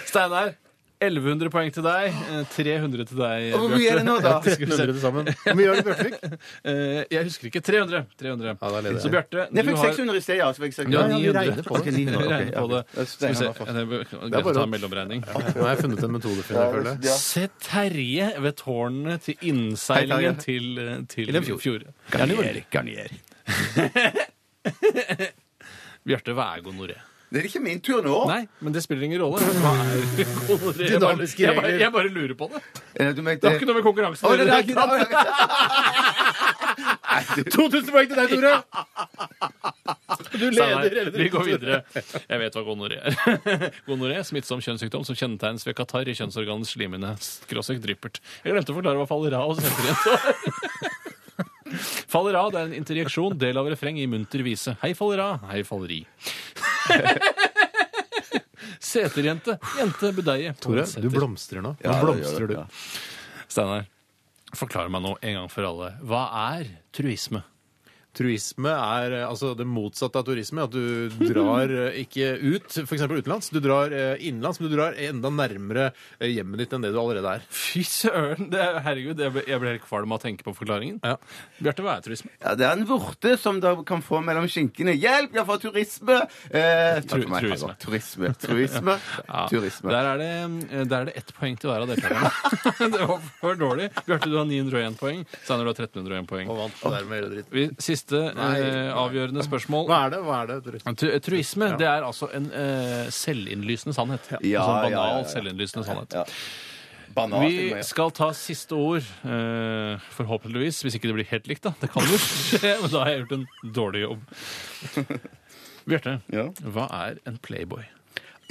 S5: Steinar, 1100 poeng til deg. eh, 300 til deg,
S4: Hvor mye er det nå, da?
S3: Skal vi se det sammen? Hvor [LAUGHS] mye gjør det, Bjørtvik?
S5: Eh, Jeg husker ikke. 300. 300.
S3: da leder jeg.
S5: Så Bjarte,
S4: Nei, Jeg
S5: du
S4: fikk
S5: har
S4: 600 i sted, ja. Så fikk jeg
S5: Ja,
S4: 600.
S5: vi regner
S3: på det.
S4: Ok, 900, ok,
S5: Regner på
S4: ja.
S5: det. Skal vi se.
S4: Steinar var
S5: Ja,
S4: først.
S5: Det er greit
S3: bare
S5: å ta
S3: å-
S5: en mellomregning.
S3: Nå har jeg funnet en metode for det, jeg føler jeg.
S4: Ja.
S5: Se Terje ved tårnene til innseilingen
S4: Hei, Terje.
S5: til, eh, til
S3: Til en fjord.
S5: fjord.
S4: Garnier. Garnier.
S5: [LAUGHS] Bjarte, hva er gonoré?
S4: Det er ikke min tur nå.
S5: Nei, men det spiller ingen rolle. Hva er gonoré? Jeg bare,
S3: Dynamiske
S5: jeg, bare,
S3: regler.
S5: jeg bare lurer på det.
S4: Eh, Du mente
S5: Det har ikke noe med konkurransen
S4: Å,
S5: å
S4: det er
S5: gjøre.
S4: ikke det.
S3: 2000 poeng til deg, Tore!
S4: [LAUGHS]
S3: Du
S5: Steinar,
S3: leder.
S5: Vi går videre. Jeg vet hva gonoré er. [LAUGHS] Gonoré, smittsom kjønnssykdom som kjennetegnes ved katarr i kjønnsorganets slimene. Skråsøk dryppert. Jeg glemte å forklare hva fallerat og senterjente var. [LAUGHS] Fallerat er en interjeksjon, del av refreng i munter vise. Hei, fallerat. Hei, falleri. [LAUGHS] Seterjente. Jente, budeie.
S3: Tore, du
S5: Poetseter.
S3: blomstrer nå. Nå
S4: Ja, det gjør
S3: blomstrer
S4: det,
S3: du.
S4: ja.
S5: Steinar, forklar meg nå en gang for alle. Hva er truisme?
S3: Truisme er eh, altså det motsatte av turisme. At du
S5: [LAUGHS]
S3: drar eh, ikke ut, f.eks. utenlands. Du drar eh, innenlands, men du drar enda nærmere eh, hjemmet ditt enn det du allerede er.
S5: Fy søren! det er- Herregud, jeg ble, jeg ble helt kvalm av å tenke på forklaringen.
S3: Ja.
S5: Bjarte, hva er truisme?
S4: Ja, det er en vorte som da kan få mellom skinkene. Hjelp, jeg får turisme! Eh, takk for meg.
S5: truisme.
S4: Turisme. [LAUGHS] Turisme. Turisme.
S5: Der er det, eh, der er det ett poeng til hver av deltakerne. [LAUGHS] det var for dårlig. Bjarte, du har 901 poeng. Steinar, du har 1301 poeng.
S3: Og vant det der med hele dritten.
S5: Vi, siste
S3: Nei.
S5: eh, avgjørende spørsmål.
S3: Hva er det? Hva er det? Tore?
S5: Tru- Truisme det er altså en eh, selvinnlysende sannhet.
S4: Ja,
S5: en sånn
S4: ja,
S5: banal,
S4: ja, ja.
S5: selvinnlysende sannhet.
S4: Ja. Banan til
S5: Vi
S4: meg.
S5: skal ta siste ord, eh, forhåpentligvis. Hvis ikke det blir helt likt, da. Det kan jo skje, [LAUGHS] men da har jeg gjort en dårlig jobb. Bjarte,
S4: Ja.
S5: hva er en playboy?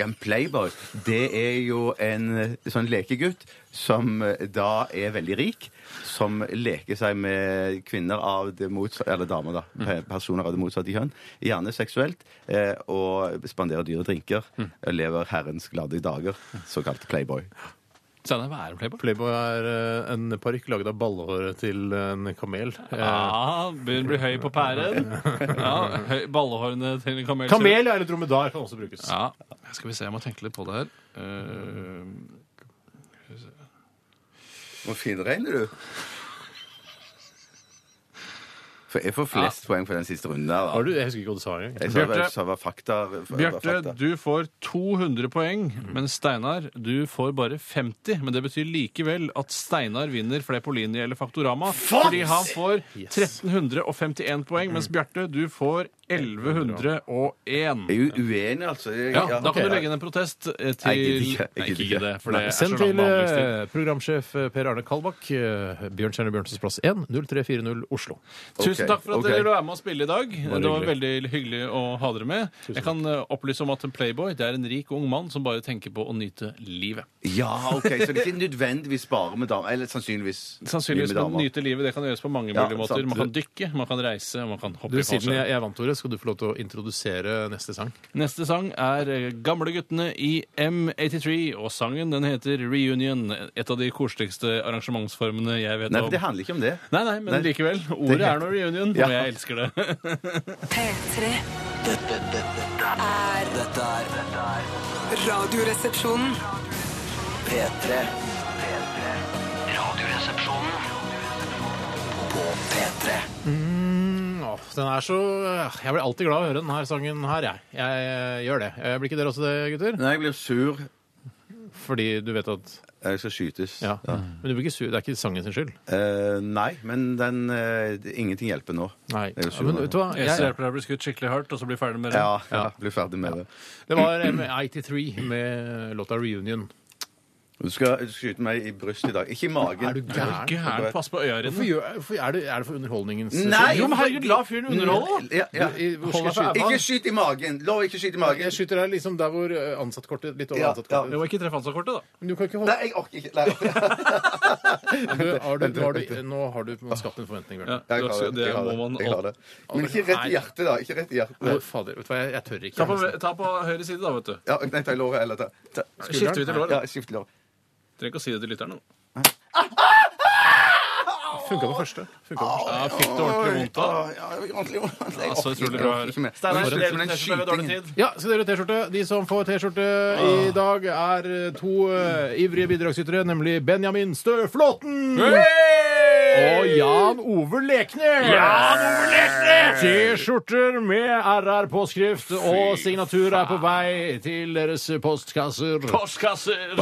S4: En playboy, det er jo en eh, sånn lekegutt som eh, da er veldig rik, som leker seg med kvinner av det motsatte Eller damer, da.
S5: Mm.
S4: pe- Personer av det motsatte kjønn. Gjerne seksuelt. eh, Og spanderer dyre drinker.
S5: Mm.
S4: Og lever herrens glade dager. Såkalt playboy.
S5: Steinar, hva er en playboy?
S3: Playboy er eh, en parykk laget av ballehåret til en kamel. Eh,
S5: Ja, Ah, begynner å bli høy på pæren. Ja, høy, Ballehårene til en kamel.
S3: Kamel ja, eller dromedar kan også brukes.
S5: Ja, Skal vi se, jeg må tenke litt på det her. Eh,
S4: Hvor finregner du? For jeg får flest poeng for den siste runden der, da.
S3: Har du, jeg husker ikke hva du sa engang.
S4: Jeg sa hva-
S5: Bjarte-
S4: sa hva fakta hva
S5: Bjarte,
S4: fakta.
S5: du får 200 poeng, men Steinar, du får bare 50. Men det betyr likevel at Steinar vinner Flepolini eller Faktorama. Fordi han får 1351 poeng, mens Bjarte, du får 1101.
S4: Jeg er jo uenig, altså. Jeg-
S5: Ja, da
S4: ok.
S5: kan du legge inn en protest eh,
S4: Nei,
S5: til
S4: jeg gidder ikke. Jeg
S5: Nei,
S4: gidder
S5: ikke
S4: ikke.
S5: det, for det er så
S3: Send
S5: lang
S3: til
S5: behandlingstid.
S3: eh, programsjef eh, Per Arne Kalbakk, eh, Bjørn Stjerne Bjørnsens plass 1, 0340 Oslo.
S4: Ok.
S5: Tusen Tusen takk for at
S4: ok.
S5: dere ville være med og spille i dag.
S3: Bare
S5: Det var veldig hyggelig å ha dere med. Jeg kan eh, opplyse om at en playboy det er en rik ung mann som bare tenker på å nyte livet.
S4: Ja, ok, Så det er ikke nødvendigvis bare med damer? Eller sannsynligvis
S5: Sannsynligvis
S4: med
S5: kan
S4: damer.
S5: nyte livet. Det kan gjøres på mange
S4: Ja,
S5: mulige måter.
S4: sant.
S5: Man kan dykke, man kan reise, man kan hoppe
S3: Du,
S5: i
S3: Siden
S5: fallskjerm.
S3: jeg, jeg vant ordet, skal du få lov til å introdusere neste sang.
S5: Neste sang er eh, Gamleguttene i M83, og sangen den heter Reunion. Et av de koseligste arrangementsformene jeg vet
S4: Nei,
S5: om.
S4: for det handler ikke om det.
S5: Nei, nei, men
S4: Nei.
S5: likevel. Ordet er nå reunion,
S4: Ja.
S5: og [LAUGHS] jeg elsker det.
S6: P3
S2: Dette, dette,
S6: er
S2: dette er dette er
S6: Radioresepsjonen.
S2: P3. P3. Radioresepsjonen på P3.
S3: Åh, den er så Jeg blir alltid glad av å høre den her sangen her, jeg. Jeg eh, gjør det. Eh, Blir ikke dere også det, gutter?
S4: Nei, jeg blir sur.
S3: Fordi du vet at
S4: Jeg skal skytes.
S3: Ja. Men du blir ikke sur. Det er ikke sangen sin skyld.
S4: Eh, nei, men den eh, det- Ingenting hjelper nå.
S3: Nei.
S4: Jeg er jo
S3: Ja,
S4: sur
S3: men
S4: nå.
S3: vet du hva?
S5: Jeg
S3: Jeg,
S5: hjelper deg å bli skutt skikkelig hardt, og så bli ferdig med det.
S4: Ja, ja, bli ferdig med det.
S3: det var M83 med låta 'Reunion'.
S4: Du skal, du skal skyte meg i brystet i dag. Ikke i magen.
S3: Er du gæren?
S5: Gæren, pass på øya
S3: Hvorfor
S5: dine.
S3: gjør, hvorfor er, det, er det for underholdningens
S4: Nei!
S5: Jo, men herregud, la fyren underholde, da!
S4: Ja, ja.
S3: Du, i- hvor skal jeg
S4: Hold deg
S3: skyte?
S4: Ikke skyt i magen! Lov, ikke skyt i magen.
S3: Jeg skyter deg liksom der hvor eh, ansattkortet Litt over
S4: Ja,
S3: ansattkortet.
S5: Det var ikke treff Hansa-kortet, da.
S3: Men du kan ikke holde
S4: Nei, jeg orker ikke.
S3: [LAUGHS]
S4: Nei.
S3: du, har du, har du, Nå har du på en måte skapt en forventning. Bjørn.
S4: Jeg har
S5: det,
S4: det. Jeg har det.
S5: må man
S4: Jeg har det. Men ikke rett i hjertet, da. Ikke rett i hjertet.
S3: Å, Fader, vet du hva, jeg, jeg tør
S5: Ta
S3: ikke.
S5: på, ta på høyre side, da, vet du.
S4: Ja, nei, ta i låret eller ta, ta.
S5: Skifter vi til låret?
S4: Ja, skift lår.
S5: Trenger ikke å si det til lytterne. da.
S3: Funka på første. Funket på første.
S5: Ja, fikk du ordentlig vondt da?
S4: Åh, ja, jeg orker ikke mer. Jeg
S5: så
S4: orker
S5: utrolig
S4: ikke- jeg
S5: bra.
S4: orker ikke mer.
S5: Steinar,
S4: Jeg orker ikke
S5: dere
S4: med den
S5: dere har dårlig
S4: skytingen.
S5: tid.
S3: Ja, så dere T-skjorte. De som får T-skjorte i dag, er to eh, ivrige bidragsytere, nemlig Benjamin Støflåten og Jan Ove Lekner. Jan Ove Lekner! T-skjorter med RR-påskrift og signatur er på vei til deres postkasser.
S5: Postkasser!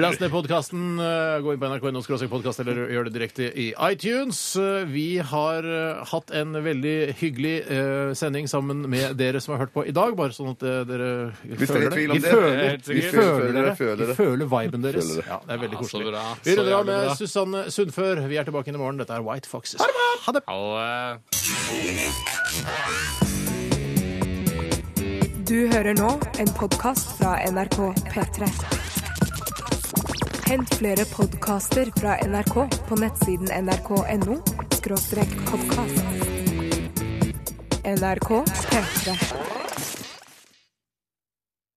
S3: Last ned podkasten. Gå inn på nrk.no podkast eller gjør det direkte i iTunes. Eh, Vi har eh, hatt en veldig hyggelig eh, sending sammen med dere som har hørt på i dag. Bare sånn at eh, dere
S4: Hvis dere er i tvil om
S3: Vi
S4: det,
S3: føler,
S5: helt
S3: vi
S5: sikkert.
S3: føler, dere.
S4: Føler det.
S3: Vi føler viben deres.
S4: Føler det.
S3: Ja, det er veldig
S5: Ja, så
S3: koselig.
S5: bra.
S3: Vi
S5: Så
S3: runder av
S5: jævlig
S3: med
S5: bra.
S3: Susanne Sundfør. Vi er tilbake inn i morgen. Dette er White Foxes. Ha det!
S5: Alle
S1: Du hører nå en podkast fra NRK P3. Hent flere podkaster fra NRK på nettsiden nrk.no podkast. NRK P3.